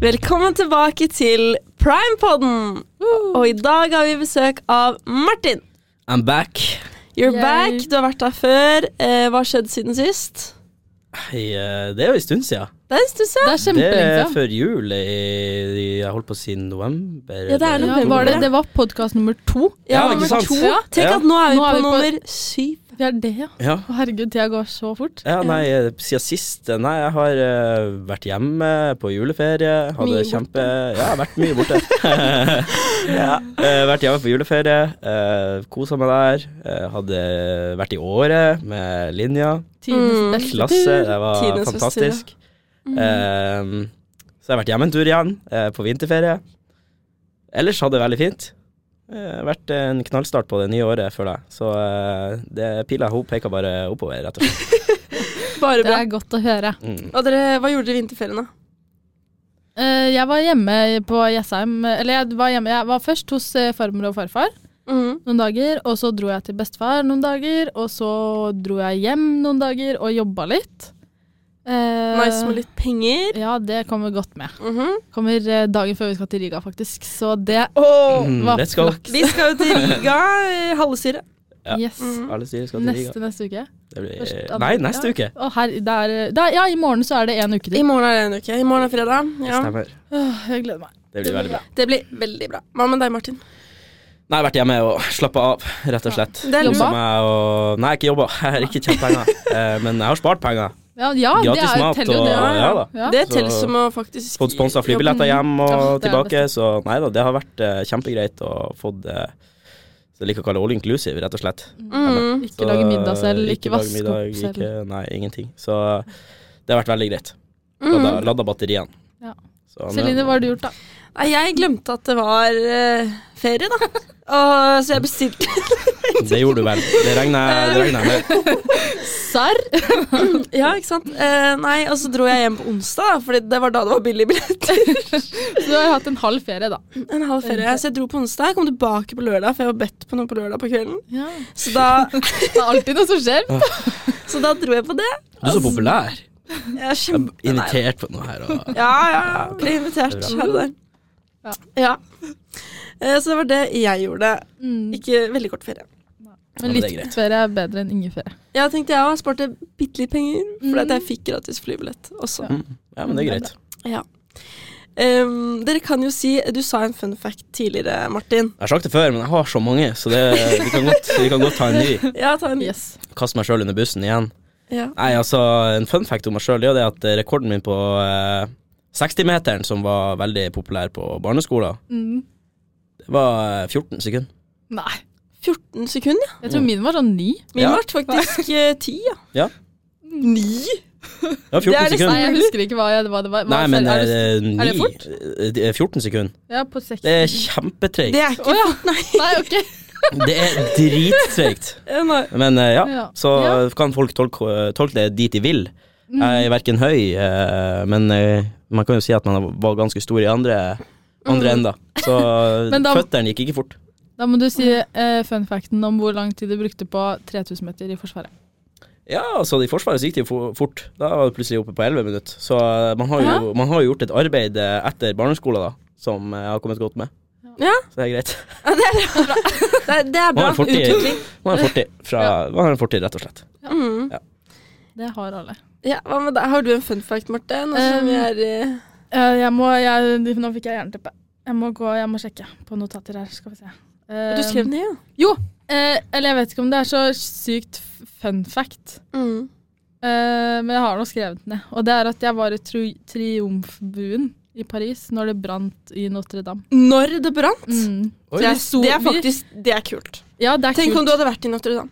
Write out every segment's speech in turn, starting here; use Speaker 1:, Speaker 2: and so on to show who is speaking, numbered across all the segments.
Speaker 1: Velkommen tilbake til Primepodden! Og i dag har vi besøk av Martin.
Speaker 2: I'm back.
Speaker 1: You're
Speaker 3: Yay.
Speaker 1: back. Du har vært her før. Eh, hva har skjedd siden sist?
Speaker 2: Hei, eh, det er jo en stund siden.
Speaker 1: Det syns du
Speaker 3: Det
Speaker 1: ser.
Speaker 3: er
Speaker 2: Det er
Speaker 3: kjempelenge siden.
Speaker 2: før jul i, i Jeg holdt på å si november.
Speaker 1: Ja, det er
Speaker 3: Ja,
Speaker 1: november.
Speaker 3: var det, det var podkast nummer to.
Speaker 2: Ja, ikke
Speaker 1: nummer
Speaker 2: sant?
Speaker 1: to.
Speaker 3: Ja.
Speaker 1: Tenk
Speaker 2: Ja.
Speaker 1: at nå er vi
Speaker 3: Nå
Speaker 1: på
Speaker 3: er vi på-
Speaker 1: nummer syv.
Speaker 3: Det er det, ja.
Speaker 2: Ja.
Speaker 3: Å, herregud, tida går så fort.
Speaker 2: ja, nei, eh, siden sist eh, Nei, jeg har eh, vært hjemme på juleferie. Hadde
Speaker 1: Mye borte.
Speaker 2: kjempe Ja, vært mye borte. ja, eh, vært hjemme på juleferie. Uh, Kosa meg der. Eh, hadde vært i Året med linja.
Speaker 1: Mm.
Speaker 3: Tidens beste
Speaker 2: Klasse.
Speaker 3: tur.
Speaker 2: Det var
Speaker 1: Tidens beste tur, ja.
Speaker 2: fantastisk. Eh, så jeg har vært hjemme en tur igjen, eh, på vinterferie. Ellers hadde det veldig fint. Det har vært en knallstart på det nye året, føler jeg. Så eh, det pila hun peker bare oppover, rett og slett.
Speaker 1: Bare
Speaker 3: Det
Speaker 1: bra.
Speaker 3: er godt å høre.
Speaker 2: Mm.
Speaker 1: Og dere, hva gjorde dere i vinterferien, da?
Speaker 3: Eh, Jeg var hjemme på Jessheim Eller jeg var hjemme Jeg var først hos eh, farmor og farfar
Speaker 1: Mhm.
Speaker 3: noen dager, og så dro jeg til bestefar noen dager, og så dro jeg hjem noen dager og jobba litt. Eh,
Speaker 1: Nice med litt penger.
Speaker 3: Ja, det kommer godt med.
Speaker 1: Mhm.
Speaker 3: Kommer eh, dagen før vi skal til Riga, faktisk, så det
Speaker 2: Mm,
Speaker 3: var
Speaker 2: let's go.
Speaker 3: flaks.
Speaker 1: Vi skal jo til Riga, eh, halve syre.
Speaker 2: Ja.
Speaker 3: Yes.
Speaker 1: Mhm.
Speaker 2: Alle sier de skal til Riga.
Speaker 3: Neste neste uke.
Speaker 2: Det
Speaker 3: Først andre-
Speaker 2: blir, Eh, nei, neste
Speaker 3: ja.
Speaker 2: uke.
Speaker 3: Å, her, det er- det er- ja, i morgen så er det en uke
Speaker 1: I
Speaker 3: til.
Speaker 1: morgen er det en uke. I morgen er fredag. Ja.
Speaker 2: Stemmer.
Speaker 3: Åh, jeg gleder meg.
Speaker 2: Det blir veldig bra.
Speaker 1: Det blir veldig bra. Hva med deg, Martin?
Speaker 2: Nei, jeg har vært hjemme og slappa av, rett og slett.
Speaker 1: Det er
Speaker 2: Koset
Speaker 3: jobba?
Speaker 2: meg og Nei, ikke jobba. Jeg har ikke tjent penger. Eh, Men jeg har spart penger.
Speaker 3: Ja, ja det
Speaker 2: Gratis
Speaker 3: er,
Speaker 2: mat
Speaker 3: teller jo
Speaker 2: og
Speaker 3: det.
Speaker 1: ja,
Speaker 2: ja da.
Speaker 3: Ja.
Speaker 1: Det
Speaker 2: Så-
Speaker 1: teller som å faktisk
Speaker 2: Fått sponsa flybilletter hjem og
Speaker 3: Ja, det er
Speaker 2: tilbake,
Speaker 3: det
Speaker 2: så nei da, det har vært eh, kjempegreit og fått det jeg liker å kalle all inclusive, rett og slett.
Speaker 1: Mhm.
Speaker 3: Mm, Ikke lage middag selv,
Speaker 2: eh,
Speaker 3: ikke
Speaker 2: lage
Speaker 3: vaske
Speaker 2: middag,
Speaker 3: opp selv.
Speaker 2: Ikke, nei, ingenting. Så det har vært veldig greit.
Speaker 1: Mhm.
Speaker 2: Ladda, ladda
Speaker 3: Mm.
Speaker 2: batteriene.
Speaker 3: Ja.
Speaker 2: Så, men-
Speaker 3: Celine, hva har du gjort, da?
Speaker 1: Nei, jeg glemte at det var eh, ferie, da. Og, så jeg bestilte
Speaker 2: Det gjorde du vel. Det regner jeg det regner jeg med.
Speaker 3: Serr?
Speaker 1: Ja, ikke sant? Eh, nei, og så dro jeg hjem på onsdag, da, Fordi det var da det var billige billetter.
Speaker 3: Så du har hatt en halv ferie, da.
Speaker 1: En halv ferie. Så jeg dro på onsdag, kom tilbake på lørdag, for jeg var bedt på noe på lørdag på kvelden. Så da,
Speaker 3: Det er alltid noe som skjer.
Speaker 1: så da dro jeg på det.
Speaker 2: Du er så populær.
Speaker 1: Jeg er
Speaker 2: Jeg
Speaker 1: kjempe...
Speaker 2: er invitert på noe her. Og,
Speaker 1: Ja, ja, ja. Ble invitert
Speaker 2: Det er
Speaker 1: her og der.
Speaker 3: Ja.
Speaker 1: Ja. Eh, så det var det jeg gjorde.
Speaker 3: Mm.
Speaker 1: Ikke veldig kort ferie.
Speaker 3: Men
Speaker 2: men det er
Speaker 3: litt
Speaker 2: greit.
Speaker 3: ferie er bedre enn ingen ferie.
Speaker 1: Ja, tenkte jeg òg. Sparte bitte litt penger, fordi at jeg
Speaker 3: Mhm.
Speaker 1: fikk gratis flybillett også.
Speaker 2: Mm. ja, men det er greit.
Speaker 1: Ehm, dere kan jo si Du sa en fun fact tidligere, Martin.
Speaker 2: Jeg har sagt det før, men jeg har så mange, så det, vi, kan godt, vi kan godt ta en ny.
Speaker 1: Ja, ta en
Speaker 3: Yes.
Speaker 2: Kaste meg sjøl under bussen igjen.
Speaker 1: Ja.
Speaker 2: Nei, altså, En fun fact om meg sjøl er jo det at rekorden min på eh, 60-meteren, som var veldig populær på barneskolen,
Speaker 3: Mm.
Speaker 2: det var eh, 14 sekunder.
Speaker 3: Nei.
Speaker 1: 14 sekunder, ja.
Speaker 2: Mm.
Speaker 3: Jeg tror min var sånn ny.
Speaker 1: Min
Speaker 2: Ja.
Speaker 1: ble faktisk eh, 10, ja.
Speaker 3: Ni?
Speaker 2: Ja,
Speaker 1: Det er
Speaker 2: 14
Speaker 1: det
Speaker 3: Nei,
Speaker 2: sekunder.
Speaker 3: jeg husker ikke hva, jeg, hva det var. Hva
Speaker 2: Nei, men
Speaker 3: ferie- er det-
Speaker 2: eh, ni,
Speaker 3: det fort?
Speaker 2: eh, det er 14 sekunder.
Speaker 3: Ja, på 60.
Speaker 2: Det er kjempetreigt.
Speaker 1: Det er ikke
Speaker 3: Å, ja.
Speaker 1: fort, nei.
Speaker 3: Nei, ok.
Speaker 2: Det er drittreigt.
Speaker 1: Eh, nei.
Speaker 2: Men eh, ja,
Speaker 3: Ja.
Speaker 2: så
Speaker 3: Ja. Mm.
Speaker 2: kan folk tolke, tolke det dit de vil. Jeg er verken høy, eh, men eh, man kan jo si at man var ganske stor i andre, andre enda. Så
Speaker 3: Mm. Men da-
Speaker 2: føttene gikk ikke fort.
Speaker 3: Da må du si eh, fun facten om hvor lang tid du brukte på 3000 meter i Forsvaret.
Speaker 2: Ja, altså i Forsvaret så gikk det jo fo- fort. Da var det plutselig oppe på 11 minutter. Så eh, man har jo, man har jo gjort et arbeid eh, etter barneskolen da, som eh, har kommet godt med.
Speaker 1: Ja.
Speaker 2: Så det er greit.
Speaker 1: Det, er- det er bra
Speaker 2: Man har en fortid.
Speaker 1: utvikling.
Speaker 2: Man har en fortid, fra, man har en fortid rett og slett.
Speaker 1: Mhm.
Speaker 3: Det har alle.
Speaker 1: Ja, hva med deg? Har du en fun fact, Marte? Nå som
Speaker 3: Um,
Speaker 1: vi er eh,
Speaker 3: Eh, jeg må, jeg, nå fikk jeg jernteppe. Jeg må gå, jeg må sjekke på notater her. Skal vi se. Eh,
Speaker 1: Du skrev den ned, ja?
Speaker 3: eh, eller jeg vet ikke om det er så sykt f- fun fact.
Speaker 1: Mhm.
Speaker 3: Eh, men jeg har nå skrevet den ned. Og det er at jeg var i tri triumfbuen i Paris når det brant i Notre-Dame.
Speaker 1: Når det brant?
Speaker 3: Mm.
Speaker 2: Oi.
Speaker 1: Det, er,
Speaker 3: Vi sto-
Speaker 1: det er
Speaker 3: vi-
Speaker 1: faktisk Det er kult.
Speaker 3: Ja, det er
Speaker 1: Tenk om
Speaker 3: kult.
Speaker 1: du hadde vært i Notre-Dame.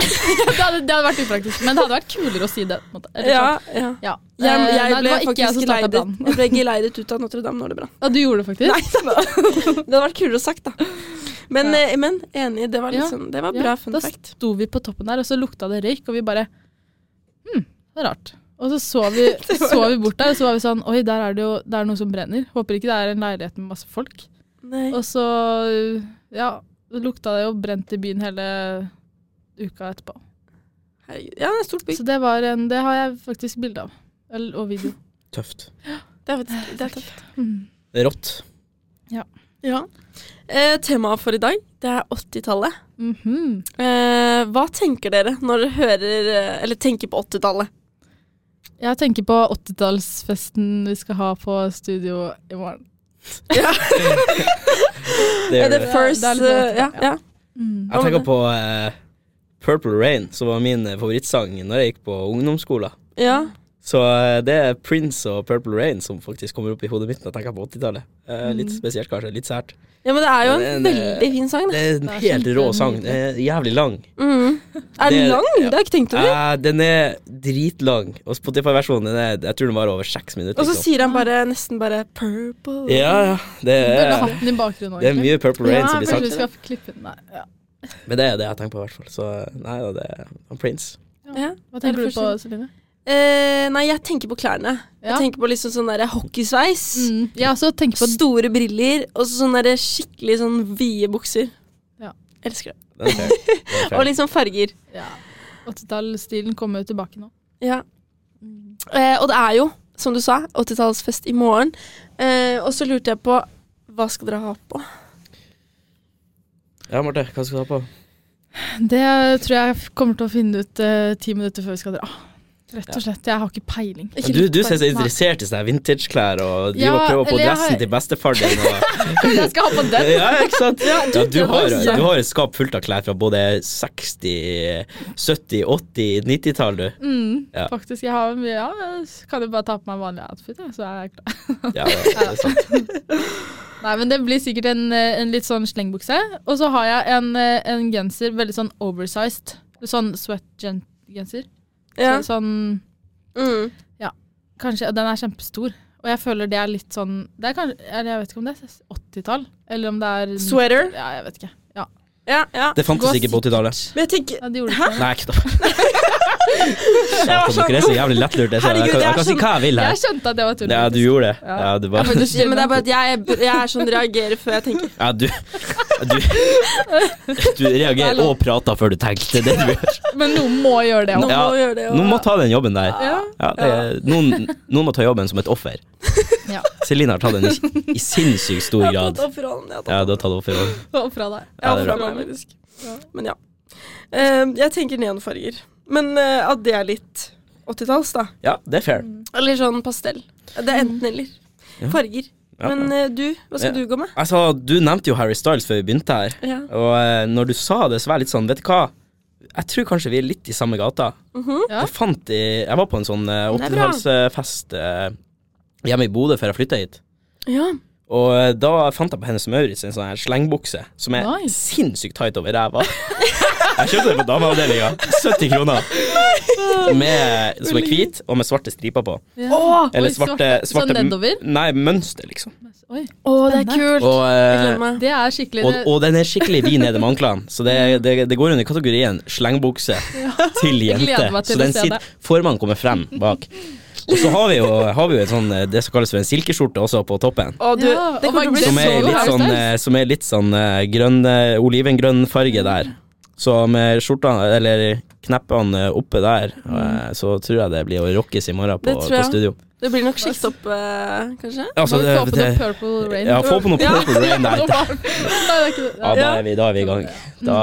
Speaker 3: det, hadde, det hadde vært upraktisk, men det hadde vært kulere å si det. på en måte. Eller sånn.
Speaker 1: Ja, ja.
Speaker 3: ja.
Speaker 1: Jeg,
Speaker 3: Eh,
Speaker 1: jeg ble
Speaker 3: nei, det var ikke jeg
Speaker 1: faktisk
Speaker 3: som startet
Speaker 1: geleidet,
Speaker 3: brannen.
Speaker 1: jeg ble geleidet ut av Notre-Dame når det brant.
Speaker 3: Ja, du gjorde det faktisk?
Speaker 1: Nei, det var- det hadde vært kulere sagt, da. Men,
Speaker 3: Ja.
Speaker 1: eh, men enig, det var,
Speaker 3: Ja.
Speaker 1: liksom, det var
Speaker 3: Ja,
Speaker 1: bra fun
Speaker 3: da
Speaker 1: fact.
Speaker 3: sto vi på toppen der, og så lukta det røyk, og vi bare Hm, det er rart. Og så så vi,
Speaker 1: var
Speaker 3: så vi
Speaker 1: rart.
Speaker 3: bort der, og så var vi sånn Oi, der er det jo det er noe som brenner. Håper ikke det er en leilighet med masse folk.
Speaker 1: Nei.
Speaker 3: Og så, ja, det lukta det jo brent i byen hele uka etterpå.
Speaker 1: Herregud. Ja, det er stort bygg.
Speaker 3: Så det var en Det har jeg faktisk bilde av. Eller- Og video.
Speaker 2: Tøft.
Speaker 1: Det er faktisk det er tøft.
Speaker 3: Mm.
Speaker 2: Det er rått.
Speaker 1: Ja. Eh, Temaet for i dag, det er 80-tallet.
Speaker 3: Mhm.
Speaker 1: Eh, hva tenker dere når dere hører eh, Eller tenker på 80-tallet?
Speaker 3: Jeg tenker på 80-tallsfesten vi skal ha på studio i morgen.
Speaker 2: Det
Speaker 1: Er det
Speaker 2: gjør det.
Speaker 3: det.
Speaker 1: first
Speaker 3: Ja, det er litt
Speaker 1: eh, ja, ja.
Speaker 3: Mm.
Speaker 2: Jeg tenker på eh, Purple Rain, som var min eh, favorittsang når jeg gikk på ungdomsskolen.
Speaker 1: ja.
Speaker 2: Så eh, det er Prince og Purple Rain som faktisk kommer opp i hodet mitt når jeg tenker på 80-tallet. Eh, litt spesielt, kanskje. Litt sært.
Speaker 1: Ja, men det er jo en
Speaker 2: Det er en, eh,
Speaker 1: veldig fin sang,
Speaker 2: Det
Speaker 1: Mm. det.
Speaker 2: er en
Speaker 3: Det er
Speaker 2: helt rå
Speaker 3: kjempenydelig.
Speaker 2: sang. Den er jævlig lang.
Speaker 1: Mm. Er den
Speaker 2: det-
Speaker 1: lang?
Speaker 2: ja.
Speaker 1: Det har jeg ikke tenkt over.
Speaker 2: Eh, den er dritlang, og Spotify-versjonen den er, jeg tror den var over seks minutter.
Speaker 1: Og så
Speaker 2: liksom.
Speaker 1: sier han bare nesten bare 'purple'.
Speaker 2: ja, ja, det
Speaker 3: Burde
Speaker 2: er,
Speaker 3: hatt den i bakgrunnen òg,
Speaker 2: det er mye Purple Rain
Speaker 3: ja,
Speaker 2: som blir
Speaker 3: Kanskje vi
Speaker 2: sagt.
Speaker 3: skal klippe den der. Ja.
Speaker 2: Men det er det jeg tenker på, i hvert fall. Så nei da, det er han Prince.
Speaker 1: Ja.
Speaker 3: Hva
Speaker 1: Det er
Speaker 3: tenker du
Speaker 1: det
Speaker 3: på, Celine?
Speaker 1: Eh, nei, jeg tenker på klærne.
Speaker 3: Ja.
Speaker 1: Jeg tenker på liksom sånn der hockeysveis.
Speaker 3: Mm. Jeg også tenker på
Speaker 1: Store briller og så sånne der skikkelig sånn vide bukser.
Speaker 3: Ja.
Speaker 1: Elsker det.
Speaker 2: Den er fair. Den er fair.
Speaker 1: Og liksom farger.
Speaker 3: ja. 80-tallsstilen kommer jo tilbake nå.
Speaker 1: Ja.
Speaker 3: Mm.
Speaker 1: Eh, og det er jo, som du sa, 80-tallsfest i morgen. Eh, og så lurte jeg på hva skal dere ha på?
Speaker 2: Ja, Marte, hva skal du ha på?
Speaker 3: Det tror jeg kommer til å finne ut eh, ti minutter før vi skal dra. Ah, Rett og slett. Jeg har ikke peiling.
Speaker 1: Ikke
Speaker 2: Du,
Speaker 1: litt
Speaker 2: du ser så
Speaker 1: farger.
Speaker 2: interessert i sånne vintageklær og driver
Speaker 3: Ja,
Speaker 2: og prøver på
Speaker 3: eller jeg
Speaker 2: dressen
Speaker 3: har-
Speaker 2: til bestefaren din. Og,
Speaker 3: jeg skal ha på den!
Speaker 2: ja, ikke sant? Ja, du,
Speaker 1: det var
Speaker 2: har,
Speaker 1: sant.
Speaker 2: du har et skap fullt av klær fra både 60-, 70-, 80-, 90-tall, du.
Speaker 3: Mm,
Speaker 2: Ja.
Speaker 3: Faktisk. Jeg har mye ja, jeg Kan jo bare ta på meg vanlig outfit, jeg, så er jeg klar.
Speaker 2: Ja, det er sant.
Speaker 3: Nei, men det blir sikkert en, eh, en litt sånn slengbukse. Og så har jeg en, eh, en genser, veldig sånn oversized. Sånn sweat-genser.
Speaker 1: Ja.
Speaker 3: Sånn
Speaker 1: Mm.
Speaker 3: Kanskje, og Den er kjempestor. Og jeg føler det er litt sånn det er kanskje, eller Jeg vet ikke om det er 80-tall, eller om det er
Speaker 1: Sweater?
Speaker 3: Ja, jeg vet ikke. Ja,
Speaker 1: Ja, ja.
Speaker 2: Det fantes
Speaker 3: Gå
Speaker 2: ikke på 80-tallet.
Speaker 1: Men jeg tenker
Speaker 3: ja det gjorde
Speaker 1: Hæ?
Speaker 3: ikke det.
Speaker 2: Nei, ikke da. Satan, Dere er så jævlig lettlurte. Jeg, ser det. jeg, kan- jeg kan si hva jeg vil her.
Speaker 3: Jeg skjønte at det var tull.
Speaker 2: Ja, du
Speaker 3: faktisk.
Speaker 2: gjorde det.
Speaker 3: Ja.
Speaker 2: Ja, du
Speaker 1: Ja,
Speaker 2: bare
Speaker 1: men det er bare at jeg, jeg er sånn reagerer før jeg tenker.
Speaker 2: Ja, du Du, du
Speaker 3: Nei,
Speaker 2: reagerer
Speaker 3: lov.
Speaker 2: og prater før du tenker. Det er det du gjør.
Speaker 3: Men noen må gjøre det.
Speaker 1: Noen
Speaker 3: også.
Speaker 2: Ja,
Speaker 1: må gjøre det. og-
Speaker 2: Noen må ta den jobben der.
Speaker 3: Ja.
Speaker 2: Ja, det er, noen, noen må ta jobben som et offer.
Speaker 3: Ja.
Speaker 2: Celine har tatt den i, i sinnssykt stor
Speaker 1: Jeg har
Speaker 2: grad.
Speaker 1: tatt opp forholdene, jeg har tatt
Speaker 2: Ja, du har tatt offerrollen.
Speaker 3: Og fra deg.
Speaker 1: Jeg
Speaker 2: Ja,
Speaker 1: holder
Speaker 2: det er
Speaker 1: fra
Speaker 3: bra.
Speaker 1: meg, faktisk. Men ja. Ehm, jeg tenker neonfarger. Men eh, at det er litt 80-talls, da.
Speaker 2: Ja, det er fair.
Speaker 1: Eller sånn pastell. Det er enten eller. Farger.
Speaker 2: Ja,
Speaker 1: Men eh, du, hva skal
Speaker 2: Ja.
Speaker 1: du gå med?
Speaker 2: Altså, du nevnte jo Harry Styles før vi begynte her,
Speaker 1: Ja.
Speaker 2: og eh, når du sa det, så var jeg litt sånn, vet du hva? Jeg tror kanskje vi er litt i samme gata.
Speaker 3: Ja.
Speaker 2: Jeg fant i Jeg var på en sånn eh,
Speaker 1: Mhm. Det er bra.
Speaker 2: 80-tallsfest eh, hjemme i Bodø før jeg flytta hit.
Speaker 1: ja.
Speaker 2: Og eh, da fant jeg på Hennes Maurits en sånn her slengbukse som er
Speaker 3: Nice.
Speaker 2: sinnssykt tight over ræva. Jeg kjøpte den på dameavdelinga. 70 kroner. Med, som er hvit, og med svarte striper på.
Speaker 3: Ja.
Speaker 1: Å,
Speaker 2: Eller
Speaker 3: Oi,
Speaker 2: svarte,
Speaker 3: svarte-
Speaker 2: svarte
Speaker 3: sånn nedover?
Speaker 2: Nei, mønster, liksom.
Speaker 3: Oi,
Speaker 1: å, det er
Speaker 3: Spennende.
Speaker 1: kult!
Speaker 2: Og,
Speaker 1: jeg
Speaker 2: eh,
Speaker 1: gleder meg.
Speaker 3: det er skikkelig
Speaker 2: og,
Speaker 3: det-
Speaker 2: og den er skikkelig vid nede med anklene, så det, det, det går under kategorien slengbukse til
Speaker 3: Jeg gleder
Speaker 2: jente.
Speaker 3: meg til
Speaker 2: så
Speaker 3: å
Speaker 2: den
Speaker 3: se
Speaker 2: sitter
Speaker 3: det.
Speaker 2: Formannen kommer frem bak. Og så har vi jo, har vi jo et sånn, eh, det som kalles for en silkeskjorte også på toppen.
Speaker 1: Å, du,
Speaker 3: Ja,
Speaker 1: det
Speaker 3: og
Speaker 1: kommer til å bli så
Speaker 3: farger.
Speaker 2: Som er
Speaker 3: jo
Speaker 2: litt
Speaker 3: Harry
Speaker 2: sånn,
Speaker 3: Styles.
Speaker 2: eh, som er litt sånn eh, grønn, eh, olivengrønn farge der. Så med skjorta, eller kneppene eh, oppe der,
Speaker 3: Mm.
Speaker 2: eh, så tror jeg det blir å rockes i morgen på,
Speaker 1: Det tror
Speaker 2: på
Speaker 1: jeg.
Speaker 2: studio.
Speaker 1: Det blir nok sjekket opp, eh, kanskje.
Speaker 3: Må
Speaker 2: Altså,
Speaker 3: vi
Speaker 2: det,
Speaker 3: få på
Speaker 2: det,
Speaker 3: noe Purple Rain.
Speaker 2: ja, få på noe
Speaker 1: Ja.
Speaker 2: Purple Rain der.
Speaker 3: Nei, det er ikke det.
Speaker 2: Ja,
Speaker 3: Ja.
Speaker 2: da er vi, da er vi i gang. Da,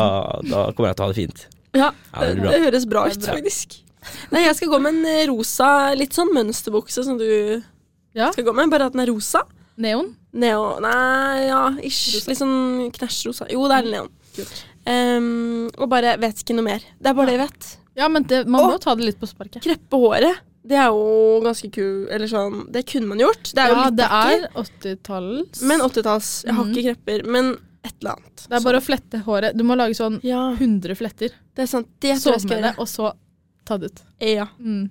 Speaker 2: da kommer jeg til å ha det fint.
Speaker 1: Ja,
Speaker 2: Ja, det
Speaker 1: det,
Speaker 2: blir bra.
Speaker 1: det høres bra ut,
Speaker 3: Det er bra.
Speaker 1: faktisk. Nei, jeg skal gå med en eh, rosa, litt sånn mønsterbukse som du
Speaker 3: Ja.
Speaker 1: skal gå med, bare at den er rosa.
Speaker 3: Neon.
Speaker 1: Neo Nei, ja, ish. Litt sånn knæsjrosa. Jo, det er neon.
Speaker 3: Kult.
Speaker 1: Ehm, og bare vet ikke noe mer. Det er bare det jeg vet.
Speaker 3: Ja, men det, man må ta det litt på sparket.
Speaker 1: Kreppe håret. Det er jo ganske kul Eller sånn, det kunne man gjort. Det er jo
Speaker 3: Ja,
Speaker 1: litt
Speaker 3: det
Speaker 1: tacky,
Speaker 3: er 80-talls.
Speaker 1: men 80-talls. Jeg har
Speaker 3: Mhm.
Speaker 1: ikke krepper, men et eller annet.
Speaker 3: Det er bare å flette håret. Du må lage sånn
Speaker 1: Så- Ja,
Speaker 3: 100 fletter.
Speaker 1: det er sant. Det tror
Speaker 3: Sove
Speaker 1: jeg skal
Speaker 3: med det,
Speaker 1: gjøre.
Speaker 3: og så ta det ut.
Speaker 1: Ja,
Speaker 3: Mm.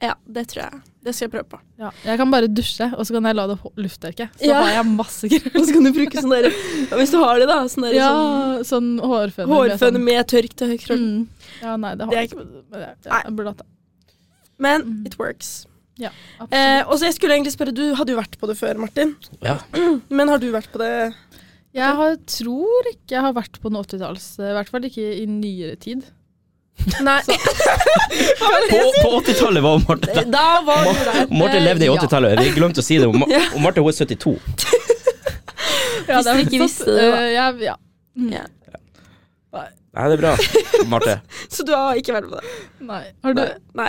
Speaker 1: ja, det tror jeg. Det skal jeg prøve på.
Speaker 3: Ja. Jeg kan bare dusje, og så kan jeg la det hå- lufttørke. Så
Speaker 1: Ja.
Speaker 3: har jeg masse krøll.
Speaker 1: Og så kan du bruke sånn derre Hvis du har det, da. Sånn derre
Speaker 3: Ja,
Speaker 1: sånn
Speaker 3: sånn hårføner. med
Speaker 1: hårføne
Speaker 3: sånn-
Speaker 1: med tørk til høy krøll.
Speaker 3: Mm. Ja, nei, det har
Speaker 1: Det er
Speaker 3: jeg ikke. Men jeg- Jeg burde hatt det. Mm.
Speaker 1: Men it works.
Speaker 3: Absolutt.
Speaker 1: Eh, og så jeg skulle egentlig spørre, du hadde jo vært på det før, Martin.
Speaker 2: Ja.
Speaker 1: Men har du vært på det
Speaker 3: eh, Jeg har, tror ikke jeg har vært på noe 80-talls. I hvert fall ikke i nyere tid.
Speaker 1: Nei,
Speaker 2: På, på 80-tallet var Marte
Speaker 1: da var du der.
Speaker 2: Marte levde i
Speaker 3: ja.
Speaker 2: 80-tallet. Vi glemte å si det. Og Ma- og Marte hun er 72.
Speaker 1: Hvis dere ikke visste det, da.
Speaker 3: Eh, ja, ja.
Speaker 1: Ja.
Speaker 2: Nei, det er bra, Marte.
Speaker 1: Så du har ikke vært med det?
Speaker 3: Nei. Har du
Speaker 1: Nei.
Speaker 3: Nei.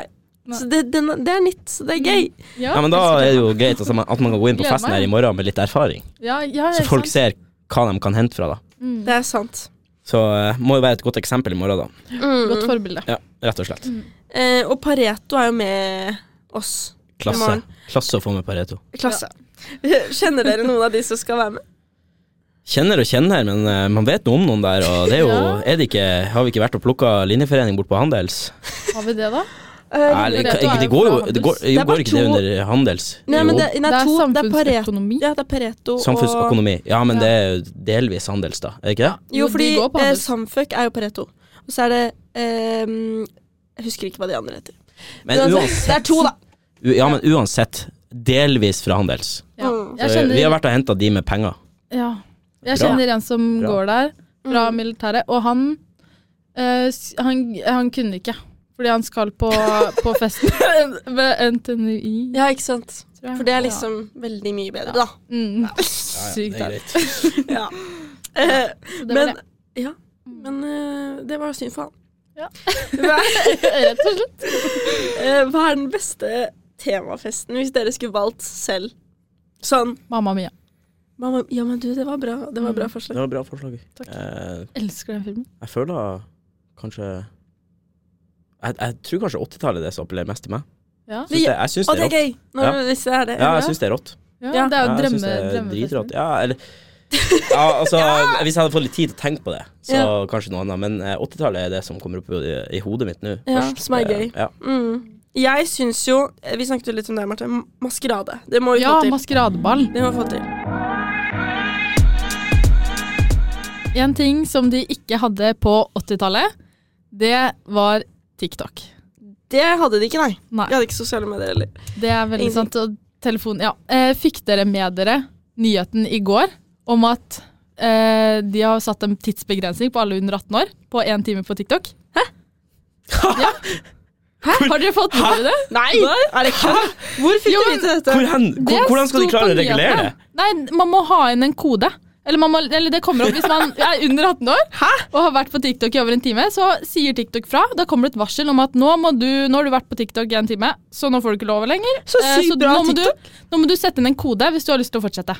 Speaker 3: Mm.
Speaker 1: Så det, den, det er nytt, så det er gøy.
Speaker 3: Ja,
Speaker 2: Nei, men da
Speaker 3: elsker
Speaker 2: er
Speaker 3: det.
Speaker 2: det jo greit at man at man kan gå inn på
Speaker 3: Gleder
Speaker 2: festen
Speaker 3: meg.
Speaker 2: her i morgen med litt erfaring,
Speaker 3: ja, ja,
Speaker 2: så
Speaker 3: ikke
Speaker 2: folk
Speaker 3: sant?
Speaker 2: ser hva de kan hente fra. da
Speaker 3: Mm.
Speaker 1: Det er sant.
Speaker 2: Så eh, må jo være et godt eksempel i morgen, da.
Speaker 3: Godt
Speaker 1: Mm.
Speaker 3: forbilde.
Speaker 2: Ja, Rett og slett.
Speaker 1: Eh, og Pareto er jo med oss.
Speaker 2: Klasse.
Speaker 1: morgen.
Speaker 2: Klasse å få med Pareto.
Speaker 1: Klasse. Kjenner dere noen av de som skal være med?
Speaker 2: Kjenner og kjenner, men eh, man vet noe om noen der. Og det er jo,
Speaker 3: Ja.
Speaker 2: er det ikke, har vi ikke vært og plukka linjeforening bort på Handels?
Speaker 3: Har vi det, da?
Speaker 2: Nei,
Speaker 1: Eh,
Speaker 2: eller,
Speaker 3: Pareto
Speaker 2: ikke-
Speaker 3: er jo
Speaker 2: det går jo
Speaker 3: fra
Speaker 2: det går,
Speaker 1: Handels. Det er bare
Speaker 2: går ikke det
Speaker 1: to-
Speaker 2: under Handels?
Speaker 1: Nei, men det, nei,
Speaker 3: det er
Speaker 1: to, det er Pareto.
Speaker 3: samfunnsøkonomi.
Speaker 1: Ja, det er Pareto
Speaker 2: jo,
Speaker 1: og-
Speaker 2: samfunnsøkonomi. Ja, men
Speaker 3: Ja.
Speaker 2: det er jo delvis Handels, da. Er det ikke det?
Speaker 1: Jo,
Speaker 3: de
Speaker 1: fordi
Speaker 3: går på
Speaker 1: eh,
Speaker 3: handels.
Speaker 1: Samføk er jo Pareto. Og så er det ehm, Jeg husker ikke hva de andre heter.
Speaker 2: Men
Speaker 1: Uansett,
Speaker 2: uansett,
Speaker 1: det er to, da.
Speaker 2: u- ja, men uansett delvis fra Handels.
Speaker 3: Ja.
Speaker 1: Mm.
Speaker 3: Jeg
Speaker 2: Så Eh, Vi har
Speaker 3: kjenner,
Speaker 2: vært og henta de med penger.
Speaker 3: ja. jeg
Speaker 2: Bra.
Speaker 3: kjenner en som
Speaker 2: Bra.
Speaker 3: går der, fra
Speaker 1: Mm.
Speaker 3: militæret, og han, eh, s- han Han kunne ikke. Fordi han skal på, på festen ved NTNUI.
Speaker 1: Ja, ikke sant.
Speaker 3: tror jeg.
Speaker 1: For det er liksom veldig mye bedre, da.
Speaker 3: ja. mm. Sykt
Speaker 2: det er
Speaker 3: deilig.
Speaker 2: greit.
Speaker 1: Ja. Eh,
Speaker 3: Så det var
Speaker 1: men
Speaker 3: det. Mm.
Speaker 1: Ja. Men eh, det var synd for han.
Speaker 3: Ja.
Speaker 1: hva,
Speaker 3: Rett og slett.
Speaker 1: eh, hva er den beste temafesten hvis dere skulle valgt selv? Sånn
Speaker 3: Mamma mia.
Speaker 1: mamma, Ja, men du, det var bra. Det var
Speaker 3: Mm.
Speaker 1: bra
Speaker 2: Det
Speaker 1: forslag.
Speaker 2: var et bra forslag.
Speaker 3: Takk.
Speaker 2: Eh,
Speaker 3: Elsker den filmen.
Speaker 2: jeg føler kanskje jeg, jeg tror kanskje 80-tallet er det som appellerer mest til meg.
Speaker 3: Ja,
Speaker 2: Syns det, jeg syns
Speaker 1: Å,
Speaker 2: det
Speaker 1: det
Speaker 2: er
Speaker 1: er
Speaker 2: rått.
Speaker 1: gøy! Når
Speaker 2: Ja.
Speaker 1: du ser det.
Speaker 2: Ja, jeg syns det er rått.
Speaker 1: Ja.
Speaker 3: ja, det er jo
Speaker 2: Ja, jeg synes
Speaker 3: drømme,
Speaker 2: det er
Speaker 3: drømmefesten.
Speaker 2: dritrått. Ja, eller ja, altså, Hvis jeg hadde fått litt tid til å tenke på det, så
Speaker 1: Ja.
Speaker 2: kanskje noe annet. Men eh, 80-tallet er det som kommer opp i, i hodet mitt nå.
Speaker 1: Ja,
Speaker 2: først.
Speaker 1: som er
Speaker 2: Eh,
Speaker 1: gøy.
Speaker 2: Ja.
Speaker 1: Mm. Jeg syns jo eh, Vi snakket jo litt om det, Marte. m- Maskerade. Det må vi
Speaker 3: Ja,
Speaker 1: få til.
Speaker 3: maskeradeball.
Speaker 1: Det må vi få til.
Speaker 3: En ting som de ikke hadde på 80-tallet, det var TikTok.
Speaker 1: Det hadde de ikke, nei.
Speaker 3: Nei,
Speaker 1: Vi hadde ikke sosiale medier heller.
Speaker 3: det er veldig
Speaker 1: Ingenting.
Speaker 3: sant. Og telefon, ja. Eh, Fikk dere med dere nyheten i går om at eh, de har satt en tidsbegrensning på alle under 18 år på én time på TikTok? Hæ? Ja. Hæ? Har dere fått med dere det?
Speaker 1: Nei! Er det kødd? Hvor fikk
Speaker 3: Jo,
Speaker 1: du
Speaker 3: men-
Speaker 1: vite dette?
Speaker 2: Hvor hen, hvor,
Speaker 3: Det
Speaker 2: hvordan skal de
Speaker 3: sto på
Speaker 2: klare å regulere
Speaker 3: nyhetene.
Speaker 2: det?
Speaker 3: Nei, man må ha inn en kode. Eller, man må, eller det kommer opp hvis man er under 18 år og har vært på TikTok i over en time. Så sier TikTok fra. Da kommer det et varsel om at nå, må du, nå har du vært på TikTok i en time, så nå får du ikke lov lenger.
Speaker 1: Så
Speaker 3: Eh,
Speaker 1: sykt bra
Speaker 3: nå må, du,
Speaker 1: TikTok.
Speaker 3: nå må du sette inn en kode hvis du har lyst til å fortsette.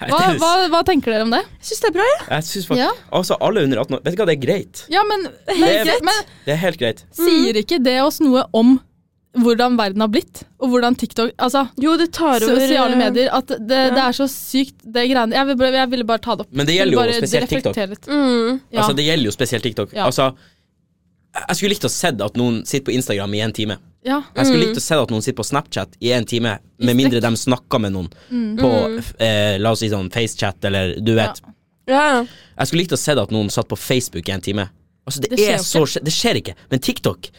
Speaker 2: Nei,
Speaker 3: Hva,
Speaker 2: det-
Speaker 3: hva, hva tenker dere om det?
Speaker 1: Jeg syns det er bra, jeg.
Speaker 2: Jeg synes faktisk,
Speaker 3: Ja.
Speaker 2: Altså, Alle under 18 år Vet du hva, det er greit.
Speaker 3: Ja, men,
Speaker 2: helt
Speaker 3: men,
Speaker 2: greit.
Speaker 3: men
Speaker 2: Det er Mm. helt greit.
Speaker 3: sier ikke det oss noe om hvordan verden har blitt? Og hvordan TikTok Altså,
Speaker 1: Jo, det tar over eh,
Speaker 3: sosiale medier. At det, det
Speaker 1: ja.
Speaker 3: er så sykt, det greiene. Jeg, vil bare- jeg ville bare ta det opp.
Speaker 2: Men det gjelder jo
Speaker 3: Bare
Speaker 2: spesielt TikTok.
Speaker 3: reflektere litt.
Speaker 1: Mm.
Speaker 3: Ja.
Speaker 2: Altså, Det gjelder jo spesielt TikTok.
Speaker 3: Ja.
Speaker 2: Altså, jeg- jeg skulle likt å sett at noen sitter på Instagram i en time.
Speaker 3: ja.
Speaker 2: Jeg skulle
Speaker 1: Mm.
Speaker 2: likt å se at noen sitter på Snapchat i en time,
Speaker 3: I
Speaker 2: med mindre
Speaker 3: strekk.
Speaker 2: de snakker med noen
Speaker 3: Mm.
Speaker 2: på f- eh, la oss si sånn FaceChat eller du vet.
Speaker 1: Ja, ja.
Speaker 2: Jeg skulle likt å se at noen satt på Facebook i en time. Altså, det,
Speaker 3: Det skjer
Speaker 2: er så
Speaker 3: jo
Speaker 2: skje- Det skjer ikke, men TikTok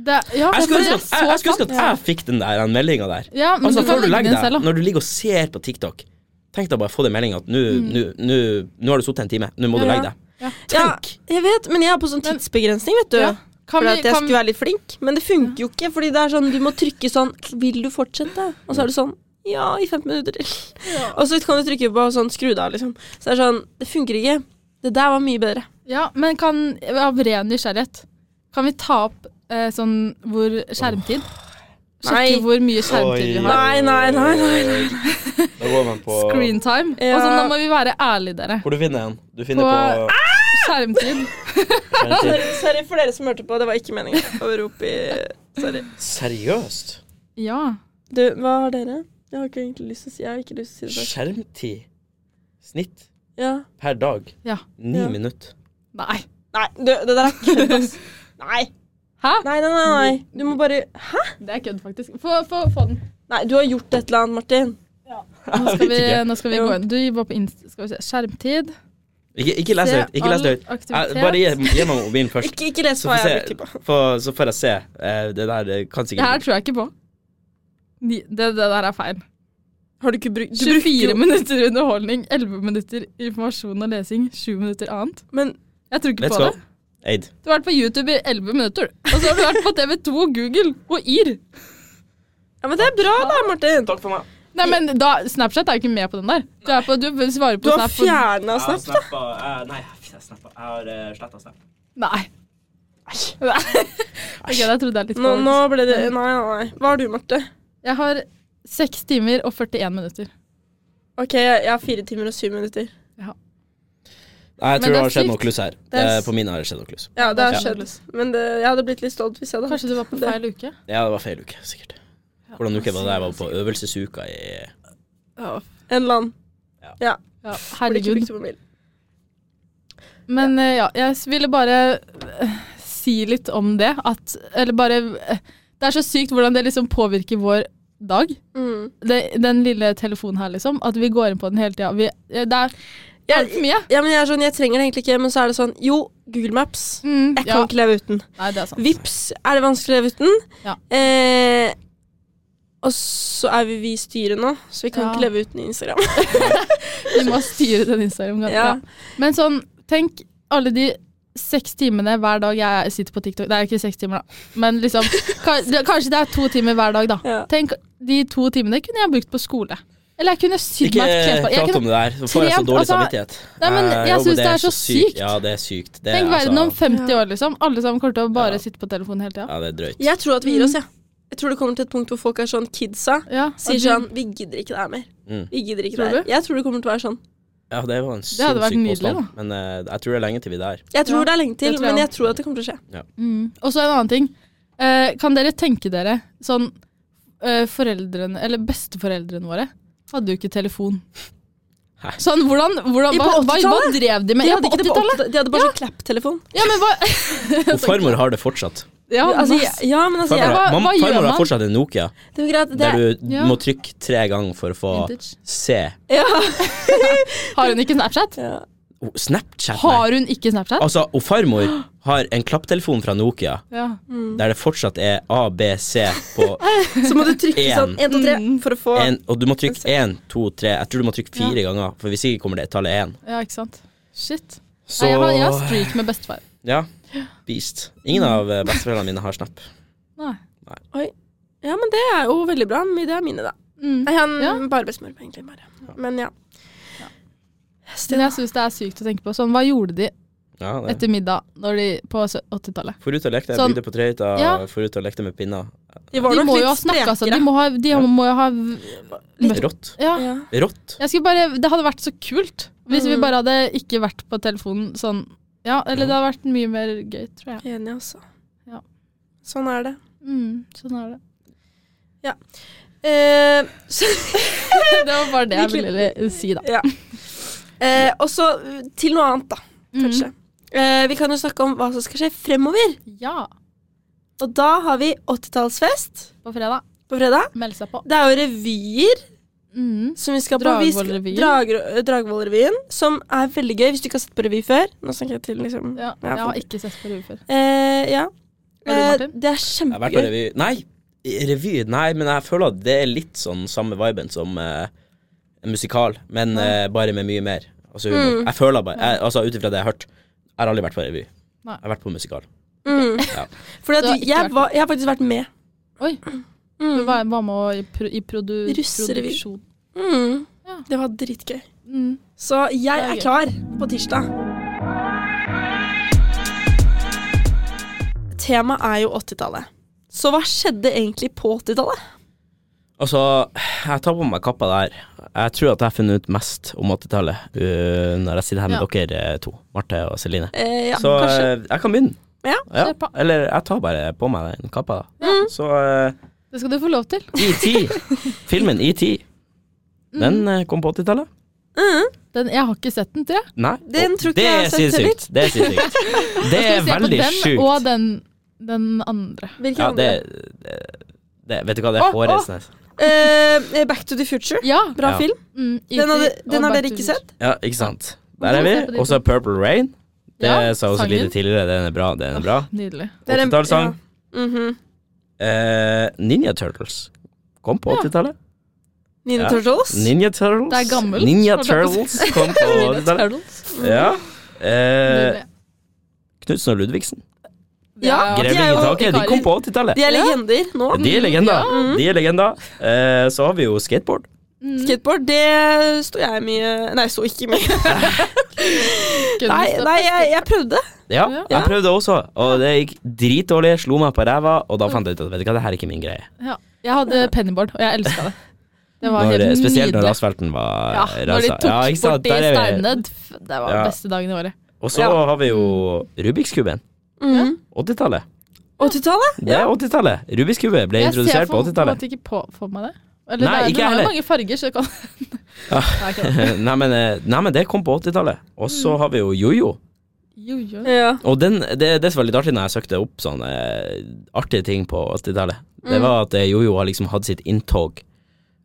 Speaker 3: Det, ja,
Speaker 2: Jeg
Speaker 3: for
Speaker 2: skulle
Speaker 3: det
Speaker 2: ønske
Speaker 3: er
Speaker 2: at
Speaker 3: så
Speaker 2: jeg, jeg, skulle ønske
Speaker 3: sant.
Speaker 2: at jeg fikk den der den meldinga der.
Speaker 3: Ja, men
Speaker 2: Altså,
Speaker 3: du kan
Speaker 2: før du
Speaker 3: legge
Speaker 2: legger
Speaker 3: den selv,
Speaker 2: deg,
Speaker 3: da.
Speaker 2: når du ligger og ser på TikTok Tenk deg bare å få den meldinga at nå nå- nå nå har du sittet en time, nå må du
Speaker 1: Ja.
Speaker 2: legge deg.
Speaker 3: Mm. Ja.
Speaker 2: Tenk!
Speaker 1: Ja, jeg vet, men jeg har på sånn
Speaker 3: Men-
Speaker 1: tidsbegrensning, vet du.
Speaker 3: Ja. Kan
Speaker 1: Fordi
Speaker 3: vi-
Speaker 1: at jeg
Speaker 3: kan-
Speaker 1: skulle være litt flink. Men det funker jo ikke, fordi det er sånn, du må trykke sånn Vil du fortsette? Og så er det sånn Ja, i 15 minutter til. Og så kan du trykke på sånn skru det av, liksom. Så det er sånn Det funker ikke. Det der var mye bedre.
Speaker 3: Ja, men kan, av ren nysgjerrighet, kan vi ta opp eh, sånn hvor skjermtid?
Speaker 1: Nei.
Speaker 3: Sjekke hvor mye skjermtid vi har.
Speaker 1: Nei, nei, nei, nei,
Speaker 2: Eh, Da går man på
Speaker 3: Screentime.
Speaker 1: Ja.
Speaker 3: Altså, nå må vi være ærlige, dere.
Speaker 2: Hvor du finner en? Du
Speaker 3: finner På- Ah! Skjermtid.
Speaker 1: Sorry, sorry for dere som hørte på, det var ikke meningen å rope i Sorry.
Speaker 2: Seriøst?
Speaker 3: Ja.
Speaker 1: Du, hva har dere? Jeg har ikke egentlig lyst til å si Jeg har ikke lyst til å si det først.
Speaker 2: Skjermtid snitt
Speaker 1: Ja.
Speaker 2: per dag
Speaker 3: Ja.
Speaker 2: ni
Speaker 1: Ja.
Speaker 2: minutter.
Speaker 3: Nei.
Speaker 1: Nei, du, det der er kødd, ass. Nei.
Speaker 3: Hæ?
Speaker 1: Nei, nei, nei, nei. Du må bare
Speaker 3: Det er kødd, faktisk. Få, få, få den.
Speaker 1: Nei, du har gjort et eller annet, Martin.
Speaker 3: Nå skal vi, nå skal vi
Speaker 1: Jo.
Speaker 3: gå inn. Du var på Insta. Skal vi se. Skjermtid.
Speaker 2: Ikke, ikke les det
Speaker 3: Se
Speaker 2: høyt. Ikke les det høyt.
Speaker 3: all
Speaker 2: Jeg- Bare gi,
Speaker 3: aktivitet.
Speaker 2: gi meg mobilen først,
Speaker 1: Ikke, ikke les
Speaker 2: så
Speaker 1: hva
Speaker 2: får,
Speaker 1: jeg
Speaker 2: se,
Speaker 1: bruker på.
Speaker 2: for, så får jeg se. Eh, Det der eh, kan
Speaker 3: Det her
Speaker 2: sikkert
Speaker 3: tror jeg ikke på. Ni- Det, det der er feil.
Speaker 1: Har du ikke brukt du bruker
Speaker 3: 24
Speaker 1: jo-
Speaker 3: minutter underholdning, 11 minutter informasjon og lesing, 7 minutter annet.
Speaker 1: Men
Speaker 3: Jeg tror ikke
Speaker 2: Let's
Speaker 3: på
Speaker 2: go.
Speaker 3: det.
Speaker 2: Eid.
Speaker 3: Du har vært på YouTube i 11 minutter, og så har du vært på TV2, Google og YR.
Speaker 1: Ja, men det er bra da, Martin. Takk for meg.
Speaker 3: Nei, men da, Snapchat er jo ikke med på den der. Du, er på, du svarer på
Speaker 1: Du har
Speaker 3: Snap. og-
Speaker 1: fjerna
Speaker 2: Jeg har
Speaker 1: Snap.
Speaker 2: snappa jeg- eh, Nei, jeg snappa. Jeg har uh, sletta Snap.
Speaker 3: Nei. Nei. Ok, da trodde jeg litt på
Speaker 1: Nå, nå
Speaker 3: det.
Speaker 1: ble det Nei, nei. nei. Hva har du, Marte?
Speaker 3: Jeg har 6 timer og 41 minutter.
Speaker 1: OK, jeg jeg har fire timer og syv minutter.
Speaker 2: Nei,
Speaker 3: Men
Speaker 2: jeg tror
Speaker 3: det
Speaker 2: det
Speaker 3: er
Speaker 2: har skjedd
Speaker 3: sykt.
Speaker 2: noe kluss her.
Speaker 1: Det er
Speaker 2: Eh, På mine har det skjedd noe kluss.
Speaker 1: Ja, det har
Speaker 3: Ja.
Speaker 1: skjedd. Men det, jeg hadde blitt litt stolt hvis jeg hadde
Speaker 3: Kanskje du var på
Speaker 1: det.
Speaker 3: feil uke?
Speaker 2: Ja, det var feil uke, sikkert. Hvordan uke var det? Jeg var på øvelsesuka i
Speaker 3: Ja,
Speaker 1: En land.
Speaker 3: ja,
Speaker 1: Blir ikke liksom-
Speaker 3: herregud.
Speaker 1: brukt på mobil.
Speaker 3: Men eh, ja, jeg ville bare eh, si litt om det. At Eller bare eh, Det er så sykt hvordan det liksom påvirker vår dag.
Speaker 1: Mm.
Speaker 3: Det, den lille telefonen her, liksom. At vi går inn på den hele tida. Vi, eh, det er altfor mye.
Speaker 1: Ja, men jeg er sånn, jeg trenger det egentlig ikke, men så er det sånn Jo, Google Maps.
Speaker 3: Mm,
Speaker 1: Jeg kan
Speaker 3: ja.
Speaker 1: ikke leve uten.
Speaker 3: Nei, det er sant.
Speaker 1: Vips er det vanskelig å leve uten.
Speaker 3: Altså. Ja.
Speaker 1: Eh, og så er vi vi i styret nå, så vi kan
Speaker 3: Ja.
Speaker 1: ikke leve uten Instagram.
Speaker 3: Vi må styre den Instagram. ganske-
Speaker 1: Ja.
Speaker 3: Ja. Men sånn, tenk alle de seks timene hver dag jeg sitter på TikTok. Det er ikke seks timer, da. Men liksom, ka- det- kanskje det er to timer hver dag, da.
Speaker 1: Ja.
Speaker 3: Tenk, de to timene kunne jeg brukt på skole. Eller jeg kunne sydd
Speaker 2: Ikke
Speaker 3: meg et klesplagg. Jeg
Speaker 2: prat om
Speaker 3: kunne-
Speaker 2: det der, så får jeg så
Speaker 3: trent,
Speaker 2: dårlig
Speaker 3: altså-
Speaker 2: samvittighet.
Speaker 3: Nei, men
Speaker 2: Eh,
Speaker 3: jeg
Speaker 2: jo, men
Speaker 3: synes det er så sykt.
Speaker 2: Ja, det er sykt. Det, er,
Speaker 3: Tenk verden om
Speaker 2: altså,
Speaker 3: 50 år, liksom. Alle sammen kommer til å bare
Speaker 2: Ja.
Speaker 3: sitte på telefonen hele tida.
Speaker 2: Ja, det er drøyt.
Speaker 1: Jeg tror at vi gir oss, jeg. Jeg tror det kommer til et punkt hvor folk er sånn kidsa.
Speaker 3: Ja,
Speaker 1: Sier
Speaker 3: Mm. og
Speaker 1: sånn
Speaker 3: du-
Speaker 1: Vi gidder ikke det her mer.
Speaker 2: Mm.
Speaker 1: Vi gidder ikke
Speaker 3: Tror
Speaker 1: det her.
Speaker 3: du?
Speaker 1: Jeg tror det kommer til å være sånn.
Speaker 2: Ja, det var en
Speaker 3: hadde vært
Speaker 2: sinnssyk
Speaker 3: nydelig,
Speaker 2: påstand. Men eh, jeg tror det er lenge til vi er der.
Speaker 1: Jeg tror
Speaker 3: Ja,
Speaker 1: det er lenge til,
Speaker 3: det tror jeg
Speaker 1: men
Speaker 3: også.
Speaker 1: jeg tror at det kommer til å skje.
Speaker 3: Mm. Og så en annen ting. Eh, kan dere tenke dere sånn eh, Foreldrene, eller besteforeldrene våre, hadde jo ikke telefon.
Speaker 2: Hæ?
Speaker 3: Sånn, hvordan, hvordan
Speaker 1: I på
Speaker 3: hva, hva, hva
Speaker 1: 80-tallet?
Speaker 3: drev de med?
Speaker 1: De
Speaker 3: Ja,
Speaker 1: hadde, ikke det på
Speaker 3: 80-tallet.
Speaker 1: 80-tallet. de hadde bare sånn klapptelefon.
Speaker 3: Ja, men hva
Speaker 2: Og farmor har det fortsatt.
Speaker 3: ja,
Speaker 1: Altså,
Speaker 3: hva-
Speaker 1: jeg- ja, men altså
Speaker 2: Farmor,
Speaker 1: jeg,
Speaker 3: hva-
Speaker 2: har- mam-
Speaker 3: hva gjør
Speaker 2: farmor
Speaker 3: man?
Speaker 2: har fortsatt en Nokia,
Speaker 1: Det er jo greit. Det,
Speaker 2: der du
Speaker 3: Ja.
Speaker 2: må trykke tre ganger for å få
Speaker 3: Vintage.
Speaker 2: se
Speaker 1: ja.
Speaker 3: Har hun ikke Snapchat?
Speaker 1: ja.
Speaker 2: oh, Snapchat. Nei.
Speaker 3: Har hun ikke Snapchat?
Speaker 2: Altså, og farmor har en klapptelefon fra Nokia
Speaker 3: Ja.
Speaker 2: der det fortsatt er A, B, C på
Speaker 1: Så må du trykke
Speaker 2: En.
Speaker 1: sånn 1, 2, 3
Speaker 3: Mm.
Speaker 1: for å få
Speaker 2: en, Og du må trykke én, to, tre Jeg tror du må trykke fire ganger, for hvis ikke kommer det tallet én.
Speaker 3: ja, ikke sant. Shit.
Speaker 2: Så
Speaker 3: Nei, jeg, har, jeg har streak med bestefar.
Speaker 2: Ja. Beast. Ingen av eh, besteforeldrene mine har Snap.
Speaker 3: Nei.
Speaker 1: Ja, men det er jo veldig bra. Men det er mine, da.
Speaker 3: Mm.
Speaker 1: Nei, han
Speaker 3: Ja.
Speaker 1: bare bestemor, egentlig. Bare. Men ja.
Speaker 3: Men jeg syns det er sykt å tenke på. Sånn, hva gjorde de
Speaker 2: Ja, det.
Speaker 3: etter middag når de, på 80-tallet?
Speaker 2: For ut og lekte, jeg
Speaker 3: Sånn-
Speaker 2: bygde på trehytta,
Speaker 3: Ja.
Speaker 2: for ut og lekte med pinner.
Speaker 1: De var
Speaker 3: De
Speaker 1: nok
Speaker 3: må jo
Speaker 1: litt
Speaker 3: ha altså. snakka sammen.
Speaker 1: sprekere.
Speaker 3: De må ha, de
Speaker 2: Ja.
Speaker 3: må jo ha
Speaker 2: Litt rått.
Speaker 3: ja.
Speaker 1: Ja.
Speaker 2: Rått.
Speaker 3: Jeg skulle bare, det hadde vært så kult hvis vi
Speaker 1: Mm.
Speaker 3: bare hadde ikke vært på telefonen sånn. Ja, eller det hadde vært mye mer gøy, tror jeg.
Speaker 1: Enig, altså.
Speaker 3: Ja.
Speaker 1: Sånn er det.
Speaker 3: Mm, sånn er det.
Speaker 1: Eh, så,
Speaker 3: Det var bare det jeg
Speaker 1: Vi
Speaker 3: ville si, da.
Speaker 1: ja. eh, og så uh, til noe annet, da,
Speaker 3: Mm.
Speaker 1: kanskje. Eh, vi kan jo snakke om hva som skal skje fremover.
Speaker 3: Ja,
Speaker 1: Og da har vi 80-tallsfest
Speaker 3: på fredag.
Speaker 1: på fredag.
Speaker 3: Meld seg på.
Speaker 1: Det er jo revyer
Speaker 3: Mm.
Speaker 1: som vi skal på. Vi skal-
Speaker 3: Dragvoll-revyen.
Speaker 1: Drag- Dragvoll-revyen, som er veldig gøy hvis du ikke har sett på revy før. Nå snakker jeg til liksom
Speaker 3: Ja,
Speaker 1: Ja,
Speaker 3: jeg har
Speaker 1: folk-
Speaker 3: ikke sett på revy før.
Speaker 1: Eh, ja.
Speaker 3: Har du,
Speaker 1: Eh,
Speaker 3: Martin?
Speaker 1: det er
Speaker 2: Jeg har vært på
Speaker 1: kjempegøy.
Speaker 2: revy Nei, i revy Nei, men jeg føler at det er litt sånn samme viben som eh, en musikal, men eh, bare med mye mer. Altså, humor.
Speaker 1: Mm.
Speaker 2: Jeg føler bare jeg, Altså, ut ifra det jeg har hørt, jeg har aldri vært på revy.
Speaker 3: Nei.
Speaker 2: Jeg har vært på musikal.
Speaker 1: Mm.
Speaker 2: Ja.
Speaker 1: Fordi at
Speaker 3: Du har ikke vært
Speaker 1: jeg, var, jeg har faktisk vært med.
Speaker 3: Oi. Du
Speaker 1: Mm.
Speaker 3: var, var med og i, pro, i produ,
Speaker 1: Russerevy.
Speaker 3: produksjon.
Speaker 1: Mm.
Speaker 3: Ja.
Speaker 1: Det var dritgøy.
Speaker 3: Mm.
Speaker 1: Så jeg
Speaker 3: Det er
Speaker 1: er
Speaker 3: gøy.
Speaker 1: klar på tirsdag. Temaet er jo 80-tallet. Så hva skjedde egentlig på 80-tallet?
Speaker 2: Altså, jeg tar på meg kappa der. Jeg tror at jeg har funnet ut mest om 80-tallet uh, når jeg sitter her med dere eh, to, Marte og Celine.
Speaker 1: Eh, ja,
Speaker 2: Så
Speaker 1: kanskje.
Speaker 2: eh, jeg kan begynne.
Speaker 1: Ja.
Speaker 3: Kjør på.
Speaker 2: Eller jeg tar bare på meg den kappa, da.
Speaker 1: Mm.
Speaker 2: Så eh,
Speaker 3: Det skal du få lov til.
Speaker 2: ET. E Filmen ET.
Speaker 3: Mm.
Speaker 2: Den eh, kom på 80-tallet.
Speaker 1: Mm.
Speaker 3: Den, jeg har ikke sett den, tror jeg.
Speaker 2: Nei.
Speaker 1: Den
Speaker 2: og
Speaker 1: tror ikke
Speaker 2: det
Speaker 1: jeg har
Speaker 2: er
Speaker 1: sett
Speaker 2: sinnssykt. Det er sinnssykt. Det
Speaker 3: Skal vi
Speaker 2: er
Speaker 3: se på
Speaker 2: veldig
Speaker 3: den og
Speaker 2: sjukt.
Speaker 3: den, den andre.
Speaker 1: Hvilken
Speaker 2: Ja, det,
Speaker 1: andre?
Speaker 2: det, det Vet du hva, det er
Speaker 3: Å, å.
Speaker 2: hårreisende.
Speaker 1: Eh, Back to the future.
Speaker 3: Ja.
Speaker 1: Bra
Speaker 2: Ja.
Speaker 1: film.
Speaker 3: Mm,
Speaker 1: Den,
Speaker 3: E.T.
Speaker 1: hadde,
Speaker 3: og
Speaker 1: den har
Speaker 3: Back
Speaker 1: dere
Speaker 3: to
Speaker 1: ikke
Speaker 3: the
Speaker 1: sett?
Speaker 2: Ja, ikke sant. Der er vi.
Speaker 3: Hvorfor se på de
Speaker 2: Og så Purple Rain. Det
Speaker 3: Ja,
Speaker 2: sa jeg også
Speaker 3: sangen.
Speaker 2: litt tidligere. Den er bra. Den er bra.
Speaker 3: Future. Nydelig.
Speaker 1: Det er en-
Speaker 2: 80-tallssang.
Speaker 1: Ja. Mhm.
Speaker 2: Eh, Ninja Turtles kom på
Speaker 3: Ja.
Speaker 2: 80-tallet.
Speaker 1: Nina
Speaker 2: Ja.
Speaker 1: Turtles.
Speaker 2: Ninja Turtles.
Speaker 3: Det er gammelt.
Speaker 2: Ninja
Speaker 3: Holdt jeg på å
Speaker 2: Turtles kom på 80-tallet.
Speaker 3: Turtles.
Speaker 2: Ja. Eh,
Speaker 3: Nydelig.
Speaker 2: Knutsen og Ludvigsen.
Speaker 1: Ja, de er
Speaker 2: Grevling i
Speaker 1: jo
Speaker 2: taket. De kom på 80-tallet.
Speaker 1: De er legender nå.
Speaker 2: De er legender.
Speaker 3: Mm.
Speaker 2: De er legender. Eh, så har vi jo skateboard.
Speaker 1: Skateboard, det sto jeg mye Nei, sto ikke mye. Nei, nei jeg, jeg prøvde.
Speaker 2: Ja,
Speaker 3: Ja.
Speaker 2: jeg prøvde også, og det gikk dritdårlig. Slo meg på ræva, og
Speaker 3: Mm.
Speaker 2: da fant jeg ut at vet du hva, det her er ikke min greie.
Speaker 3: Ja. Jeg hadde pennyboard, og jeg elska det. Det var
Speaker 2: Når,
Speaker 3: helt nydelig.
Speaker 2: spesielt når asfalten var
Speaker 3: ja, når de
Speaker 2: rasa.
Speaker 3: tok
Speaker 2: Ja, ikke sant?
Speaker 3: bort de
Speaker 2: Der er vi.
Speaker 3: steinene. pff, Det var
Speaker 2: Ja.
Speaker 3: den beste dagen i året.
Speaker 2: Og så
Speaker 1: Ja.
Speaker 2: har vi jo Rubiks kuben.
Speaker 1: Mm.
Speaker 2: 80-tallet.
Speaker 1: 80-tallet?
Speaker 2: Det er 80-tallet. Rubiks kube ble
Speaker 3: Jeg ser
Speaker 2: introdusert på
Speaker 3: for, på en
Speaker 2: 80-tallet.
Speaker 3: måte ikke på, for meg det. Eller
Speaker 2: Nei,
Speaker 3: det er,
Speaker 2: ikke
Speaker 3: den har
Speaker 2: heller.
Speaker 3: jo mange farger, så det kan
Speaker 2: Ja.
Speaker 3: Nei, ikke det.
Speaker 2: nei, men, eh, nei, men det kom på 80-tallet. Og
Speaker 3: Mm.
Speaker 2: så har vi jo jojo.
Speaker 3: Jo, jo.
Speaker 1: Ja.
Speaker 2: Og den, det, det som var litt artig når jeg søkte opp sånne eh, artige ting på 80-tallet, det var at eh, jojo har liksom hatt sitt inntog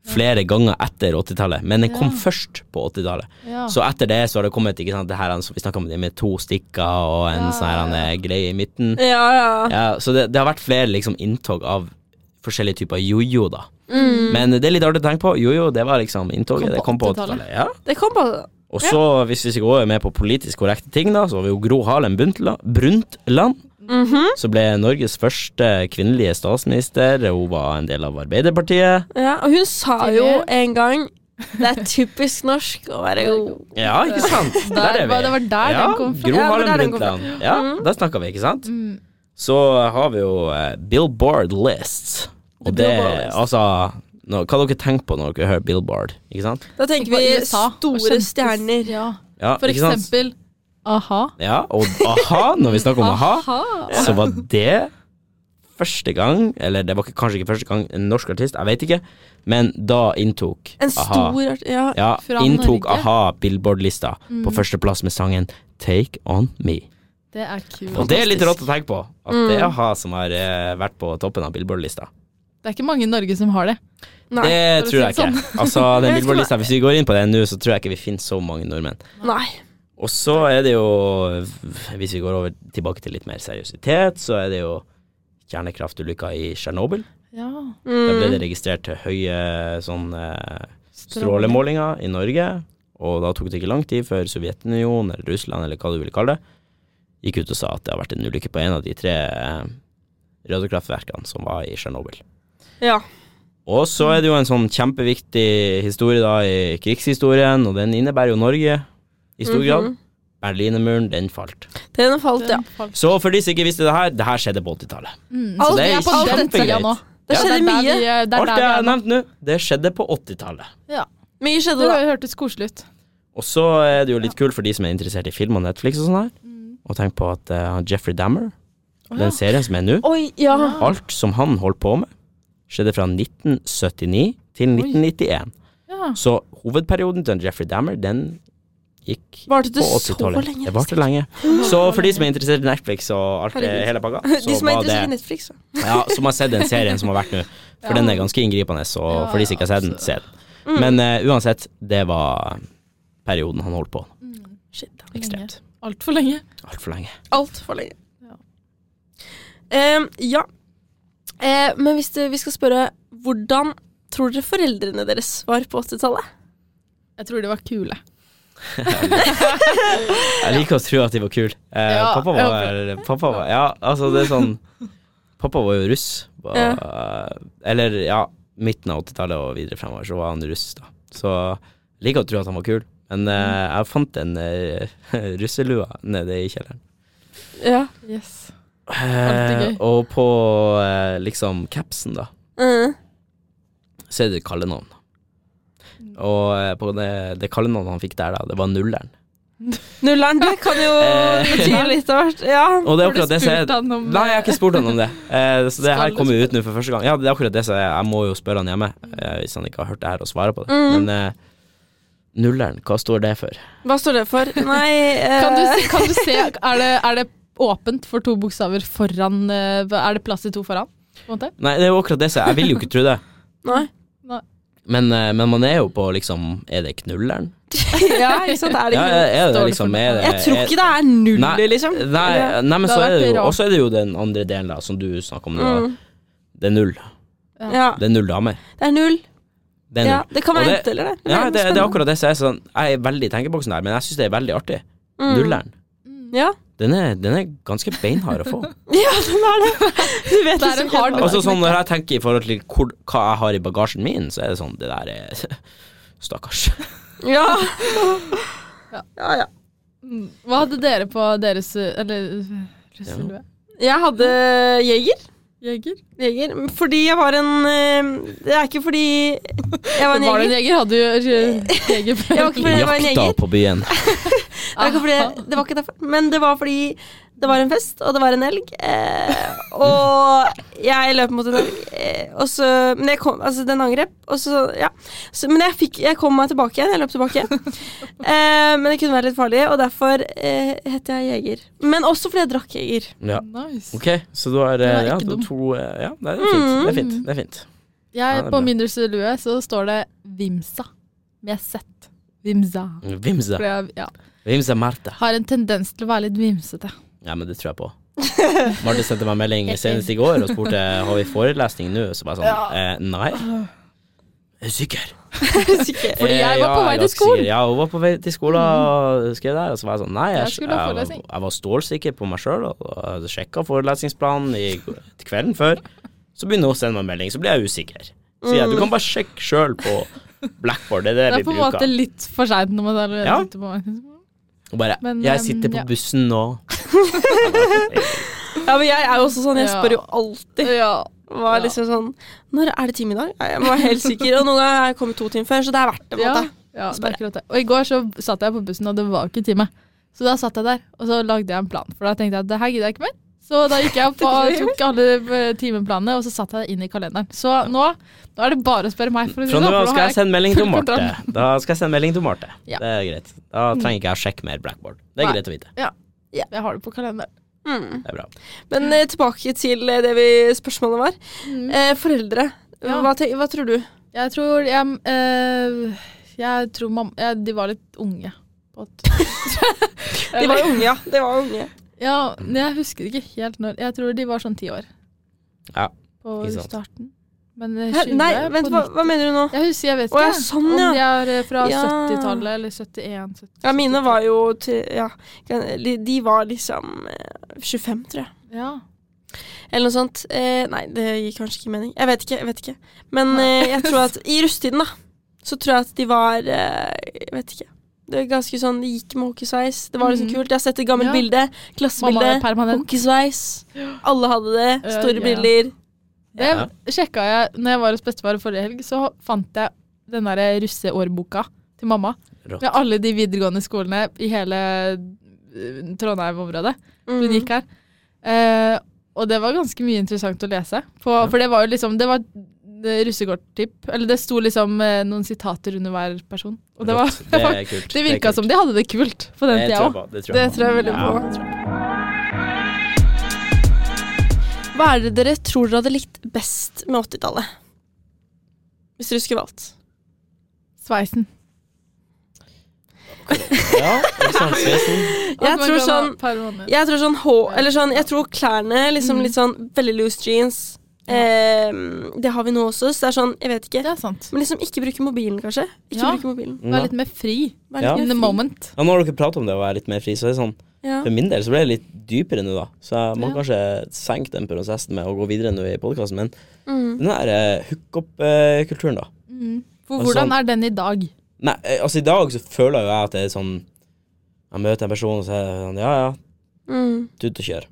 Speaker 2: flere ganger etter 80-tallet, men den kom
Speaker 3: Ja. Ah.
Speaker 2: først på 80-tallet.
Speaker 3: Ja.
Speaker 2: Så etter det så har det kommet ikke sant, det her som vi snakka om, det med to stikker og en
Speaker 3: Ja,
Speaker 2: sånn her
Speaker 3: ja,
Speaker 2: eh, greie i midten.
Speaker 1: Ja, ja.
Speaker 2: Ja, så det, det har vært flere liksom inntog av forskjellige typer jojo, da.
Speaker 1: Mm.
Speaker 2: Men eh, det er litt artig å tenke på. Jojo, det var liksom inntoget.
Speaker 3: Kom på
Speaker 2: Det kom på
Speaker 3: 80-tallet.
Speaker 2: 80-tallet. Ja.
Speaker 1: Det kom på
Speaker 2: Og så, hvis vi går med på politisk korrekte ting, da, så har vi jo Gro Harlem Brundtland, Brundtland
Speaker 1: Mhm.
Speaker 2: som ble Norges første kvinnelige statsminister. Hun var en del av Arbeiderpartiet.
Speaker 1: ja, Og hun sa
Speaker 3: Tidlig.
Speaker 1: jo en gang Det er typisk norsk å være god.
Speaker 2: Ja, ikke sant?
Speaker 3: Der var- det var der
Speaker 2: ja,
Speaker 3: den kom fra.
Speaker 2: Gro
Speaker 1: Ja, det var
Speaker 2: Harlem
Speaker 1: der den kom fra.
Speaker 2: Brundtland. Ja, der snakka vi, ikke sant?
Speaker 3: Mm.
Speaker 2: Så har vi jo eh, Billboard Lists. Og
Speaker 3: The
Speaker 2: det,
Speaker 3: Billboard List.
Speaker 2: altså nå, Hva dere tenker på når dere hører Billboard, ikke sant?
Speaker 1: Da tenker
Speaker 3: Ikke
Speaker 1: vi
Speaker 3: bare USA, og
Speaker 1: store
Speaker 3: kjentes-
Speaker 1: stjerner.
Speaker 3: Ja.
Speaker 2: Ja,
Speaker 3: For
Speaker 2: ikke sant?
Speaker 3: eksempel a-ha.
Speaker 2: Ja, og aha, når vi snakker om aha, så var det første gang, eller det var ikke- kanskje ikke første gang, en norsk artist, jeg vet ikke, men da inntok
Speaker 1: En
Speaker 2: aha.
Speaker 1: stor art- Ja.
Speaker 2: Ja,
Speaker 3: fra
Speaker 2: inntok
Speaker 3: Norge. Mm.
Speaker 2: aha Billboard-lista på førsteplass med sangen Take On Me.
Speaker 3: Det er kult.
Speaker 2: Og det er litt rått å tenke på, at det
Speaker 3: Mm.
Speaker 2: er aha som har eh, vært på toppen av Billboard-lista.
Speaker 3: Det er ikke mange i Norge som har det.
Speaker 1: Nei.
Speaker 2: Det
Speaker 3: for å
Speaker 2: tror jeg
Speaker 3: si det sånn.
Speaker 2: ikke. Altså, den
Speaker 1: Jeg tror
Speaker 2: Billboard-lista, hvis vi går inn på den nå, så tror jeg ikke vi finner så mange nordmenn.
Speaker 1: Nei.
Speaker 2: Og så er det jo, hvis vi går over tilbake til litt mer seriøsitet, så er det jo kjernekraftulykka i Tsjernobyl.
Speaker 3: Ja.
Speaker 2: Da ble
Speaker 1: Mm.
Speaker 2: det registrert til høye sånn, eh, strålemålinger i Norge, og da tok det ikke lang tid før Sovjetunionen eller Russland eller hva du ville kalle det, gikk ut og sa at det har vært en ulykke på en av de tre eh, radiokraftverkene som var i Tsjernobyl.
Speaker 1: Ja.
Speaker 2: Og så er det jo en sånn kjempeviktig historie da i krigshistorien, og den innebærer jo Norge i stor grad.
Speaker 1: Mhm.
Speaker 2: Berlinermuren, den falt.
Speaker 1: Den falt, ja.
Speaker 3: Den falt.
Speaker 2: Så for de som ikke visste det her, det her skjedde på 80-tallet.
Speaker 3: Mm.
Speaker 1: Alt
Speaker 2: det
Speaker 1: er
Speaker 2: er
Speaker 1: på
Speaker 2: ikke
Speaker 1: den
Speaker 2: kjempegreit.
Speaker 1: tida.
Speaker 3: tida nå.
Speaker 1: Det
Speaker 3: Ja,
Speaker 1: skjedde
Speaker 3: er der
Speaker 1: mye.
Speaker 3: vi- Det er
Speaker 2: Alt
Speaker 3: der
Speaker 2: jeg
Speaker 3: vi
Speaker 2: har
Speaker 3: er nå.
Speaker 2: nevnt nå, det skjedde på 80-tallet.
Speaker 3: Ja.
Speaker 1: Mye skjedde da.
Speaker 3: Det hørtes koselig ut.
Speaker 2: Og så er det jo litt kult for de som er interessert i film og Netflix og sånn her,
Speaker 1: Mm.
Speaker 2: og tenk på at eh, han Jeffrey Dammer,
Speaker 3: ja.
Speaker 2: den serien som er nå,
Speaker 1: Oi, ja.
Speaker 2: alt som han holdt på med, skjedde fra 1979 til 1991.
Speaker 3: Ja.
Speaker 2: Så hovedperioden til Jeffrey Dammer, den gikk
Speaker 1: Varte det
Speaker 2: på
Speaker 1: så
Speaker 2: 80-tallet.
Speaker 1: lenge?
Speaker 2: Det varte lenge. Så for de som er interessert i Netflix og alt det
Speaker 1: Herregud.
Speaker 2: hele pakka,
Speaker 1: De
Speaker 2: så
Speaker 1: som er
Speaker 2: var
Speaker 1: interessert
Speaker 2: det
Speaker 1: i Netflix. så.
Speaker 2: Ja, som har sett den serien som har vært nå. For
Speaker 3: Ja.
Speaker 2: den er ganske inngripende, så
Speaker 3: Ja,
Speaker 2: for de som ikke har sett den, se den. Men eh, uansett, det var perioden han holdt på.
Speaker 1: Shit.
Speaker 2: Ekstremt.
Speaker 3: Altfor Mm. lenge.
Speaker 2: Altfor lenge.
Speaker 1: Altfor lenge.
Speaker 3: Ja.
Speaker 1: Em, ja. Eh, men hvis du, vi skal spørre Hvordan tror dere foreldrene deres var på 80-tallet?
Speaker 3: Jeg tror de var kule.
Speaker 2: Jeg liker å tro at de var kule. Eh,
Speaker 3: Ja,
Speaker 2: pappa
Speaker 3: jeg
Speaker 2: var Pappa var Ja, altså, det er sånn Pappa var jo russ. Var, Eller, ja, midten av 80-tallet og videre fremover, så var han russ, da. Så jeg liker å tro at han var kul. Men eh,
Speaker 3: Mm.
Speaker 2: jeg fant en eh, russelua nede i kjelleren.
Speaker 1: Ja.
Speaker 3: Yes.
Speaker 2: Eh,
Speaker 3: Alltid gøy.
Speaker 2: og på eh, liksom capsen, da,
Speaker 1: Eh,
Speaker 2: så er det kallenavn.
Speaker 3: Mm.
Speaker 2: Og eh, på det, det kallenavnet han fikk der, da, det var nulleren.
Speaker 1: Nulleren, det kan jo
Speaker 2: Eh,
Speaker 1: bety litt av hvert. Ja.
Speaker 2: Og det er
Speaker 3: Har du
Speaker 2: akkurat det som
Speaker 3: spurt
Speaker 2: er
Speaker 3: han om
Speaker 2: Nei, jeg har ikke spurt han om det. Eh, så det her
Speaker 3: Skal du
Speaker 2: kommer jo ut nå for første gang. Ja, det er akkurat det som er Jeg må jo spørre han hjemme, eh, hvis han ikke har hørt det her og svarer på det.
Speaker 1: Mm.
Speaker 2: Men eh, nulleren, hva står det for?
Speaker 1: Hva står det for? Nei eh,
Speaker 3: Kan du, se- kan du se er det, er det åpent for to bokstaver foran eh, Er det plass til to foran? På en måte?
Speaker 2: Nei, det er jo akkurat det som Jeg vil jo ikke tro det.
Speaker 1: Nei.
Speaker 2: Men, eh, men man er jo på liksom Er det knulleren?
Speaker 1: Ja, ikke sant? Er det
Speaker 2: Ja,
Speaker 1: ikke
Speaker 2: er det
Speaker 3: Står det
Speaker 2: liksom
Speaker 3: for
Speaker 2: er det,
Speaker 1: Jeg tror
Speaker 2: er-
Speaker 1: ikke det er null,
Speaker 2: Nei,
Speaker 1: liksom.
Speaker 2: Nei, nei men
Speaker 3: Det
Speaker 2: så
Speaker 3: har
Speaker 2: er
Speaker 3: vært
Speaker 2: det jo
Speaker 3: rart.
Speaker 2: Og så er det jo den andre delen, da, som du snakker om. nå, da.
Speaker 1: Mm.
Speaker 2: Det er null.
Speaker 1: Ja.
Speaker 2: Det er null damer.
Speaker 1: Det er null.
Speaker 2: Det er
Speaker 1: Ja,
Speaker 2: null.
Speaker 1: det kan
Speaker 2: Og
Speaker 1: være
Speaker 2: det-
Speaker 1: enten eller det.
Speaker 2: Ja, det, det er
Speaker 1: spennende.
Speaker 2: akkurat det som er sånn Jeg er veldig i tenkeboksen der, men jeg syns det er veldig artig.
Speaker 1: Mm.
Speaker 2: Nulleren.
Speaker 1: Ja.
Speaker 2: Den er, den er ganske beinhard å få.
Speaker 1: Ja, den er det. Du vet
Speaker 3: Det er
Speaker 1: liksom
Speaker 3: en hard
Speaker 1: ikke-
Speaker 2: Altså sånn Når jeg tenker i forhold til hvor, hva jeg har i bagasjen min, så er det sånn Det der er Stakkars.
Speaker 1: Ja.
Speaker 3: Ja.
Speaker 1: ja, ja.
Speaker 3: Mm. Hva hadde dere på deres Eller eh, russelue?
Speaker 1: Jeg hadde jeger.
Speaker 3: Jeger?
Speaker 1: Jeger. Fordi jeg var en eh, Det er ikke fordi jeg var en
Speaker 3: Var du en
Speaker 1: jeger.
Speaker 3: jeger? Hadde du eh, jeger på
Speaker 1: Jeg var ikke fordi jeg var en
Speaker 2: Jakta
Speaker 1: jeger.
Speaker 2: på byen.
Speaker 1: Det, var ikke fordi, det var ikke derfor. Men det var fordi det var en fest, og det var en elg. Eh, og jeg løp mot en elg. Eh, og så, men jeg kom, altså den angrep. Og så, ja. så, men jeg, fikk, jeg kom meg tilbake igjen. Jeg løp tilbake. Eh, men det kunne være litt farlig, og derfor eh, het jeg jeger. Men også fordi jeg drakk jeger.
Speaker 2: Ja.
Speaker 3: Nice.
Speaker 2: Ok, så du har eh,
Speaker 3: Den er
Speaker 2: ja,
Speaker 3: ikke
Speaker 2: du har
Speaker 3: dum.
Speaker 2: to eh, Ja, det er fint. Det er fint. Det er fint. Ja, det
Speaker 3: Jeg,
Speaker 2: er
Speaker 3: på
Speaker 2: bra.
Speaker 3: min russelue så står det Vimsa. Med Z. Vimsa.
Speaker 2: Vimse.
Speaker 3: For jeg ja,
Speaker 2: Vimse Marte.
Speaker 3: har en tendens til å være litt vimsete.
Speaker 2: Ja, men det tror jeg på. Marte sendte meg melding senest i går og spurte har vi forelesning nå. Så bare sånn eh, Nei. Er du sikker?
Speaker 1: Sikkert.
Speaker 3: Fordi
Speaker 2: Eh,
Speaker 3: jeg var på vei til
Speaker 2: er ganske
Speaker 3: skolen. Mhm.
Speaker 2: sikker. Ja, hun var på vei til skolen og skrev der. Og så var jeg sånn Nei, jeg,
Speaker 3: Jeg skulle ha
Speaker 2: jeg,
Speaker 3: forelesning.
Speaker 2: jeg var stålsikker på meg sjøl og hadde sjekka forelesningsplanen i, går- til kvelden før. Så begynner hun å sende meg melding, så blir jeg usikker. Så jeg, du kan bare sjekke sjøl på Blackboard,
Speaker 3: Mm.
Speaker 2: det
Speaker 3: Det
Speaker 2: er det
Speaker 3: er
Speaker 2: vi
Speaker 3: på en måte
Speaker 2: bruker.
Speaker 3: litt for seint når man allerede
Speaker 2: Ja.
Speaker 3: sitter på
Speaker 2: Og bare
Speaker 3: Men,
Speaker 2: 'Jeg
Speaker 3: ehm,
Speaker 2: sitter på
Speaker 3: ja.
Speaker 2: bussen nå'.
Speaker 1: Ja, men jeg er jo også sånn, jeg
Speaker 3: Ja.
Speaker 1: spør jo alltid.
Speaker 3: Ja.
Speaker 1: Hva er
Speaker 3: Ja.
Speaker 1: liksom sånn Når er det time i dag? Nei, Jeg må være helt sikker. Og noen ganger har jeg kommet to timer før, så det er verdt det. på en
Speaker 3: Ja,
Speaker 1: måte.
Speaker 3: ja, det
Speaker 1: Spør
Speaker 3: er akkurat det. Og i går så satt jeg på bussen, og det var jo ikke time. Så da satt jeg der, og så lagde jeg en plan. For da tenkte jeg at det her gidder jeg ikke mer. Så da gikk jeg opp og tok alle eh, timeplanene, og så satte jeg det inn i kalenderen. Så nå, nå er det bare å spørre meg. For å si
Speaker 2: Fra
Speaker 3: det, sånn,
Speaker 2: nå
Speaker 3: for nå
Speaker 2: av skal
Speaker 3: har
Speaker 2: jeg sende melding til
Speaker 3: full
Speaker 2: Marte.
Speaker 3: kontroll.
Speaker 2: Da skal jeg sende melding til Marte.
Speaker 3: Ja.
Speaker 2: Det er greit. Da trenger ikke jeg å sjekke mer Blackboard. Det er
Speaker 3: Nei.
Speaker 2: greit å vite.
Speaker 3: Jeg har det på kalenderen.
Speaker 1: Mm.
Speaker 2: Det er bra.
Speaker 1: Men eh, tilbake til eh, det vi, spørsmålet var. Eh, foreldre.
Speaker 3: Mm. Ja.
Speaker 1: Hva, te, hva tror du?
Speaker 3: Jeg tror jeg, eh, jeg tror mam ja, De var litt unge. på et-
Speaker 1: De var unge, ja. De var unge.
Speaker 3: Ja, men jeg husker ikke helt når. Jeg tror de var sånn ti år.
Speaker 2: Ja,
Speaker 3: På
Speaker 2: ikke sant.
Speaker 3: starten. Men eh,
Speaker 1: Hæ,
Speaker 3: 20
Speaker 1: nei,
Speaker 3: på
Speaker 1: vent, hva,
Speaker 3: 90.
Speaker 1: hva mener du nå?
Speaker 3: Jeg husker, jeg vet
Speaker 1: Å,
Speaker 3: ikke
Speaker 1: ja, sånn, ja.
Speaker 3: om de er eh, fra
Speaker 1: Ja.
Speaker 3: 70-tallet eller 71. 70,
Speaker 1: Ja, mine var jo til Ja, de de var liksom eh, 25, tror jeg.
Speaker 3: Ja.
Speaker 1: Eller noe sånt. Eh, nei, det gir kanskje ikke mening. Jeg vet ikke. jeg vet ikke. Men eh, jeg tror at i russetiden, da, så tror jeg at de var eh, Jeg vet ikke. Det var ganske sånn, De gikk med hockeysveis. Det var liksom
Speaker 3: Mhm.
Speaker 1: kult. Jeg har sett et gammelt
Speaker 3: Ja.
Speaker 1: bilde.
Speaker 3: Mamma er
Speaker 1: Klassebilde.
Speaker 3: permanent.
Speaker 1: Hockeysveis. Alle hadde det.
Speaker 3: Ja,
Speaker 1: Store
Speaker 3: ja.
Speaker 1: briller.
Speaker 3: Det sjekka jeg når jeg var hos bestefar forrige helg. Så fant jeg den derre russeårboka til mamma.
Speaker 2: Rått.
Speaker 3: Med alle de videregående skolene i hele eh, Trondheim-området.
Speaker 1: Mm.
Speaker 3: Hun gikk her. Eh, og det var ganske mye interessant å lese. På, For det var jo liksom Det var det russekorttipp. Eller det sto liksom eh, noen sitater under hver person. Og det, var,
Speaker 2: Rått. det er kult.
Speaker 3: det virka som de hadde det kult på den
Speaker 2: det
Speaker 3: tida
Speaker 2: tror jeg
Speaker 3: òg.
Speaker 2: på. Det tror
Speaker 1: Det
Speaker 2: jeg på.
Speaker 1: tror jeg veldig
Speaker 2: Ja,
Speaker 1: på.
Speaker 2: det tror jeg på.
Speaker 1: Hva er det dere tror dere hadde likt best med 80-tallet? Hvis dere skulle valgt.
Speaker 3: Sveisen.
Speaker 2: Ja, ikke sant, Svesen?
Speaker 1: Jeg
Speaker 3: At man
Speaker 1: tror
Speaker 3: kan ha
Speaker 1: sånn-
Speaker 3: par måneder.
Speaker 1: Jeg tror sånn H Eller sånn, jeg tror klærne liksom litt sånn veldig loose jeans.
Speaker 3: Mm. Ja.
Speaker 1: Eh, det har vi nå også, så det er sånn, jeg vet ikke.
Speaker 3: Det er sant.
Speaker 1: Men liksom ikke bruke mobilen, kanskje. Ikke
Speaker 3: Ja.
Speaker 1: bruke mobilen.
Speaker 3: Være litt mer fri.
Speaker 1: Vær
Speaker 2: Ja.
Speaker 1: litt mer
Speaker 3: In the
Speaker 1: fri.
Speaker 3: moment.
Speaker 2: Ja, nå har dere pratet om det å være litt mer fri, så er det sånn
Speaker 1: Ja.
Speaker 2: For min del så ble det litt dypere nå, da. Så jeg må
Speaker 3: Ja.
Speaker 2: kanskje senke den prosessen med å gå videre nå i podkasten. Men
Speaker 1: Mm.
Speaker 2: den der eh, hookup-kulturen, da.
Speaker 3: For
Speaker 2: Og
Speaker 3: hvordan
Speaker 2: sånn-
Speaker 3: er den i dag?
Speaker 2: Nei, eh, altså i dag så føler jo jeg at det er sånn Jeg møter en person og så er det sånn Ja, ja,
Speaker 1: Mm.
Speaker 2: tut og kjør.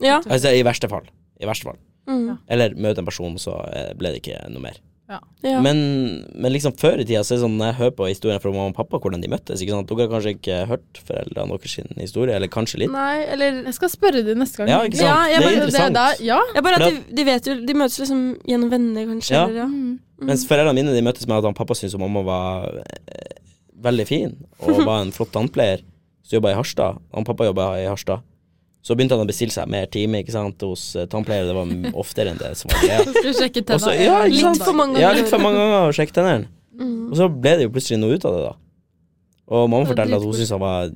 Speaker 1: Ja.
Speaker 2: Altså i verste fall. I verste fall.
Speaker 1: Mm.
Speaker 2: Eller møte en person, så eh, ble det ikke noe mer.
Speaker 1: ja.
Speaker 2: Men, men liksom før i tida, så er det sånn når jeg hører på historien fra mamma og pappa, hvordan de møttes ikke sant? Dere har kanskje ikke hørt foreldrene deres sin historie, eller kanskje litt?
Speaker 1: Nei, eller
Speaker 3: Jeg skal spørre deg neste gang.
Speaker 2: Ja, ikke sant?
Speaker 1: Ja, jeg
Speaker 2: det
Speaker 1: bare-
Speaker 2: er
Speaker 1: det
Speaker 2: interessant.
Speaker 3: ja.
Speaker 1: ja, bare at
Speaker 2: Men
Speaker 1: de, de vet jo De møtes liksom gjennom venner, kanskje.
Speaker 2: Ja.
Speaker 1: Eller, ja. Mm.
Speaker 2: Mens foreldrene mine de møttes med at han pappa syntes at mamma var eh, veldig fin, og var en flott tannpleier, så jobba i Harstad. Han pappa jobba i Harstad. Så begynte han å bestille seg mer time ikke sant, hos eh, tannpleiere, det var m- oftere enn det som var greia.
Speaker 3: Skal vi sjekke
Speaker 2: Og så-
Speaker 3: tenna?
Speaker 2: ja, ikke sant?
Speaker 1: Litt for mange
Speaker 2: Ja,
Speaker 1: ganger.
Speaker 2: litt for mange ganger å sjekke tennene.
Speaker 1: Mm.
Speaker 2: Og så ble det jo plutselig noe ut av det, da. Og mamma
Speaker 3: Det var
Speaker 2: fortalte at hun
Speaker 3: dritkult.
Speaker 2: syntes han var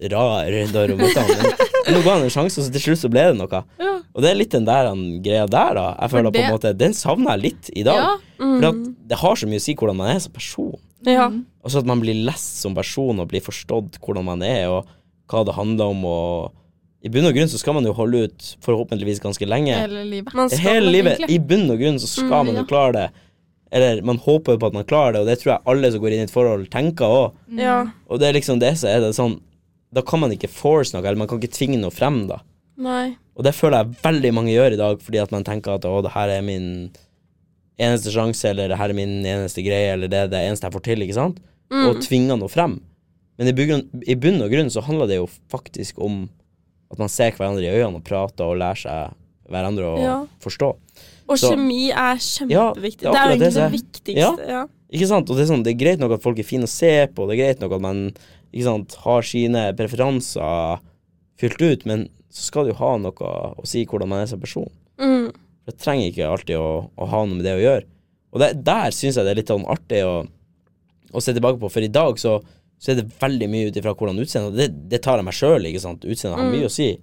Speaker 2: rar da hun møtte han. Men- Men hun ga han en sjanse, og så til slutt så ble det noe.
Speaker 3: Ja.
Speaker 2: Og det er litt den der han, greia der, da. Jeg føler på en måte Den savner jeg litt i dag.
Speaker 3: Ja.
Speaker 1: Mm.
Speaker 2: For at det har så mye å si hvordan man er som person.
Speaker 1: ja.
Speaker 3: Mm.
Speaker 2: Altså at man blir lest som person og blir forstått hvordan man er, og hva det handler om, og i bunn og grunn så skal man jo holde ut forhåpentligvis ganske lenge.
Speaker 3: hele livet.
Speaker 1: Man skal
Speaker 2: Hele
Speaker 1: vel
Speaker 2: livet.
Speaker 1: egentlig-
Speaker 2: I bunn og grunn så skal
Speaker 3: Mm,
Speaker 2: man jo
Speaker 3: ja.
Speaker 2: klare det. Eller man håper jo på at man klarer det, og det tror jeg alle som går inn i et forhold, tenker òg.
Speaker 1: Mm. Ja.
Speaker 2: Og det er liksom det som er det sånn Da kan man ikke force noe, eller man kan ikke tvinge noe frem, da.
Speaker 1: Nei.
Speaker 2: Og det føler jeg veldig mange gjør i dag, fordi at man tenker at å, det her er min eneste sjanse, eller det her er min eneste greie, eller det er det eneste jeg får til, ikke sant?
Speaker 1: Mm.
Speaker 2: Og tvinger noe frem. Men i bunn, i bunn og grunn så handler det jo faktisk om at man ser hverandre i øynene og prater og lærer seg hverandre å
Speaker 1: Ja.
Speaker 2: forstå.
Speaker 1: Og
Speaker 2: Så-
Speaker 1: kjemi er
Speaker 2: Ja, det er
Speaker 1: kjempeviktig. det er jo egentlig
Speaker 2: akkurat det
Speaker 1: det,
Speaker 2: som er-
Speaker 1: viktigste. Ja.
Speaker 2: Ikke sant? Og det er, sånn, det er greit nok at folk er fine å se på, det er greit nok at man ikke sant, har sine preferanser fylt ut, men så skal det jo ha noe å si hvordan man er som person.
Speaker 1: Mm.
Speaker 2: For det trenger ikke alltid å, å ha noe med det å gjøre. Og det, der syns jeg det er litt sånn artig å, å se tilbake på, for i dag så, så er det veldig mye ut ifra hvordan utseendet og det, det tar jeg meg sjøl, ikke sant. Utseendet har
Speaker 1: Mm.
Speaker 2: mye å si.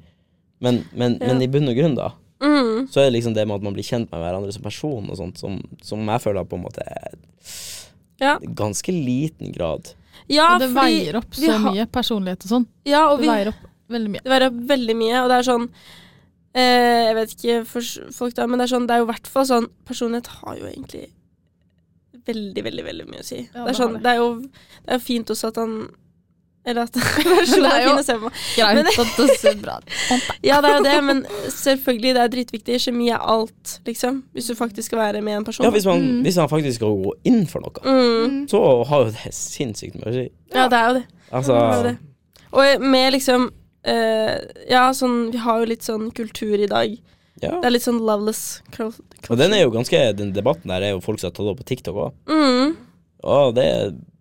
Speaker 2: Men, men,
Speaker 1: Ja.
Speaker 2: men i bunn og grunn, da,
Speaker 1: Mm.
Speaker 2: så er det liksom det med at man blir kjent med hverandre som person og sånt, som, som jeg føler på en måte er
Speaker 1: Ja.
Speaker 2: ganske liten grad.
Speaker 1: ja,
Speaker 3: Og det
Speaker 1: fordi
Speaker 3: veier opp
Speaker 1: vi
Speaker 3: så
Speaker 1: har-
Speaker 3: mye personlighet og sånn.
Speaker 1: Ja, og
Speaker 3: Det
Speaker 1: vi
Speaker 3: veier opp veldig mye.
Speaker 1: Det var veldig mye, og det er sånn eh, Jeg vet ikke for s- folk da, men det er sånn, det er jo i hvert fall sånn Personlighet har jo egentlig veldig, veldig veldig mye å si. det,
Speaker 3: Ja, det
Speaker 1: er
Speaker 3: har
Speaker 1: sånn,
Speaker 3: det.
Speaker 1: det er jo det er jo fint også at han Eller at personen
Speaker 3: Det er
Speaker 1: er
Speaker 3: jo-
Speaker 1: fin å se på.
Speaker 3: Greit
Speaker 1: Men-
Speaker 3: at det ser bra ut.
Speaker 1: Ja, det er jo det, men selvfølgelig, det er dritviktig. Kjemi er alt, liksom. Hvis du faktisk skal være med en person.
Speaker 2: Ja, hvis man,
Speaker 3: Mm.
Speaker 2: hvis man faktisk skal gå inn for noe,
Speaker 1: mm.
Speaker 2: så har jo det sinnssykt mye å si.
Speaker 1: ja det er jo det.
Speaker 2: Altså,
Speaker 1: Ja, det er Og med liksom eh, Ja, sånn Vi har jo litt sånn kultur i dag.
Speaker 2: ja.
Speaker 1: Det er litt sånn loveless cul-
Speaker 2: Og den er jo ganske Den debatten der er jo folk som har tatt det opp på TikTok òg.
Speaker 1: mm.
Speaker 2: Og det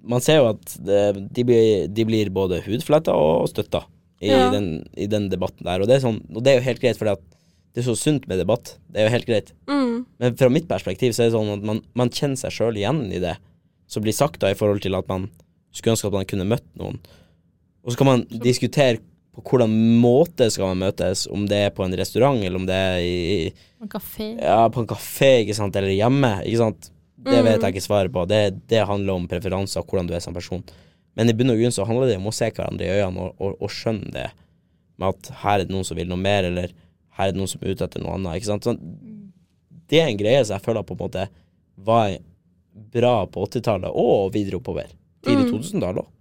Speaker 2: Man ser jo at det, de, blir, de blir både hudfletta og støtta i,
Speaker 1: Ja.
Speaker 2: den, i den debatten der. Og det er, sånn, og det er jo helt greit, for det er så sunt med debatt. Det er jo helt greit.
Speaker 1: Mm.
Speaker 2: Men fra mitt perspektiv så er det sånn at man, man kjenner seg sjøl igjen i det som blir sagt da, i forhold til at man skulle ønske at man kunne møtt noen. Og så kan man diskutere på hvordan måte skal man møtes, om det er på en restaurant, eller om det er i,
Speaker 3: En kafé.
Speaker 2: ja, på en kafé, ikke sant, eller hjemme, ikke sant. Det vet jeg ikke svaret på. Det, det handler om preferanser og hvordan du er som person. Men i bunn og grunn så handler det om å se hverandre i øynene og, og, og skjønne det med at her er det noen som vil noe mer, eller her er det noen som er ute etter noe annet, ikke sant. Sånn, det er en greie som jeg føler på en måte var bra på 80-tallet og videre oppover. Tidlig 2000-tallet òg.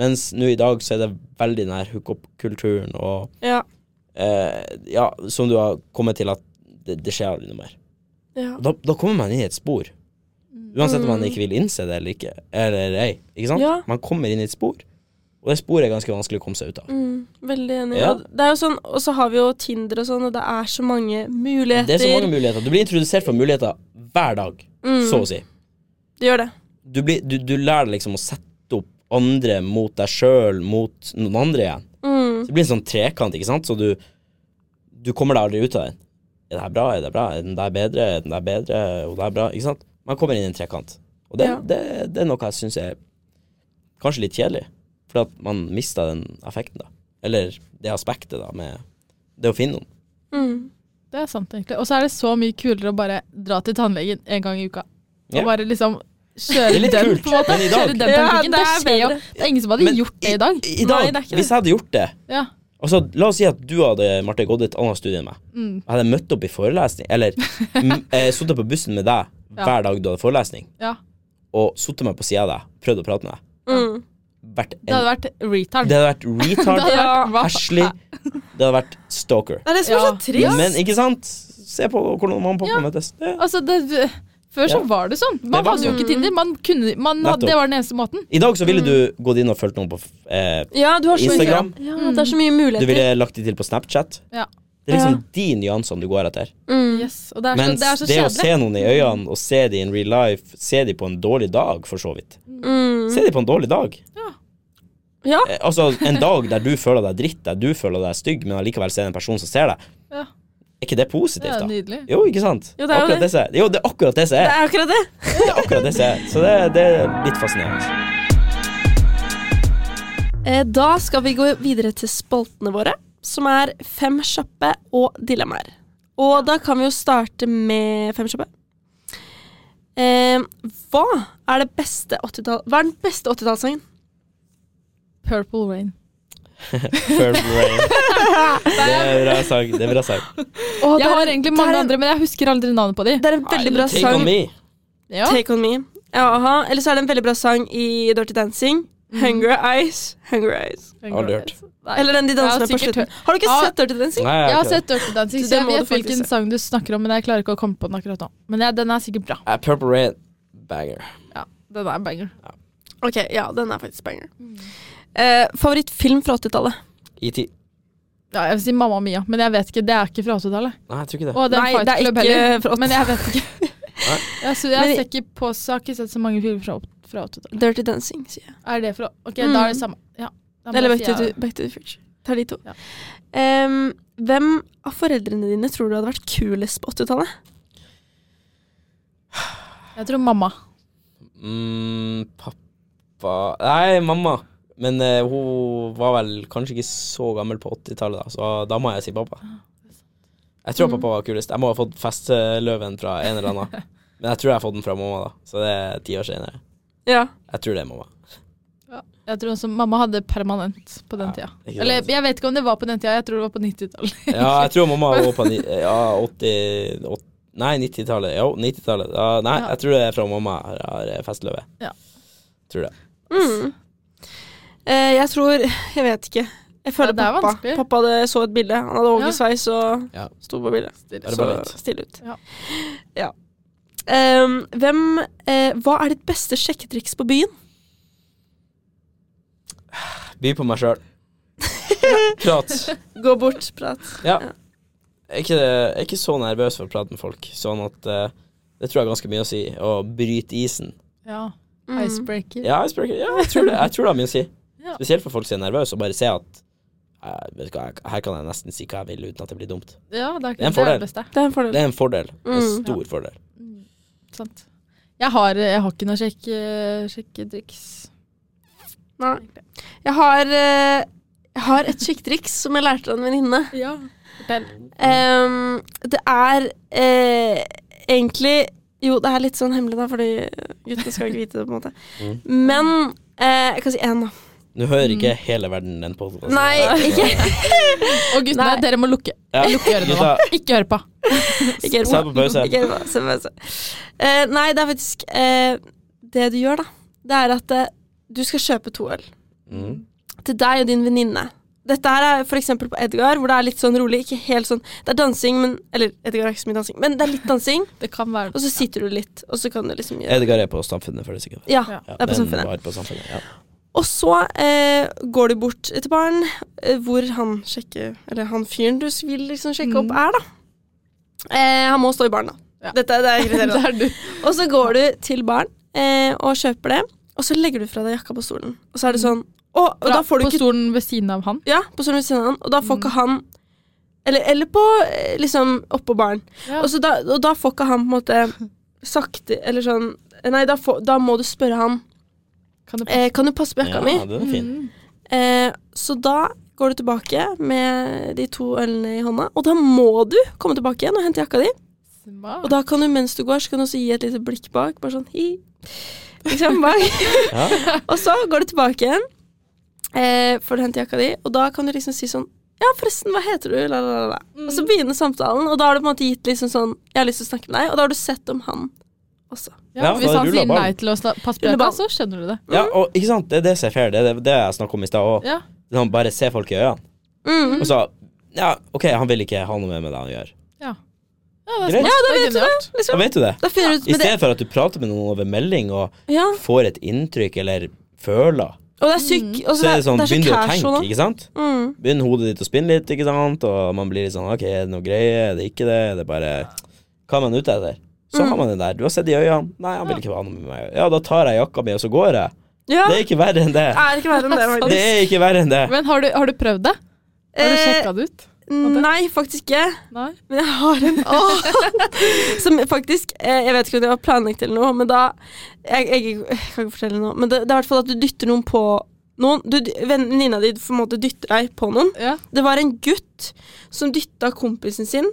Speaker 2: Mens nå i dag så er det veldig nær hookup-kulturen og
Speaker 1: Ja.
Speaker 2: eh, ja, som du har kommet til at det, det skjer aldri noe mer.
Speaker 1: ja.
Speaker 2: Da, da kommer man inn i et spor.
Speaker 1: Mm.
Speaker 2: Uansett om man ikke vil innse det eller ikke. Eller ei, ikke sant?
Speaker 1: Ja.
Speaker 2: Man kommer inn i et spor, og det sporet er ganske vanskelig å komme seg ut av.
Speaker 1: Mm, veldig enig.
Speaker 2: Ja.
Speaker 1: Og det er jo sånn, og så har vi jo Tinder og sånn, og det er så mange muligheter.
Speaker 2: Det er så mange muligheter. Du blir introdusert for muligheter hver dag,
Speaker 1: Mm.
Speaker 2: så å si.
Speaker 1: Det gjør det.
Speaker 2: Du, blir, du, du lærer deg liksom å sette opp andre mot deg sjøl, mot noen andre igjen.
Speaker 1: Mm,
Speaker 2: Så det blir en sånn trekant, ikke sant? Så du, du kommer deg aldri ut av den. Er det her bra? Er det bra? Er den der bedre? Er den der bedre? Og det er bra? Ikke sant? Man kommer inn i en trekant. Og det,
Speaker 1: Ja.
Speaker 2: det, det er noe jeg syns er kanskje litt kjedelig. For at man mister den effekten, da. Eller det aspektet, da, med det å finne noen.
Speaker 1: mm.
Speaker 3: Det er sant, egentlig. Og så er det så mye kulere å bare dra til tannlegen en gang i uka. Og
Speaker 2: Ja.
Speaker 3: bare liksom
Speaker 2: Det
Speaker 3: kjøre
Speaker 2: er litt
Speaker 3: den,
Speaker 2: kult,
Speaker 3: på en måte.
Speaker 2: men i dag-
Speaker 3: Kjøre den
Speaker 1: Ja,
Speaker 3: teknikken.
Speaker 1: det
Speaker 3: det,
Speaker 1: er
Speaker 3: skjer jo.
Speaker 1: bedre.
Speaker 3: Det er ingen som hadde gjort det i dag.
Speaker 2: I dag,
Speaker 1: Nei, det er ikke det.
Speaker 2: hvis jeg hadde gjort det
Speaker 3: Ja.
Speaker 2: Altså, La oss si at du hadde Marte, gått et annet studie enn meg.
Speaker 3: Mm.
Speaker 2: Jeg hadde møtt opp i forelesning, eller m- eh, sittet på bussen med deg
Speaker 3: Ja.
Speaker 2: hver dag du hadde forelesning,
Speaker 3: ja.
Speaker 2: og sittet meg på sida av deg, prøvd å prate med deg.
Speaker 1: Mm.
Speaker 2: Vært en
Speaker 3: Det hadde vært retard.
Speaker 2: Det hadde vært
Speaker 3: Det
Speaker 2: retard,
Speaker 3: hadde vært- hva-
Speaker 2: Ashley, det hadde vært stalker.
Speaker 1: Det er det som er
Speaker 3: Ja.
Speaker 1: så trist.
Speaker 2: Men ikke sant? Se på hvordan mamma og pappa møtes. Det.
Speaker 3: Altså, det, før så
Speaker 2: Ja.
Speaker 3: var det sånn.
Speaker 2: Det
Speaker 3: Man
Speaker 2: var
Speaker 3: hadde jo
Speaker 2: sånn.
Speaker 3: ikke Tinder. Man kunne, man hadde,
Speaker 2: Nettopp.
Speaker 3: det var den eneste måten.
Speaker 2: I dag så ville du
Speaker 3: Mm.
Speaker 2: gått inn og fulgt noen på eh,
Speaker 1: Ja, du har så
Speaker 2: Instagram.
Speaker 1: Mye, ja, det er så mye
Speaker 2: Du
Speaker 1: muligheter.
Speaker 2: ville lagt de til på Snapchat.
Speaker 3: Ja.
Speaker 2: Det er liksom de nyansene du går etter.
Speaker 1: Mm.
Speaker 3: Yes. Og det er så,
Speaker 2: Mens
Speaker 3: det er så
Speaker 2: det å se
Speaker 3: kjedelig.
Speaker 2: noen i øynene og se de in real life, se de på en dårlig dag, for så vidt.
Speaker 1: Mm.
Speaker 2: Se de på en dårlig dag.
Speaker 1: Ja.
Speaker 2: Eh, altså en dag der du føler deg dritt, der du føler deg stygg, men allikevel ser en person som ser deg.
Speaker 3: Ja.
Speaker 2: Er ikke det
Speaker 3: Det
Speaker 2: positivt,
Speaker 3: er
Speaker 2: da?
Speaker 3: nydelig.
Speaker 2: Jo, ikke sant?
Speaker 1: Jo, det er jo det.
Speaker 2: akkurat det som er. Jo, det er akkurat det som er.
Speaker 1: Det er akkurat det.
Speaker 2: Det er akkurat det som er. Så det, det er litt fascinerende.
Speaker 1: Eh, Da skal vi gå videre til spaltene våre, som er Fem kjappe og dilemmaer. Og da kan vi jo starte med Fem kjappe. Eh, hva er det beste 80-tall Hva er den beste 80-tallssangen?
Speaker 3: Purple Rain.
Speaker 2: Purple Rain. Det er bra sang. Det er bra sang.
Speaker 1: Å, det
Speaker 3: Jeg
Speaker 1: er
Speaker 3: har
Speaker 1: en-
Speaker 3: egentlig
Speaker 1: det
Speaker 3: mange
Speaker 1: er en-
Speaker 3: andre, men jeg husker aldri navnet på de.
Speaker 1: Det er en veldig bra
Speaker 2: Take on
Speaker 1: sang.
Speaker 2: me.
Speaker 3: Ja.
Speaker 1: Take on me. Ja, aha. Eller så er det en veldig bra sang i Dirty Dancing. Hunger Eyes. Hunger Eyes.
Speaker 2: Aldri hørt.
Speaker 3: Nei.
Speaker 1: Eller den de
Speaker 3: Jeg har
Speaker 1: danser med på
Speaker 3: sikkert
Speaker 1: slutten.
Speaker 3: hørt-
Speaker 1: Har du ikke
Speaker 3: Ja.
Speaker 1: sett Dirty Dancing?
Speaker 2: Nei,
Speaker 3: Jeg har
Speaker 2: jeg har ikke det.
Speaker 3: sett Dirty Dancing,
Speaker 1: Så
Speaker 3: så
Speaker 1: det
Speaker 3: jeg
Speaker 1: må du
Speaker 3: vet
Speaker 1: faktisk
Speaker 3: hvilken
Speaker 1: se.
Speaker 3: sang du snakker om, men jeg klarer ikke å komme på den akkurat nå. Men jeg, den er sikkert bra.
Speaker 2: Eh, Purple Rain, banger.
Speaker 3: Ja, den er en banger.
Speaker 1: Ok, ja, den er faktisk banger. Eh, favorittfilm fra 80-tallet?
Speaker 2: ET.
Speaker 3: Ja, jeg vil si Mamma Mia, men jeg vet ikke, det er ikke fra 80-tallet.
Speaker 2: Nei, jeg tror ikke det.
Speaker 3: Og det er
Speaker 1: Nei,
Speaker 3: Fight
Speaker 1: det er
Speaker 3: Club
Speaker 1: ikke
Speaker 3: heller.
Speaker 1: fra 80-tallet.
Speaker 3: Men jeg vet ikke.
Speaker 2: Nei.
Speaker 3: jeg så, jeg
Speaker 1: Men-
Speaker 3: ser ikke på så jeg har ikke sett så mange filmer fra, opp- fra 80-tallet.
Speaker 1: Dirty Dancing, sier jeg.
Speaker 3: Er det fra Ok,
Speaker 1: Mm.
Speaker 3: da er det samme. Ja. Da må
Speaker 1: Eller
Speaker 3: jeg
Speaker 1: Back to,
Speaker 3: si jeg-
Speaker 1: the- back to the Future. Tar de to.
Speaker 3: Ja.
Speaker 1: Em, hvem av foreldrene dine tror du hadde vært kulest på 80-tallet?
Speaker 3: Jeg tror mamma.
Speaker 2: Mm, pappa Nei, mamma. Men eh, hun var vel kanskje ikke så gammel på 80-tallet, da, så da må jeg si pappa.
Speaker 3: Ah,
Speaker 2: Jeg tror pappa var kulest. Jeg må ha fått festeløven fra en eller annen. Men jeg tror jeg har fått den fra mamma, da. Så det er ti år senere.
Speaker 1: Ja.
Speaker 2: Jeg tror det er mamma.
Speaker 3: Jeg tror også Mamma hadde permanent på den tida.
Speaker 2: ikke
Speaker 3: Eller
Speaker 2: sant?
Speaker 3: jeg vet ikke om det var på den tida, jeg tror det var på 90-tallet.
Speaker 2: Ja, jeg tror mamma var på ni, ja, 80, åt- Nei, 90-tallet. Jo, 90-tallet. Ja, nei,
Speaker 3: Ja.
Speaker 2: jeg tror det er fra mamma jeg har eh, festløve.
Speaker 3: Ja.
Speaker 2: Tror det.
Speaker 1: Mm. Eh, jeg tror Jeg vet ikke. Jeg føler
Speaker 3: Ja, det er
Speaker 1: pappa.
Speaker 3: vanskelig.
Speaker 1: Pappa hadde så et bilde. Han hadde
Speaker 3: Ja.
Speaker 1: hogesveis og
Speaker 2: Ja.
Speaker 1: sto på bildet.
Speaker 2: Er det
Speaker 1: Så
Speaker 2: bare litt?
Speaker 1: stille ut.
Speaker 3: Ja.
Speaker 1: Ja. Em, hvem, eh, hva er ditt beste sjekketriks på byen?
Speaker 2: By på meg sjøl. Prat.
Speaker 1: Gå bort, prat.
Speaker 2: Ja. Jeg er ikke, jeg er ikke så nervøs for å prate med folk, sånn at eh, det tror jeg er ganske mye å si. Å bryte isen.
Speaker 3: Ja.
Speaker 1: Mm.
Speaker 3: Icebreaker.
Speaker 2: Ja, jeg, spør, ikke- ja, jeg, tror det, jeg tror det har mye å si.
Speaker 3: Ja.
Speaker 2: Spesielt for folk som er nervøse, og bare se at eh, vet du hva, jeg- Her kan jeg nesten si hva jeg vil uten at det blir dumt.
Speaker 3: Ja, det er,
Speaker 2: Det er
Speaker 3: ikke,
Speaker 2: en
Speaker 3: det, er
Speaker 2: fordel.
Speaker 3: det beste.
Speaker 1: Det er en
Speaker 2: Det
Speaker 1: fordel.
Speaker 2: er en fordel. En
Speaker 1: Mm.
Speaker 2: stor fordel.
Speaker 3: Sant. Jeg har, jeg har ikke noe sjekk, eh, sjekketriks.
Speaker 1: Nei. Jeg har, eh, jeg har et sjekketriks som jeg lærte av en venninne.
Speaker 3: Ja. Fortell.
Speaker 1: Em, det er eh, egentlig Jo, det er litt sånn hemmelig, da, fordi gutter skal ikke vite det, på en måte.
Speaker 2: Mm.
Speaker 1: Men eh, jeg kan si én, da.
Speaker 2: Nå hører ikke hele verden den podkasten.
Speaker 1: Mm. Nei, ikke,
Speaker 3: Og guttene,
Speaker 1: Nei.
Speaker 3: dere må lukke.
Speaker 2: Ja,
Speaker 3: Lukke ørene nå.
Speaker 2: gutta,
Speaker 3: Ikke hør på.
Speaker 1: ikke hør på.
Speaker 2: sett på pause.
Speaker 1: Ikke hør på, se på pause. Eh, nei, det er faktisk eh, Det du gjør, da, det er at eh, du skal kjøpe to øl.
Speaker 2: Mm.
Speaker 1: til deg og din venninne. Dette her er for eksempel på Edgar, hvor det er litt sånn rolig. Ikke helt sånn, Det er dansing, men Eller Edgar har ikke så mye dansing, men det er litt dansing.
Speaker 3: Det kan være
Speaker 1: Og så sitter du litt, og så kan du liksom gjøre
Speaker 2: Edgar er på Samfunnet, for det er sikkert.
Speaker 1: Ja,
Speaker 3: Ja.
Speaker 1: det
Speaker 2: Ja,
Speaker 1: er på
Speaker 2: den
Speaker 1: Samfunnet.
Speaker 2: var på samfunnet ja.
Speaker 1: Og så eh, går du bort til baren, eh, hvor han sjekker Eller han fyren du vil liksom sjekke opp, er, da. Eh, han må stå i baren, da.
Speaker 3: Mm. Ja.
Speaker 1: Dette det er kriteriet.
Speaker 3: Der du.
Speaker 1: Og så går du til baren eh, og kjøper det, og så legger du fra deg jakka på stolen. Og så er det sånn Å, og da får du
Speaker 3: Mm. på Mm.
Speaker 1: ikke
Speaker 3: stolen ved siden av han.
Speaker 1: Ja, på sånn ved siden av han. Og da får ikke han Eller, eller på eh, liksom oppå baren.
Speaker 3: Ja.
Speaker 1: Og, så da, og da får ikke han på en måte sakte Eller sånn Nei, da, får, da må du spørre han
Speaker 3: Kan du
Speaker 1: eh, mm. Kan du passe på jakka mi?
Speaker 2: Ja, den er fin.
Speaker 1: Eh, så da går du tilbake med de to ølene i hånda, og da må du komme tilbake igjen og hente jakka di. Og da kan du mens du går, så kan du også gi et lite blikk bak. Bare sånn hi. Liksom bak.
Speaker 2: Ja.
Speaker 1: Og så går du tilbake igjen, eh, får du hente jakka di, og da kan du liksom si sånn Ja, forresten, hva heter du? La, la, la, la. Og så begynner samtalen, og da har du på en måte gitt liksom sånn Jeg har lyst til å snakke med deg, og da har du sett om han også.
Speaker 3: Ja,
Speaker 2: Ja,
Speaker 3: hvis
Speaker 2: da
Speaker 3: han
Speaker 2: ruller
Speaker 3: sier
Speaker 2: ballen.
Speaker 3: nei til å sna- passe på jakka,
Speaker 1: Ruller
Speaker 3: så skjønner du det.
Speaker 1: Mm.
Speaker 2: Ja, og ikke sant, det er det som er fair. Det er det, det jeg snakket om i stad òg.
Speaker 3: Ja.
Speaker 2: Bare se folk i øynene.
Speaker 1: Mm.
Speaker 2: Og så Ja, OK, han vil ikke ha noe mer med det han gjør.
Speaker 3: Ja, det er
Speaker 2: Greit.
Speaker 3: smart. det er genialt.
Speaker 2: Da
Speaker 1: Liksom.
Speaker 2: vet du det.
Speaker 1: Da finner du ut med
Speaker 2: I
Speaker 1: det.
Speaker 2: stedet for at du prater med noen over melding og
Speaker 1: Ja.
Speaker 2: får et inntrykk eller føler,
Speaker 1: Og det er sykt. Og
Speaker 2: så er det sånn
Speaker 1: det er
Speaker 2: Begynn du
Speaker 1: så
Speaker 2: å
Speaker 1: casual
Speaker 2: tenke,
Speaker 1: nå.
Speaker 2: ikke sant?
Speaker 1: Mm.
Speaker 2: Begynner hodet ditt å spinne litt, ikke sant? Og man blir litt sånn OK, er det noe greie? Er det ikke det? Er det bare Hva er man ute etter? Så har man det der. Du har sett i øynene. Nei, han vil ikke ha noe med meg. Ja, da tar jeg jakka mi, og så går jeg.
Speaker 1: Ja.
Speaker 2: Det er ikke verre enn det.
Speaker 1: Det er ikke verre enn det,
Speaker 2: Det
Speaker 1: faktisk.
Speaker 2: er ikke verre enn det.
Speaker 3: Men har du, har du prøvd det? Har du
Speaker 1: Eh,
Speaker 3: sjekka det ut?
Speaker 1: nei, faktisk ikke.
Speaker 3: Nei?
Speaker 1: Men jeg har en annen som faktisk eh, Jeg vet ikke om det var planlagt eller noe, men da Jeg, jeg, jeg kan ikke fortelle noe, men det, det er i hvert fall at du dytter noen på noen. Du, venninna di på en måte dytter deg på noen.
Speaker 3: Ja.
Speaker 1: Det var en gutt som dytta kompisen sin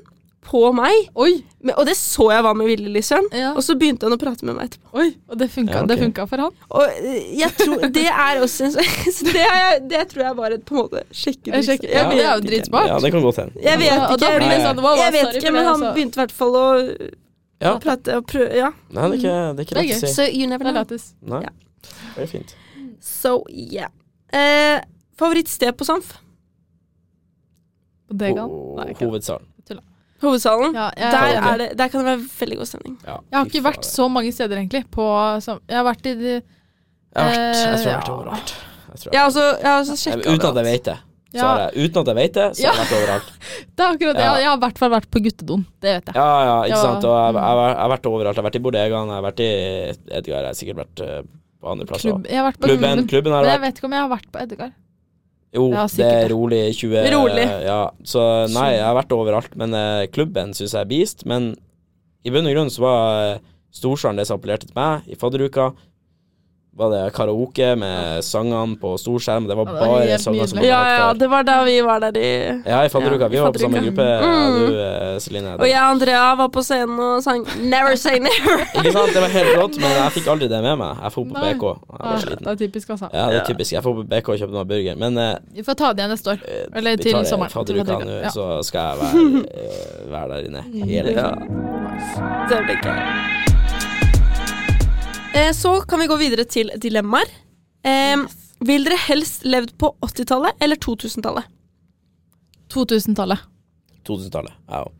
Speaker 1: på meg.
Speaker 3: Oi!
Speaker 1: Men, og det så jeg var med vilje, liksom.
Speaker 3: Ja.
Speaker 1: Og så begynte han å prate med meg etterpå.
Speaker 3: Oi, og det funka,
Speaker 2: Ja, ok.
Speaker 3: det funka for han.
Speaker 1: Og eh, jeg tror Det er også en sånn så det, er, jeg- det tror jeg var et på en måte
Speaker 3: Jeg
Speaker 1: sjekketriks.
Speaker 3: sjekker- ja,
Speaker 1: vet
Speaker 3: det er jo
Speaker 1: ikke.
Speaker 3: dritsmart.
Speaker 2: Ja, det kan godt hende.
Speaker 1: Jeg vet
Speaker 3: Og da
Speaker 1: ikke.
Speaker 3: blir det
Speaker 1: men-
Speaker 3: sånn, wow, wow,
Speaker 1: Jeg vet
Speaker 3: sorry
Speaker 1: ikke,
Speaker 3: for
Speaker 1: men
Speaker 3: det,
Speaker 1: han
Speaker 3: altså.
Speaker 1: begynte i hvert fall å
Speaker 2: Ja.
Speaker 1: prate og prøve. Ja.
Speaker 2: Nei, det er ikke, det er ikke
Speaker 3: Det er
Speaker 2: lett å si.
Speaker 1: So you never
Speaker 3: Det er
Speaker 1: know.
Speaker 3: lættis.
Speaker 2: Nei,
Speaker 1: Ja.
Speaker 2: det er fint.
Speaker 1: So yeah. Eh, favorittsted på Samf?
Speaker 3: På Degan.
Speaker 2: Ho-
Speaker 3: Nei, ikke det.
Speaker 2: Hovedsalen.
Speaker 1: Hovedsalen.
Speaker 3: Ja, jeg,
Speaker 1: Der,
Speaker 2: Ja, ok.
Speaker 1: er det, der kan det være veldig god stemning.
Speaker 2: Ja,
Speaker 3: jeg har
Speaker 2: fy
Speaker 3: ikke
Speaker 2: faen.
Speaker 3: vært så mange steder, egentlig. På, som, jeg har vært i de,
Speaker 2: Jeg har vært, jeg tror jeg har vært
Speaker 3: Eh,
Speaker 2: overalt. Jeg tror jeg-
Speaker 1: Jeg har også, jeg har også
Speaker 2: Nei, men
Speaker 1: sjekket
Speaker 2: Uten at jeg
Speaker 1: overalt.
Speaker 2: vet det. Så
Speaker 3: ja,
Speaker 2: har jeg, uten at jeg vet det, så har jeg vært overalt.
Speaker 3: det er akkurat det.
Speaker 2: Ja.
Speaker 3: Jeg har i hvert fall vært på guttedoen. Det vet jeg.
Speaker 2: Ja, ja, ikke
Speaker 3: Ja.
Speaker 2: sant. Og jeg, jeg, jeg, har vært overalt. Jeg har vært i Bodegaen, jeg har vært i Edgar, jeg har sikkert vært eh, på andre plasser
Speaker 3: Klubb,
Speaker 2: også.
Speaker 3: jeg har vært på
Speaker 2: Klubben,
Speaker 3: klubben.
Speaker 2: klubben har
Speaker 3: Men
Speaker 2: jeg
Speaker 3: jeg
Speaker 2: vært.
Speaker 3: vet ikke om jeg har vært på Edgar.
Speaker 2: Jo,
Speaker 3: Ja,
Speaker 2: det
Speaker 3: sikkert,
Speaker 2: er
Speaker 3: ja.
Speaker 2: rolig 20
Speaker 1: Rolig.
Speaker 2: Ja, så nei, jeg har vært overalt. Men eh, klubben syns jeg er beast. Men i bunn og grunn så var eh, Storsalen det som appellerte til meg. I fadderuka var det karaoke med sangene på storskjerm. Det var
Speaker 3: Ja, det var
Speaker 2: bare
Speaker 3: helt
Speaker 2: sanger
Speaker 3: nydelig.
Speaker 2: som man
Speaker 1: Ja,
Speaker 2: hadde
Speaker 1: ja,
Speaker 2: hørt før.
Speaker 1: det var da vi var der i
Speaker 2: Ja, i fadderuka.
Speaker 1: Ja,
Speaker 2: vi
Speaker 1: i
Speaker 2: var på samme
Speaker 1: fadderuka.
Speaker 2: gruppe,
Speaker 1: Mm.
Speaker 2: du, eh, Celine.
Speaker 1: Og jeg og Andrea var på scenen og sang 'Never Say Never'.
Speaker 2: Ikke sant? Det var helt rått, men jeg fikk aldri det med meg. Jeg dro på
Speaker 3: Nei.
Speaker 2: BK. Jeg var
Speaker 3: Ja,
Speaker 2: sliten.
Speaker 3: det er typisk, altså.
Speaker 2: Ja, det er typisk. Jeg får på BK og kjøpe noe burger, men eh,
Speaker 3: Vi får ta det igjen neste år. Eller
Speaker 2: vi
Speaker 3: til
Speaker 2: tar det
Speaker 3: sommeren.
Speaker 2: i fadderuka
Speaker 3: Til
Speaker 2: nå,
Speaker 3: fadderuka, ja.
Speaker 2: så skal jeg være, eh, være der inne
Speaker 1: Mm.
Speaker 2: hele
Speaker 1: Ja.
Speaker 2: tiden.
Speaker 1: Det ble ikke Eh, Så kan vi gå videre til dilemmaer. Eh, vil dere helst levd på 80-tallet eller 2000-tallet?
Speaker 3: 2000-tallet.
Speaker 2: 2000-tallet. Ja. jo.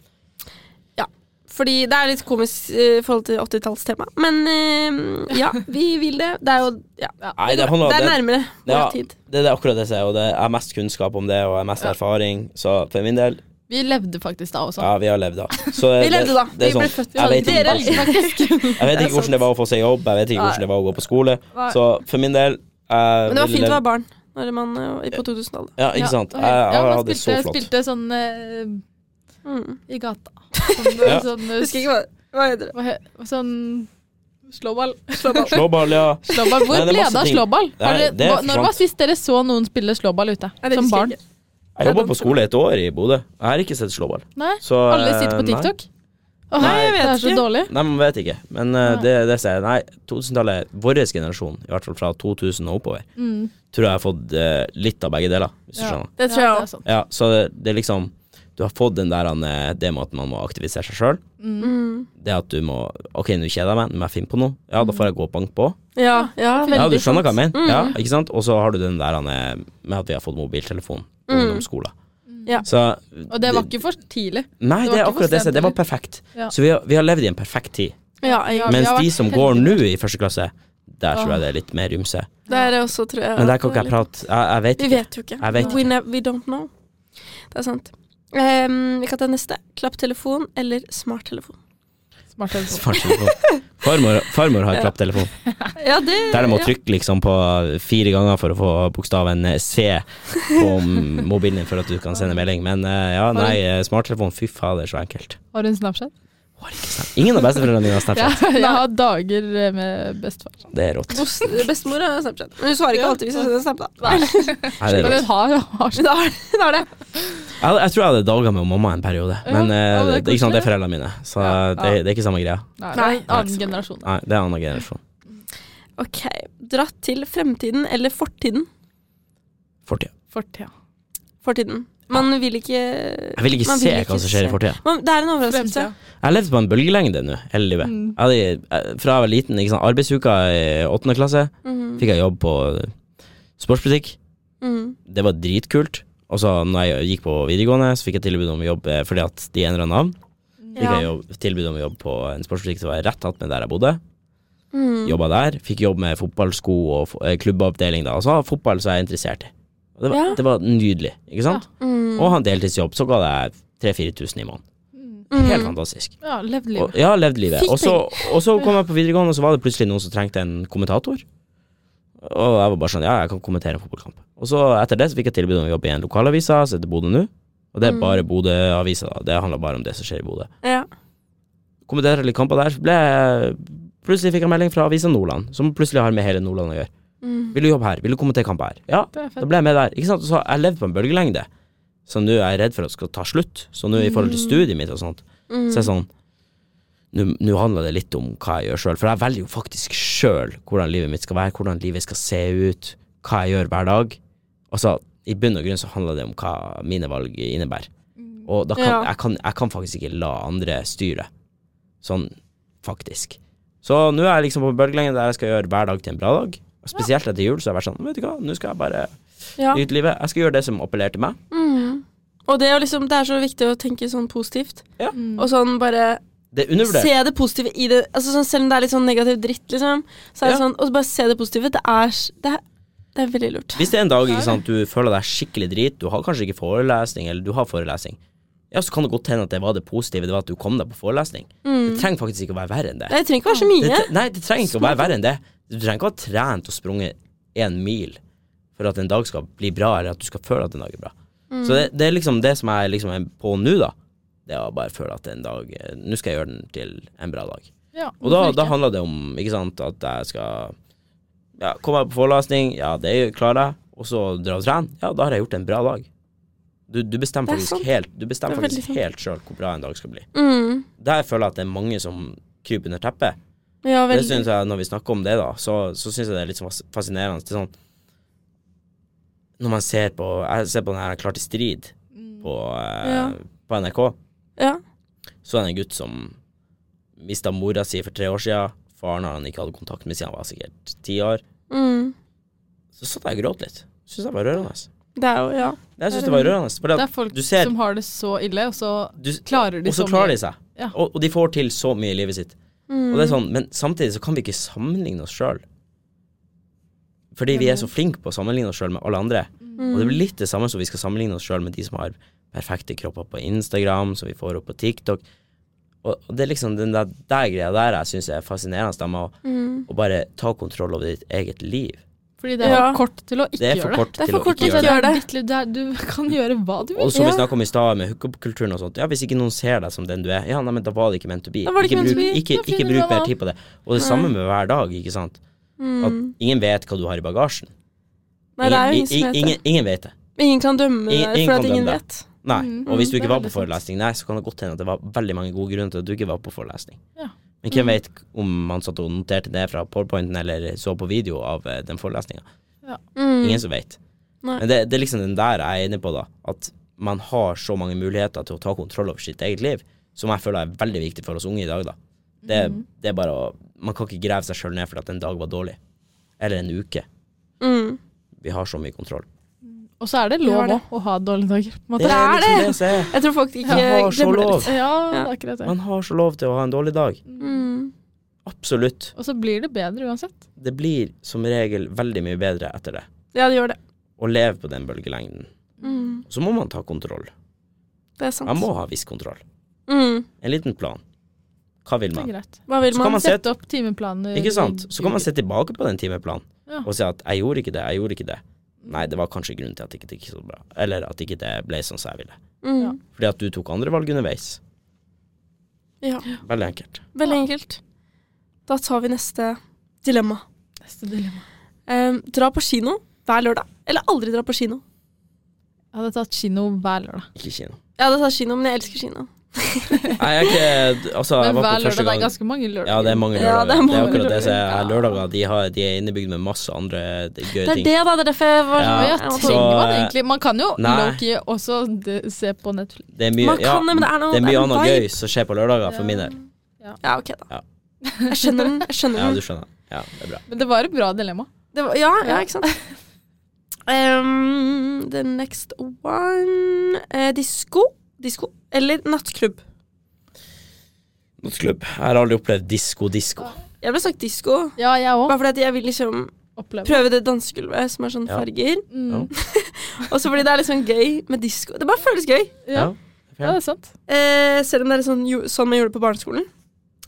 Speaker 1: Fordi det er litt komisk eh, i forhold til 80-tallstema. Men eh, ja, vi vil det. Det er jo ja,
Speaker 2: Nei, det handler
Speaker 1: det er
Speaker 2: om det.
Speaker 1: nærmere vår
Speaker 2: Ja.
Speaker 1: tid.
Speaker 2: Det er akkurat det jeg sier, og det jeg har mest kunnskap om det, og jeg har mest erfaring, så for min del,
Speaker 3: Vi levde faktisk da også.
Speaker 2: ja, vi har levd da. Så
Speaker 1: Vi levde da.
Speaker 2: Det
Speaker 1: Vi
Speaker 2: er
Speaker 1: ble
Speaker 2: sånn,
Speaker 1: født.
Speaker 2: jeg vet ikke
Speaker 1: Dere-
Speaker 2: hvordan- jeg vet ikke hvordan det var å få seg jobb, jeg vet ikke hvordan det var å gå på skole,
Speaker 3: Nei.
Speaker 2: så for min del
Speaker 1: Men det var fint å være barn når man, eh, på 2000-tallet.
Speaker 2: Ja, ikke sant.
Speaker 3: Ja,
Speaker 2: Jeg, jeg,
Speaker 3: ja, man
Speaker 2: hadde det så
Speaker 3: spilte-
Speaker 2: flott.
Speaker 3: Spilte sånn eh,
Speaker 1: Mm.
Speaker 3: i gata. Sånn,
Speaker 2: Ja.
Speaker 3: sånn,
Speaker 1: Husker ikke hva, hva heter det.
Speaker 3: hva he- sånn slåball.
Speaker 1: Slåball.
Speaker 2: Slåball, ja.
Speaker 3: Slåball.
Speaker 2: Nei,
Speaker 3: Hvor
Speaker 2: det er
Speaker 3: ble
Speaker 2: masse
Speaker 3: det av
Speaker 2: ting.
Speaker 3: slåball? Har
Speaker 2: Nei,
Speaker 3: dere-
Speaker 2: det
Speaker 3: hva- Når
Speaker 2: forsvant.
Speaker 3: var sist dere så noen spille slåball ute?
Speaker 1: Nei, det
Speaker 3: Som
Speaker 1: husker
Speaker 3: barn?
Speaker 1: jeg ikke.
Speaker 2: Jeg jobba på skole et år i Bodø. Jeg har ikke sett slåball.
Speaker 3: Nei?
Speaker 2: Så,
Speaker 3: Alle sitter på
Speaker 2: eh, nei.
Speaker 3: TikTok? Åh,
Speaker 1: Nei, jeg
Speaker 3: det
Speaker 1: vet
Speaker 3: er så
Speaker 1: ikke.
Speaker 3: dårlig.
Speaker 2: Nei, man vet ikke. Men eh,
Speaker 3: Nei.
Speaker 2: det, det sier jeg. Nei, 2000-tallet, vår generasjon, i hvert fall fra 2000 og oppover,
Speaker 3: Mm.
Speaker 2: tror jeg har fått eh, litt av begge deler, hvis du
Speaker 3: Ja.
Speaker 2: skjønner.
Speaker 1: Det tror jeg
Speaker 3: Ja, det er sånn.
Speaker 1: også.
Speaker 3: sant.
Speaker 2: Ja, så det, det er liksom Du har fått den der eh, det med at man må aktivisere seg sjøl.
Speaker 3: Mm.
Speaker 1: Mm.
Speaker 2: Det at du må OK, nå kjeder jeg meg, nå må jeg finne på noe. Ja, da får jeg gå og banke på.
Speaker 1: Ja, ja,
Speaker 2: Ja, du
Speaker 1: veldig
Speaker 2: skjønner hva jeg mener.
Speaker 1: Mm.
Speaker 2: Ja, ikke sant? Og så har du den der eh, med at vi har fått mobiltelefon på
Speaker 1: Mm.
Speaker 2: ungdomsskolen.
Speaker 1: Ja.
Speaker 2: Så
Speaker 3: Og det var ikke for tidlig.
Speaker 2: Nei,
Speaker 3: det
Speaker 2: det
Speaker 3: var
Speaker 2: er
Speaker 3: ikke for
Speaker 2: akkurat det. jeg sier.
Speaker 3: sent,
Speaker 2: Det var perfekt.
Speaker 3: Ja.
Speaker 2: Så vi har, vi har levd i en perfekt tid.
Speaker 1: Ja, jeg,
Speaker 2: Mens
Speaker 3: vi har
Speaker 2: de
Speaker 3: vært
Speaker 2: som
Speaker 3: heldige.
Speaker 2: går nå i første klasse, der tror
Speaker 3: Åh.
Speaker 2: jeg det er litt mer ymse.
Speaker 1: det er det også, tror jeg.
Speaker 2: Men der kan ikke jeg prate. Jeg, jeg vet
Speaker 1: Vi
Speaker 2: ikke.
Speaker 1: vet jo ikke.
Speaker 2: Jeg vet
Speaker 1: We, ne- we don't know. Det er sant. Ehm, vi kan ta neste. Klapptelefon eller smarttelefon?
Speaker 3: Smart telefon.
Speaker 2: Fartelefon. Farmor, farmor har klapptelefon.
Speaker 1: Ja, det
Speaker 2: Der de må trykke liksom på fire ganger for å få bokstaven C på m- mobilen din for at du kan sende melding. Men eh, ja, nei, eh, smarttelefon, fy fader, så enkelt.
Speaker 3: Har hun Snapchat?
Speaker 2: Ingen av besteforeldrene mine
Speaker 3: Ja,
Speaker 2: har Snapchat.
Speaker 3: jeg har dager eh, med bestefar.
Speaker 2: Det er rått.
Speaker 1: Bestemor har Snapchat. Men hun svarer ikke
Speaker 3: Ja.
Speaker 1: alltid hvis jeg sender Snap, da.
Speaker 2: Nei, det er
Speaker 3: Men
Speaker 2: rått.
Speaker 3: hun har, har
Speaker 1: Men da er det- da er det.
Speaker 2: Jeg, jeg tror jeg hadde dager med mamma en periode,
Speaker 3: Ja,
Speaker 2: men eh,
Speaker 3: ja, det er
Speaker 2: det, ikke sant, det er
Speaker 3: koselig.
Speaker 2: foreldrene mine. Så
Speaker 3: Ja,
Speaker 2: det,
Speaker 3: ja.
Speaker 2: det er ikke samme greia.
Speaker 3: Nei, det
Speaker 1: Nei,
Speaker 3: er en annen
Speaker 1: liksom.
Speaker 3: generasjon.
Speaker 2: Nei, det er annen generasjon.
Speaker 1: Ok. Dratt til fremtiden eller fortiden?
Speaker 2: Fortida.
Speaker 3: Fortida.
Speaker 1: Fortiden. Man vil ikke
Speaker 2: Jeg vil ikke
Speaker 1: Man
Speaker 2: se
Speaker 1: vil ikke
Speaker 2: hva som skjer
Speaker 1: se.
Speaker 2: i fortida.
Speaker 1: man, Det er en overraskelse.
Speaker 3: Fremtida.
Speaker 2: Jeg har levd på en bølgelengde nå, hele livet.
Speaker 3: Mm.
Speaker 2: Jeg hadde, eh, fra jeg var liten, ikke sant, arbeidsuka i åttende klasse,
Speaker 1: Mhm.
Speaker 2: fikk jeg jobb på sportsbutikk.
Speaker 1: Mhm.
Speaker 2: Det var dritkult. Og så når jeg gikk på videregående, så fikk jeg tilbud om jobb eh, fordi at de endra navn. Fikk
Speaker 1: Ja.
Speaker 2: jeg jobb, tilbud om jobb på en sportsbutikk som var rett attmed der jeg bodde.
Speaker 1: Mhm.
Speaker 2: Jobba der. Fikk jobb med fotballsko og fo- eh, klubbavdeling da. Og så har jeg fotball som jeg er interessert i. Og det, var,
Speaker 1: Ja.
Speaker 2: det var nydelig, ikke sant?
Speaker 1: Mhm.
Speaker 2: Og ha en deltidsjobb, så ga det 3000-4000 i måneden. Helt
Speaker 1: Mhm.
Speaker 2: fantastisk.
Speaker 3: Mm. Ja, levd
Speaker 2: Og,
Speaker 3: livet.
Speaker 2: ja, levd livet.
Speaker 1: Fikk
Speaker 2: Og så, og så kom jeg på videregående, og så var det plutselig noen som trengte en kommentator. Og jeg var bare sånn, ja, jeg kan kommentere en fotballkamp. Og så etter det så fikk jeg tilbud om å jobbe i en lokalavisa, så heter Bodø nå. Og det er
Speaker 1: Mm.
Speaker 2: bare Bodø-avisa, da. Det handler bare om det som skjer i Bodø.
Speaker 1: Ja.
Speaker 2: Kommenterte litt kamper der, så ble jeg Plutselig fikk jeg melding fra Avisa Nordland, som plutselig har med hele Nordland å gjøre.
Speaker 1: Mhm.
Speaker 2: Vil du jobbe her? Vil du kommentere kamper her? Ja,
Speaker 3: Det er
Speaker 2: da
Speaker 3: fett.
Speaker 2: ble jeg med der. Ikke sant? Så jeg levde på en bølgelengde, som nå er jeg redd for at skal ta slutt. Så nå i forhold til studiet mitt og sånt,
Speaker 1: Mm.
Speaker 2: Så er det sånn Nå nå handler det litt om hva jeg gjør sjøl, for jeg velger jo faktisk sjøl hvordan livet mitt skal være, hvordan livet skal se ut, hva jeg gjør hver dag. Altså, I bunn og grunn så handler det om hva mine valg innebærer.
Speaker 3: Mm.
Speaker 2: Og da kan,
Speaker 1: Ja.
Speaker 2: jeg, kan, jeg kan faktisk ikke la andre styre. Sånn faktisk. Så nå er jeg liksom på bølgelengde der jeg skal gjøre hver dag til en bra dag. Og Spesielt etter jul så har jeg vært sånn, vet du hva, nå skal jeg bare
Speaker 1: Ja.
Speaker 2: nyte livet. Jeg skal gjøre det som appellerer til meg.
Speaker 1: Mm. Og det er, jo liksom, det er så viktig å tenke sånn positivt.
Speaker 2: Ja.
Speaker 3: Mm.
Speaker 1: Og sånn bare
Speaker 2: Det er undervurdert.
Speaker 1: se det positive i det. Altså sånn, selv om det er litt sånn negativ dritt, liksom. Så er det
Speaker 2: Ja.
Speaker 1: sånn, og så bare se det positive. Det er, s- det er, det er veldig lurt.
Speaker 2: Hvis det er en dag ikke sant, du føler deg skikkelig drit, du har kanskje ikke forelesning, eller du har forelesning, ja, så kan det godt hende at det var det positive, det var at du kom deg på forelesning. Det
Speaker 1: Mm.
Speaker 2: trenger faktisk ikke å være verre enn det.
Speaker 1: Nei, Det Mhm. trenger ikke være så
Speaker 2: Det,
Speaker 1: mye.
Speaker 2: tre- nei, det trenger ikke å være verre enn det. Du trenger ikke å ha trent og sprunget én mil for at en dag skal bli bra, eller at du skal føle at en dag er bra. Så
Speaker 1: Mm.
Speaker 2: det, det er liksom det som jeg liksom er på nå, da. Det er å bare føle at en dag eh, Nå skal jeg gjøre den til en bra dag.
Speaker 3: Ja,
Speaker 2: Og da,
Speaker 3: hvorfor
Speaker 2: da
Speaker 3: ikke?
Speaker 2: handler det om ikke sant, at jeg skal ja, komme på forelesning, ja, det klarer jeg, og så dra og trene. Ja, da har jeg gjort en bra dag. Du, du bestemmer
Speaker 1: Det er
Speaker 2: faktisk
Speaker 1: sant.
Speaker 2: helt Du bestemmer
Speaker 1: Det er veldig
Speaker 2: faktisk
Speaker 1: sant.
Speaker 2: helt sjøl hvor bra en dag skal bli.
Speaker 1: Mm.
Speaker 2: Der føler jeg at det er mange som kryper under teppet.
Speaker 1: Ja,
Speaker 2: Det
Speaker 1: veldig.
Speaker 2: synes jeg, Når vi snakker om det, da, så, så syns jeg det er litt sånn fas- fascinerende. Det er sånn, når man ser på Jeg ser på den her Klar til strid
Speaker 3: Mm.
Speaker 2: på, eh,
Speaker 1: Ja.
Speaker 2: på NRK.
Speaker 1: Ja.
Speaker 2: Så er det en gutt som mista mora si for tre år siden. Faren har han ikke hatt kontakt med siden han var sikkert ti år.
Speaker 1: Mm.
Speaker 2: Så satt jeg og gråt litt. Syns jeg var rørende.
Speaker 1: Det er jo Ja.
Speaker 2: Jeg synes det var rørende fordi
Speaker 3: Det
Speaker 2: at
Speaker 3: er folk
Speaker 2: du ser-
Speaker 3: som har det så ille, og så
Speaker 2: du,
Speaker 3: klarer de
Speaker 2: Og så
Speaker 3: så
Speaker 2: klarer de
Speaker 3: mye.
Speaker 2: seg.
Speaker 3: Ja.
Speaker 2: Og, og de får til så mye i livet sitt. Og det er
Speaker 1: Mm.
Speaker 2: sånn, men samtidig så kan vi ikke sammenligne oss sjøl. Fordi vi er
Speaker 1: Mm.
Speaker 2: så flinke på å sammenligne oss sjøl med alle andre. Og det blir litt det samme som vi skal sammenligne oss sjøl med de som har perfekte kropper på Instagram, som vi får opp på TikTok. Og, og det er liksom den der, der greia der jeg syns er fascinerende, da, med å,
Speaker 1: Mm,
Speaker 2: å bare ta kontroll over ditt eget liv.
Speaker 3: Fordi det er for
Speaker 1: Ja.
Speaker 3: kort til å ikke
Speaker 2: Det er for
Speaker 3: gjøre det.
Speaker 2: kort
Speaker 1: Det er
Speaker 2: til
Speaker 1: for
Speaker 2: å
Speaker 1: kort
Speaker 2: ikke
Speaker 1: til å
Speaker 2: gjøre det.
Speaker 1: gjør det.
Speaker 3: Ditt liv, det er, du kan gjøre hva du vil.
Speaker 2: Og som vi
Speaker 1: Ja.
Speaker 2: snakka om i stad, med hookup-kulturen og sånt. Ja, hvis ikke noen ser deg som den du er, ja, nei, men da var det ikke meant to be.
Speaker 1: Da var det ikke
Speaker 2: Ikke
Speaker 1: meant to
Speaker 2: bruk,
Speaker 1: be.
Speaker 2: ikke,
Speaker 3: Da
Speaker 2: ikke
Speaker 3: finner du
Speaker 2: bruk
Speaker 3: noe
Speaker 2: mer
Speaker 3: annet.
Speaker 2: tid på det. Og det samme med hver dag, ikke sant. At ingen vet hva du har i bagasjen.
Speaker 1: mm, Nei, det er jo ingen
Speaker 2: I- i-
Speaker 1: som vet det.
Speaker 2: ingen, ingen vet det.
Speaker 1: Ingen kan dømme det
Speaker 2: Ingen-
Speaker 1: der,
Speaker 2: ingen
Speaker 1: for
Speaker 2: kan
Speaker 1: at ingen
Speaker 2: dømme det.
Speaker 1: vet.
Speaker 2: Nei.
Speaker 3: Mm.
Speaker 2: Og hvis du
Speaker 3: Mm, det
Speaker 2: ikke
Speaker 3: er
Speaker 2: var
Speaker 3: veldig
Speaker 2: på
Speaker 3: sant.
Speaker 2: forelesning, nei, så kan det godt hende at det var veldig mange gode grunner til at du ikke var på forelesning.
Speaker 3: Ja.
Speaker 2: Men
Speaker 1: Mm.
Speaker 2: hvem vet om man satt og noterte det fra powerpointen eller så på video av eh, den forelesninga.
Speaker 1: Mm.
Speaker 2: Ingen som vet.
Speaker 1: Nei.
Speaker 2: Men det, det er liksom den der jeg er inne på, da. At man har så mange muligheter til å ta kontroll over sitt eget liv, som jeg føler er veldig viktig for oss unge i dag, da. Det,
Speaker 1: Mm.
Speaker 2: det er bare å Man kan ikke grave seg sjøl ned fordi at en dag var dårlig. Eller en uke.
Speaker 1: Mm.
Speaker 2: Vi har så mye kontroll.
Speaker 3: Og så er det
Speaker 1: Ja,
Speaker 3: lov
Speaker 1: det.
Speaker 3: òg å ha dårlige dager. på en måte.
Speaker 1: Det er
Speaker 2: liksom
Speaker 1: det.
Speaker 2: det som er.
Speaker 1: Jeg tror folk ikke
Speaker 2: Jeg har så
Speaker 1: glemmer det.
Speaker 2: lov.
Speaker 1: litt.
Speaker 3: Ja, det er akkurat det.
Speaker 2: Man har så lov til å ha en dårlig dag.
Speaker 1: Mm.
Speaker 2: Absolutt.
Speaker 3: Og så blir det bedre uansett.
Speaker 2: Det blir som regel veldig mye bedre etter det.
Speaker 1: Ja, det gjør det.
Speaker 2: Å leve på den bølgelengden.
Speaker 1: Mm.
Speaker 2: Så må man ta kontroll.
Speaker 1: Det er sant.
Speaker 2: Man må ha viss kontroll.
Speaker 1: Mm.
Speaker 2: En liten plan. Hva vil
Speaker 3: Det
Speaker 2: man?
Speaker 3: er greit.
Speaker 1: Hva vil
Speaker 2: Så kan
Speaker 1: man?
Speaker 2: man se
Speaker 3: Sette opp timeplaner.
Speaker 2: Ikke sant? Så kan man se tilbake på den timeplanen
Speaker 3: Ja. Mm.
Speaker 2: og si at 'jeg gjorde ikke det, jeg gjorde ikke det'. Nei, det var kanskje grunnen til at det ikke gikk så bra, eller at ikke det ble sånn som jeg ville.
Speaker 1: Mm.
Speaker 2: Fordi at du tok andre valg underveis.
Speaker 1: Ja.
Speaker 2: Veldig enkelt.
Speaker 1: Veldig enkelt. Da tar vi neste dilemma.
Speaker 3: Neste dilemma.
Speaker 1: Em, dra på kino hver lørdag, eller aldri dra på kino.
Speaker 3: Jeg hadde tatt kino hver lørdag.
Speaker 2: Ikke kino.
Speaker 1: Jeg hadde tatt kino, men jeg elsker kino.
Speaker 2: Nei, jeg er ikke Altså, jeg
Speaker 3: Men
Speaker 2: var på
Speaker 3: hver
Speaker 2: første
Speaker 3: lørdag det
Speaker 2: gang
Speaker 3: er ganske mange lørdager.
Speaker 2: Ja, det er mange
Speaker 1: Ja,
Speaker 2: lørdager.
Speaker 1: det
Speaker 2: det,
Speaker 1: er
Speaker 2: er
Speaker 1: mange
Speaker 2: akkurat det som er
Speaker 3: lørdager.
Speaker 2: lørdager. De, har, de er innebygd med masse andre gøye
Speaker 1: Det er
Speaker 2: ting.
Speaker 1: det, da. Det er derfor jeg var
Speaker 3: Ja,
Speaker 2: Ja.
Speaker 1: sånn,
Speaker 3: ja,
Speaker 1: jeg måtte-
Speaker 2: så- eh,
Speaker 3: trenger man egentlig Man kan jo
Speaker 2: Nei.
Speaker 3: lowkey også de, se på Netflix.
Speaker 2: Det er mye,
Speaker 1: Man kan det, men det er noe-
Speaker 2: det er
Speaker 1: det
Speaker 2: mye
Speaker 1: er en
Speaker 2: annet
Speaker 1: vibe.
Speaker 2: gøy som skjer på lørdager, for min del.
Speaker 1: Ja, ok, da.
Speaker 2: Ja.
Speaker 1: Jeg skjønner den. Jeg skjønner
Speaker 2: Ja,
Speaker 1: den.
Speaker 2: du skjønner. Ja, det er bra.
Speaker 3: Men det var et bra dilemma.
Speaker 1: Det var, ja, ja, ikke sant? Em, the next one eh, Disko. Disko eller nattklubb.
Speaker 2: Nattklubb. Jeg har aldri opplevd disko-disko.
Speaker 1: Jeg ble sagt disko.
Speaker 3: Ja, jeg òg.
Speaker 1: Bare fordi at jeg vil liksom
Speaker 3: Opplever.
Speaker 1: prøve det dansegulvet som er sånn
Speaker 2: Ja.
Speaker 1: farger.
Speaker 3: Mm.
Speaker 1: Og så fordi det er litt sånn gøy med disko. Det bare føles gøy.
Speaker 3: Ja.
Speaker 2: Ja.
Speaker 3: ja, det er sant.
Speaker 1: Eh, selv om det er sånn, jo, sånn man gjorde det på barneskolen.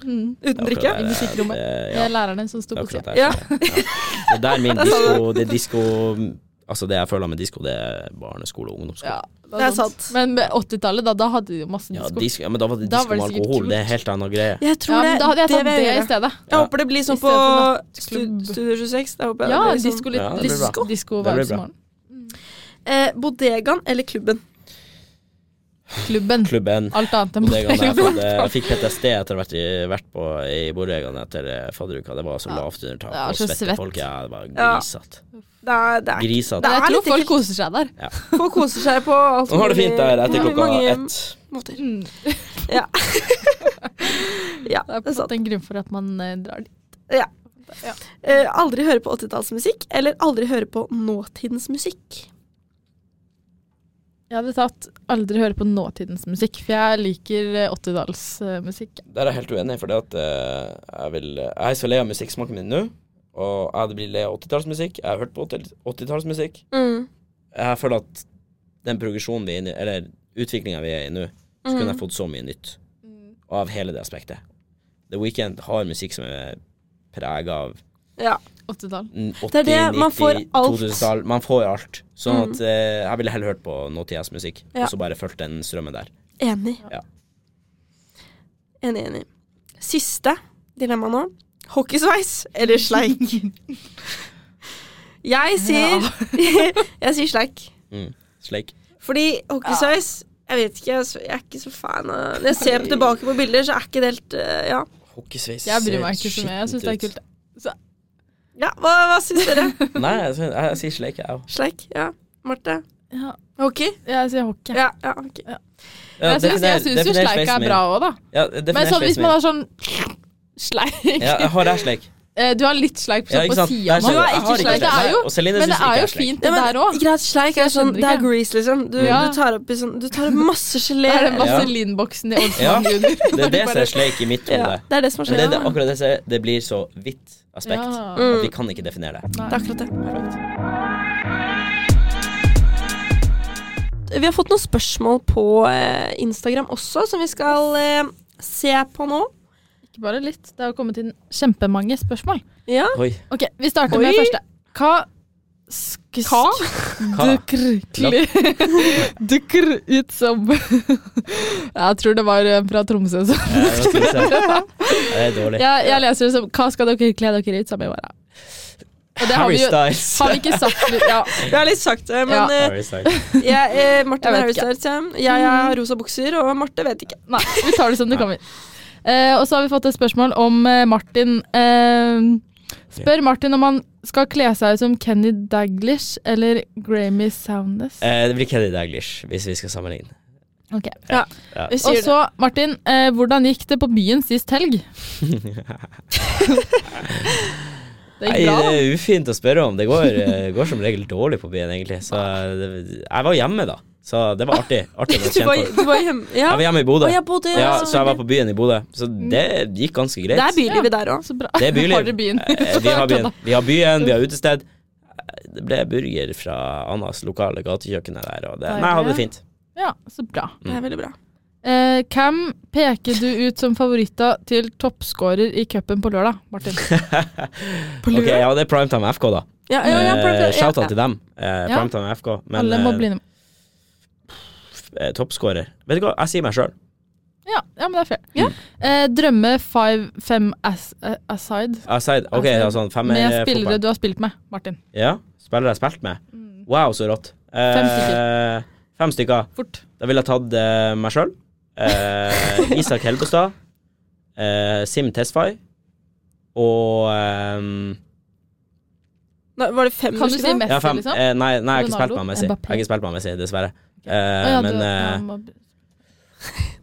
Speaker 3: Mm.
Speaker 1: Uten
Speaker 2: Det er
Speaker 1: drikke.
Speaker 2: akkurat
Speaker 3: I musikkrommet.
Speaker 2: Det, det-
Speaker 3: Jeg
Speaker 2: Eh, ja,
Speaker 3: er læreren din som sto
Speaker 2: det er sånn.
Speaker 3: på
Speaker 2: akkurat
Speaker 3: sida.
Speaker 2: det.
Speaker 1: Ja.
Speaker 2: Det er der min
Speaker 1: Det er sant.
Speaker 2: disko Det er disko Altså, det jeg føler med disko, det er barneskole og ungdomsskole.
Speaker 3: Ja,
Speaker 1: Det er sant.
Speaker 3: Men med 80-tallet, da, da hadde de jo masse
Speaker 2: Ja,
Speaker 3: disko.
Speaker 2: disko, ja, men da var det
Speaker 3: Da
Speaker 2: disko
Speaker 3: var det
Speaker 2: med
Speaker 3: sikkert
Speaker 2: alkohol. Det er
Speaker 3: kult.
Speaker 2: helt annen greie.
Speaker 1: Jeg tror
Speaker 3: ja, men
Speaker 1: det,
Speaker 3: da hadde jeg tatt
Speaker 1: vil
Speaker 3: det,
Speaker 1: jeg
Speaker 3: i
Speaker 1: gjøre.
Speaker 3: stedet.
Speaker 1: Jeg håper det blir sånn
Speaker 3: I
Speaker 1: på
Speaker 3: stedet for
Speaker 1: stu,
Speaker 3: nattklubb.
Speaker 1: Studio 26. Jeg håper jeg
Speaker 3: Ja,
Speaker 1: det blir sånn.
Speaker 3: disko litt
Speaker 2: Ja, det blir bra.
Speaker 3: disko, disko
Speaker 2: Det blir
Speaker 3: hver
Speaker 2: bra.
Speaker 3: morgen.
Speaker 1: Eh, bodegaen eller klubben?
Speaker 3: Klubben.
Speaker 2: klubben.
Speaker 3: Alt annet enn
Speaker 2: Bodegaen jeg,
Speaker 3: borteklubben.
Speaker 2: hadde, jeg fikk PTSD etter å ha vært i- vært på i bodegaen etter eh, fadderuka. Det var så lavt under
Speaker 3: Ja,
Speaker 2: taket og
Speaker 3: så
Speaker 2: svette
Speaker 3: svett.
Speaker 2: folk. Ja, det var
Speaker 1: Ja.
Speaker 2: grisete.
Speaker 1: Det er, det er. Det
Speaker 2: Grisete.
Speaker 3: Men
Speaker 1: er
Speaker 3: jeg tror
Speaker 1: litt ekkelt.
Speaker 3: folk koser seg der.
Speaker 1: Folk koser seg på alt
Speaker 2: Nå har det
Speaker 1: mulig-
Speaker 2: fint der etter
Speaker 1: mange-
Speaker 2: klokka
Speaker 1: mange
Speaker 2: ett.
Speaker 1: Måter.
Speaker 3: Mm.
Speaker 1: Ja. ja,
Speaker 3: Det er
Speaker 1: det
Speaker 3: på
Speaker 1: er
Speaker 3: en
Speaker 1: sant.
Speaker 3: måte en grunn for at man eh, drar dit.
Speaker 1: Eh, aldri høre på 80-tallsmusikk, eller aldri høre på nåtidens musikk.
Speaker 3: Jeg hadde tatt aldri høre på nåtidens musikk, for jeg liker eh, 80-dallsmusikk.
Speaker 2: Der er jeg helt uenig, for jeg, vil- eh, jeg er så lei av musikksmaken min nå. Og jeg blir lei av 80-tallsmusikk. Jeg har hørt på 80- 80-tallsmusikk.
Speaker 1: Mm,
Speaker 2: Jeg føler at den progresjonen vi er inne i, eller utviklinga vi er i nå, så
Speaker 1: mm.
Speaker 2: kunne jeg fått så mye nytt av hele det aspektet. The Weekend har musikk som er prega av
Speaker 1: Ja.
Speaker 3: 80-tall.
Speaker 2: 80,
Speaker 1: Det er det, man får
Speaker 2: 90,
Speaker 1: alt.
Speaker 2: 2000-tall. Man får alt. Sånn
Speaker 3: Mm.
Speaker 2: at eh, jeg ville heller hørt på nåtidas musikk,
Speaker 1: Ja.
Speaker 2: og så bare fulgt den strømmen der.
Speaker 1: Enig.
Speaker 2: Ja.
Speaker 1: Enig, enig. Siste dilemma nå. Hockeysveis eller sleik? Jeg sier Jeg sier sleik.
Speaker 2: Mm. Sleik.
Speaker 1: Fordi hockeysveis Jeg vet ikke, jeg er så- jeg er ikke så fan av Når jeg ser på tilbake på bilder, så er ikke det helt eh, Ja.
Speaker 2: Hockeysveis
Speaker 3: Jeg bryr meg ikke så mye. Jeg syns det er kult.
Speaker 1: ja hva hva syns dere?
Speaker 2: Nei, jeg, syns- jeg, jeg sier sleik, jeg òg.
Speaker 1: Sleik? Ja. Marte?
Speaker 3: Ja,
Speaker 1: Hockey?
Speaker 3: jeg sier hockey.
Speaker 1: Ja. ja hockey.
Speaker 2: Ja,
Speaker 3: jeg syns, jeg
Speaker 2: definer-
Speaker 3: syns jo
Speaker 2: definer
Speaker 3: sleik
Speaker 2: sveisen
Speaker 3: er
Speaker 2: min.
Speaker 3: bra òg, da.
Speaker 2: Ja,
Speaker 3: Men
Speaker 2: definer
Speaker 3: sånn, hvis
Speaker 2: sveisen
Speaker 3: man
Speaker 2: min.
Speaker 3: har sånn sleik
Speaker 2: Ja, jeg har jeg sleik?
Speaker 3: Eh, Du har litt sleik på,
Speaker 2: Ja, ikke
Speaker 3: på
Speaker 2: sant?
Speaker 3: sida,
Speaker 2: Der
Speaker 3: men
Speaker 2: ser
Speaker 3: du
Speaker 2: du.
Speaker 3: har
Speaker 2: Jeg har
Speaker 3: ikke
Speaker 2: ikke
Speaker 3: sleik. Det
Speaker 2: sleik.
Speaker 3: er jo,
Speaker 2: Og Celine
Speaker 3: men
Speaker 2: syns
Speaker 3: det
Speaker 2: ikke
Speaker 3: er
Speaker 2: jeg
Speaker 3: jo
Speaker 2: er sleik.
Speaker 3: fint,
Speaker 1: Ja,
Speaker 3: det
Speaker 1: men
Speaker 3: der òg.
Speaker 1: Greit, sleik
Speaker 3: Så
Speaker 1: er
Speaker 3: jeg
Speaker 1: sånn
Speaker 3: skjønner
Speaker 1: Det er
Speaker 3: ikke.
Speaker 1: grease, liksom. Du,
Speaker 3: Ja.
Speaker 1: du tar oppi sånn Du tar opp masse gelé.
Speaker 3: Det er den
Speaker 2: Ja.
Speaker 3: vaselinboksen i
Speaker 2: Ja,
Speaker 3: Olsmann junior.
Speaker 2: Det er det som er sleik i mitt hode.
Speaker 1: Ja, det er det som har
Speaker 2: Men det,
Speaker 1: skjedd.
Speaker 2: er det, akkurat det, som er- det blir så vidt aspekt
Speaker 3: Ja. Mm.
Speaker 2: at vi kan ikke definere det.
Speaker 1: Det er akkurat det.
Speaker 2: Perfekt.
Speaker 1: Vi har fått noen spørsmål på eh, Instagram også, som vi skal eh, se på nå.
Speaker 3: Ikke bare litt. Det har kommet inn kjempemange spørsmål.
Speaker 1: Ja.
Speaker 2: Oi.
Speaker 3: Ok, Vi starter med
Speaker 1: Oi.
Speaker 3: første. Hva sk
Speaker 1: Hva?
Speaker 2: Hva?
Speaker 3: dukker kli- dukker ut som Jeg tror det var eh, fra Tromsø. Så.
Speaker 2: Ja, det var trist, ja. Det er dårlig.
Speaker 3: Jeg, jeg leser det som Hva skal dere kle dere ut som i morgen? Og det har
Speaker 2: Harry
Speaker 3: vi jo
Speaker 2: Styles.
Speaker 3: har vi ikke sagt. Ja,
Speaker 1: Jeg har litt sagt det, men
Speaker 3: Ja.
Speaker 1: eh,
Speaker 2: Harry Styles.
Speaker 1: jeg, eh, Marte
Speaker 3: Jeg vet
Speaker 1: Harry
Speaker 3: ikke. Mm.
Speaker 1: Styles, ja. Jeg har rosa bukser, og Marte vet ikke.
Speaker 3: Nei, vi tar det som det kommer. Eh, og så har vi fått et spørsmål om eh, Martin. Eh, spør Martin om han skal kle seg ut som Kenny Daglish eller Grammy Soundness.
Speaker 2: Eh, det blir Kelly Daglish, hvis vi skal sammenligne.
Speaker 3: Ok.
Speaker 2: Ja.
Speaker 1: Vi
Speaker 3: Og
Speaker 1: sier det.
Speaker 3: så, Martin, eh, hvordan gikk det på byen sist helg? det
Speaker 2: Nei,
Speaker 3: gikk bra,
Speaker 2: det
Speaker 3: da.
Speaker 2: er ufint å spørre om. Det går, eh, går som regel dårlig på byen, egentlig. Så det, jeg var hjemme, da. Så det var artig. artig å
Speaker 1: Du
Speaker 2: kjenne
Speaker 1: var,
Speaker 2: folk.
Speaker 1: du var hjemme Ja.
Speaker 2: Jeg var hjemme i Bodø,
Speaker 1: Og jeg bodde
Speaker 2: ja, så jeg var på byen i Bodø. Så det gikk ganske greit.
Speaker 1: Det er bylivet der òg.
Speaker 3: Så bra.
Speaker 2: Det er byliv.
Speaker 3: Har dere byen?
Speaker 2: Eh, Vi har byen, vi har, byen, vi har utested. Eh, Det ble burger fra Annas lokale gatekjøkkenet der, og det, nei, jeg hadde det fint.
Speaker 3: Ja, så bra.
Speaker 1: Det
Speaker 2: Mm.
Speaker 1: er veldig bra.
Speaker 3: Eh, hvem peker du ut som favoritter til toppskårer i cupen på lørdag, Martin?
Speaker 2: Ok, ja, det er Primetime FK, da.
Speaker 1: Ja, ja, ja,
Speaker 2: Eh,
Speaker 1: Marte, ja,
Speaker 2: Shout-out til dem. Eh,
Speaker 3: Ja.
Speaker 2: Primetime FK. Men
Speaker 3: Alle må
Speaker 2: eh,
Speaker 3: bli med.
Speaker 2: eh, toppskårer Vet du hva, jeg sier meg sjøl.
Speaker 3: Ja, ja, men det er fair. Eh, drømme five, fem as, eh, aside
Speaker 2: Aside. Ok,
Speaker 3: Altså,
Speaker 2: ja, sånn femmer
Speaker 3: med
Speaker 2: eh,
Speaker 3: spillere
Speaker 2: fotball.
Speaker 3: du har spilt med, Martin.
Speaker 2: Ja, spillere jeg har spilt med.
Speaker 3: Mm.
Speaker 2: Wow, så rått. Eh,
Speaker 3: Fem
Speaker 2: Fem stykker.
Speaker 3: Fort.
Speaker 2: Da ville jeg tatt eh, meg sjøl. Eh, Isak Helbestad. Eh, Sim Tesfay. Og ehm,
Speaker 1: Nei, Var det fem
Speaker 3: Kan du
Speaker 1: husker
Speaker 3: si
Speaker 1: det?
Speaker 3: Messi,
Speaker 2: ja, fem.
Speaker 3: liksom?
Speaker 2: Eh, nei, nei, jeg har
Speaker 3: Ronaldo?
Speaker 2: ikke spilt med Messi. Jeg har ikke spilt med Messi, dessverre. Eh,
Speaker 3: Å ja, du-
Speaker 2: men
Speaker 3: ja,
Speaker 2: eh,
Speaker 3: må-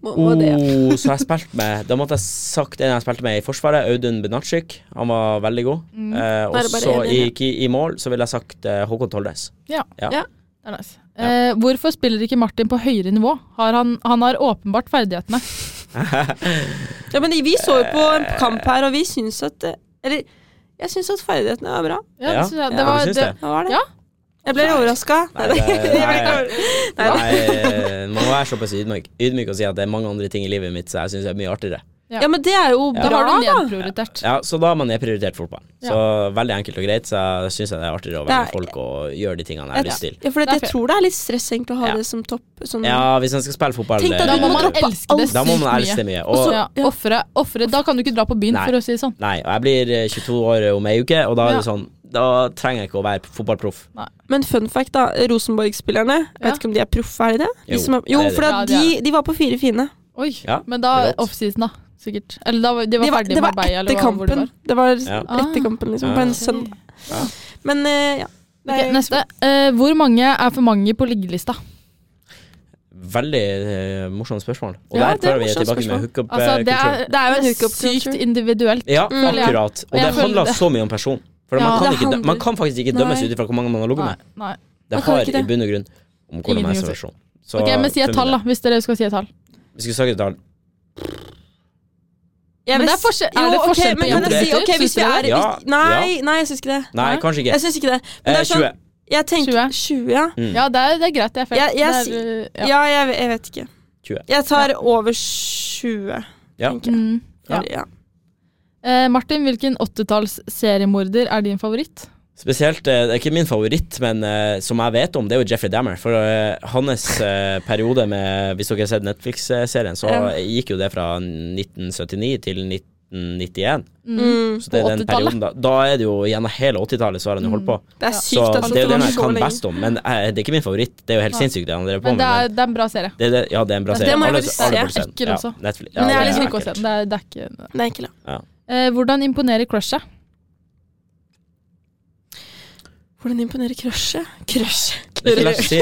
Speaker 1: Må- må det, ja.
Speaker 2: oh, så jeg spilte med Da måtte jeg sagt en jeg spilte med i Forsvaret, Audun Benatschik. Han var veldig god.
Speaker 3: Mm.
Speaker 2: Eh,
Speaker 1: Da er
Speaker 2: og
Speaker 1: det bare
Speaker 2: så
Speaker 1: en
Speaker 2: i,
Speaker 1: igjen,
Speaker 2: i mål så ville jeg sagt eh, Håkon Toldes.
Speaker 3: det er nice. Eh, hvorfor spiller ikke Martin på høyere nivå? Har han, han har åpenbart ferdighetene.
Speaker 1: ja, men vi så jo på en kamp her, og vi syns at eh, Eller jeg syns at ferdighetene var bra.
Speaker 3: Ja,
Speaker 2: Ja,
Speaker 3: det synes jeg.
Speaker 2: ja,
Speaker 3: Det var,
Speaker 2: du
Speaker 3: det,
Speaker 2: syns det?
Speaker 1: Hva var det?
Speaker 3: Ja.
Speaker 1: Jeg ble overraska.
Speaker 2: Nei, det-
Speaker 1: Nei,
Speaker 2: Nei, man må være såpass ydmyk, ydmyk og si at det er mange andre ting i livet mitt som jeg syns er mye artigere.
Speaker 3: Ja.
Speaker 1: Ja, men det er jo
Speaker 3: da
Speaker 1: bra,
Speaker 3: har du
Speaker 1: da.
Speaker 3: nedprioritert.
Speaker 2: Ja, Så da har man nedprioritert fotball.
Speaker 3: Ja.
Speaker 2: Så veldig enkelt og greit, så jeg syns det er artigere å være med folk og gjøre de tingene jeg har lyst til.
Speaker 1: Ja, for
Speaker 3: Det er
Speaker 1: jeg
Speaker 3: fair.
Speaker 1: tror det er litt stress egentlig å ha
Speaker 2: Ja.
Speaker 1: det som topp. Sånn,
Speaker 2: Ja, hvis man skal spille fotball
Speaker 1: Tenk deg
Speaker 2: eh,
Speaker 3: Da
Speaker 1: du
Speaker 3: må
Speaker 1: må
Speaker 3: man
Speaker 1: droppe
Speaker 3: elske det
Speaker 1: alt.
Speaker 2: da må man elske
Speaker 3: sykt mye.
Speaker 2: det mye.
Speaker 3: Så,
Speaker 2: Og,
Speaker 3: ja, offre, offre. Da kan du ikke dra på byen,
Speaker 2: Nei.
Speaker 3: for å si det sånn.
Speaker 2: Nei, og jeg blir eh, 22 år om ei uke, og da er det
Speaker 3: Ja.
Speaker 2: sånn da trenger jeg ikke å være fotballproff.
Speaker 1: Men fun fact, da. Rosenborg-spillerne, jeg
Speaker 3: Ja.
Speaker 1: vet ikke om de er proffe, er de det? De
Speaker 2: Jo,
Speaker 1: som er, jo
Speaker 2: det er
Speaker 1: for
Speaker 3: de.
Speaker 1: at
Speaker 3: Ja, de
Speaker 1: de,
Speaker 3: er
Speaker 1: de var på fire fine.
Speaker 3: Oi,
Speaker 2: Ja,
Speaker 3: men da
Speaker 2: det er godt.
Speaker 3: offseason, da. Sikkert. Eller da, var- de var,
Speaker 1: Det var,
Speaker 3: ferdig
Speaker 1: det var
Speaker 3: med Arbeidet,
Speaker 1: etter
Speaker 3: eller hva- hvor det
Speaker 1: kampen.
Speaker 3: var.
Speaker 1: Det var
Speaker 2: Ja.
Speaker 1: etter kampen, liksom. På en søndag. Men eh, ja.
Speaker 3: Ok,
Speaker 1: Nei,
Speaker 3: neste. Eh, hvor mange er for mange på liggelista?
Speaker 2: Veldig eh, morsomt spørsmål. Og
Speaker 1: Ja,
Speaker 2: der
Speaker 1: det er
Speaker 2: føler vi er
Speaker 1: morsomt
Speaker 2: tilbake
Speaker 1: spørsmål.
Speaker 2: med hookup-kulturen.
Speaker 3: Altså, det er,
Speaker 1: Det er jo en hookup
Speaker 3: sykt
Speaker 1: culture.
Speaker 3: individuelt.
Speaker 2: ja,
Speaker 1: Mm.
Speaker 2: akkurat. Og
Speaker 3: Og jeg
Speaker 2: det
Speaker 3: føler
Speaker 2: handler
Speaker 3: det.
Speaker 2: så mye om person. For
Speaker 3: Ja,
Speaker 2: man, kan
Speaker 1: det
Speaker 2: ikke, dø-
Speaker 1: handler-
Speaker 2: man kan faktisk ikke dømmes
Speaker 1: Nei.
Speaker 2: ut ifra hvor mange man har ligget
Speaker 3: Nei,
Speaker 2: med.
Speaker 3: nei.
Speaker 1: Man
Speaker 2: Det
Speaker 1: kan
Speaker 2: har
Speaker 1: ikke det.
Speaker 2: i bunn og grunn om hvordan
Speaker 3: Ingenting
Speaker 2: man
Speaker 3: å
Speaker 2: er
Speaker 3: si.
Speaker 2: som person. Så,
Speaker 3: Ok, men si et
Speaker 2: for
Speaker 3: tall,
Speaker 2: min
Speaker 3: da, hvis dere skal si et tall.
Speaker 2: del. Vi skulle sagt et tall.
Speaker 1: jeg
Speaker 3: Men det er
Speaker 1: vis-
Speaker 3: forskjell- er
Speaker 1: Jo,
Speaker 3: det
Speaker 1: ok,
Speaker 3: forskjell
Speaker 1: men
Speaker 3: på
Speaker 1: kan
Speaker 2: jenter
Speaker 1: jeg
Speaker 2: og
Speaker 1: si,
Speaker 3: gutter?
Speaker 1: ok,
Speaker 3: Syns
Speaker 1: hvis vi
Speaker 3: dere
Speaker 1: er
Speaker 2: det? Ja,
Speaker 1: hvis- Nei, nei, jeg syns ikke det.
Speaker 2: Nei, kanskje ikke.
Speaker 1: Jeg syns ikke det. Men det
Speaker 2: Eh,
Speaker 1: er sånn,
Speaker 2: 20.
Speaker 1: jeg tenker
Speaker 3: 20.
Speaker 1: 20, ja.
Speaker 2: Mm.
Speaker 3: Ja, det er, det er greit. Det er feil.
Speaker 1: Jeg- jeg
Speaker 3: det er, uh, ja.
Speaker 1: Ja, jeg, jeg vet ikke.
Speaker 2: 20.
Speaker 1: Jeg tar over 20,
Speaker 2: Ja.
Speaker 1: tenker jeg.
Speaker 3: Mm. Ja.
Speaker 1: Ja.
Speaker 3: Eh, Martin, hvilken åttetalls seriemorder er din favoritt?
Speaker 2: Spesielt, eh, det er ikke min favoritt, men eh, som jeg vet om, det er jo Jeffrey Dammer. For eh, hans eh, periode med Hvis dere har sett Netflix-serien, så
Speaker 1: Ja.
Speaker 2: gikk jo det fra 1979 til 1991.
Speaker 1: Mm.
Speaker 2: Så det
Speaker 3: På
Speaker 2: er den
Speaker 3: 80-tallet.
Speaker 2: perioden da. Da er det jo gjennom hele 80-tallet så har han jo holdt på.
Speaker 1: Det er
Speaker 3: Ja.
Speaker 1: sykt,
Speaker 2: Så
Speaker 1: altså.
Speaker 2: det er jo
Speaker 1: var
Speaker 2: den
Speaker 1: så
Speaker 2: jeg kan
Speaker 1: lenge.
Speaker 2: best om. Men eh, det er ikke min favoritt. Det er jo helt
Speaker 3: Ja.
Speaker 2: sinnssykt det han drev på
Speaker 3: Men
Speaker 2: med.
Speaker 3: det er,
Speaker 2: Men
Speaker 3: det er en bra serie.
Speaker 2: det, er det, ja, det er en bra
Speaker 3: Men
Speaker 2: serie.
Speaker 1: det må jeg
Speaker 2: Alle-
Speaker 1: faktisk
Speaker 2: alle
Speaker 1: se.
Speaker 2: burde se den.
Speaker 3: Ekkel også.
Speaker 2: Ja, Netflix. Ja,
Speaker 3: Men jeg
Speaker 2: det
Speaker 3: er
Speaker 2: er
Speaker 3: liksom ikke å se
Speaker 2: ekkelt.
Speaker 3: den. Det er, det er ikke
Speaker 1: Nei, ikke la.
Speaker 3: eh, Hvordan imponerer crushet?
Speaker 1: Hvordan imponerer crushet? Crush.
Speaker 2: Det er ikke lett å si.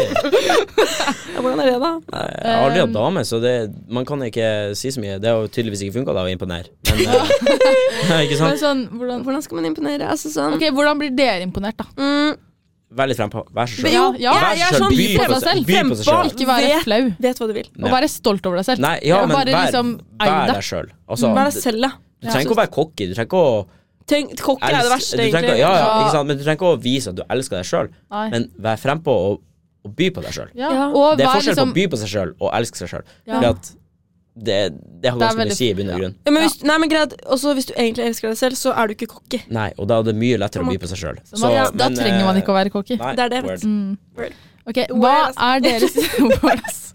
Speaker 1: Ja, hvordan er det, da?
Speaker 2: Nei, Jeg har aldri
Speaker 3: Um,
Speaker 2: hatt dame, så det, man kan ikke si så mye. Det har jo tydeligvis ikke funka, da, å imponere. Men, eh, ikke
Speaker 3: Men
Speaker 2: sant?
Speaker 3: sånn, hvordan,
Speaker 1: Hvordan skal man imponere? Altså sånn
Speaker 3: ok, hvordan blir dere imponert, da?
Speaker 1: mm,
Speaker 2: Vær litt frempå. Vær så
Speaker 1: Be-
Speaker 2: sjøl.
Speaker 1: Jo,
Speaker 3: Ja, ja,
Speaker 1: jeg, jeg er sånn
Speaker 2: Vær selv, by
Speaker 1: vis
Speaker 2: på
Speaker 1: deg
Speaker 2: deg selv,
Speaker 1: selv.
Speaker 2: by på seg
Speaker 1: Fremfor,
Speaker 2: selv.
Speaker 3: Ikke være
Speaker 1: vet,
Speaker 3: flau,
Speaker 1: vet hva du vil.
Speaker 3: og være stolt over deg selv.
Speaker 2: Nei, ja,
Speaker 3: Ja,
Speaker 2: men
Speaker 3: bare
Speaker 2: vær,
Speaker 3: liksom, ei
Speaker 2: vær
Speaker 3: deg.
Speaker 2: deg sjøl. Altså,
Speaker 1: Vær
Speaker 2: du
Speaker 1: deg selv, da.
Speaker 2: du trenger ikke å være cocky. Du trenger ikke å
Speaker 1: Tenk, kokk er det
Speaker 2: elske-
Speaker 1: verste,
Speaker 2: du trenger ikke å-
Speaker 1: egentlig.
Speaker 2: ja, ja,
Speaker 3: Ja.
Speaker 2: ikke sant? Men du trenger ikke å vise at du elsker deg sjøl,
Speaker 3: Nei.
Speaker 2: men vær frempå og, og by på deg sjøl.
Speaker 3: ja.
Speaker 1: Ja.
Speaker 3: Og
Speaker 2: Det er
Speaker 3: vær
Speaker 2: forskjell
Speaker 3: liksom
Speaker 2: på å by på seg sjøl og elske seg sjøl.
Speaker 3: Ja.
Speaker 2: Det, det har
Speaker 3: Det er
Speaker 2: ganske mye
Speaker 3: veldig-
Speaker 2: å si i bunn og grunn.
Speaker 1: Ja, men hvis, nei, men greit, også hvis du egentlig elsker deg selv, så er du ikke cocky.
Speaker 2: Nei, og da er det mye lettere å by på seg sjøl.
Speaker 3: man, Da trenger
Speaker 2: eh,
Speaker 3: man ikke å være cocky.
Speaker 2: Nei,
Speaker 1: Det er det.
Speaker 2: word.
Speaker 3: Ok, hva
Speaker 1: Whereas-
Speaker 3: er deres Whereas.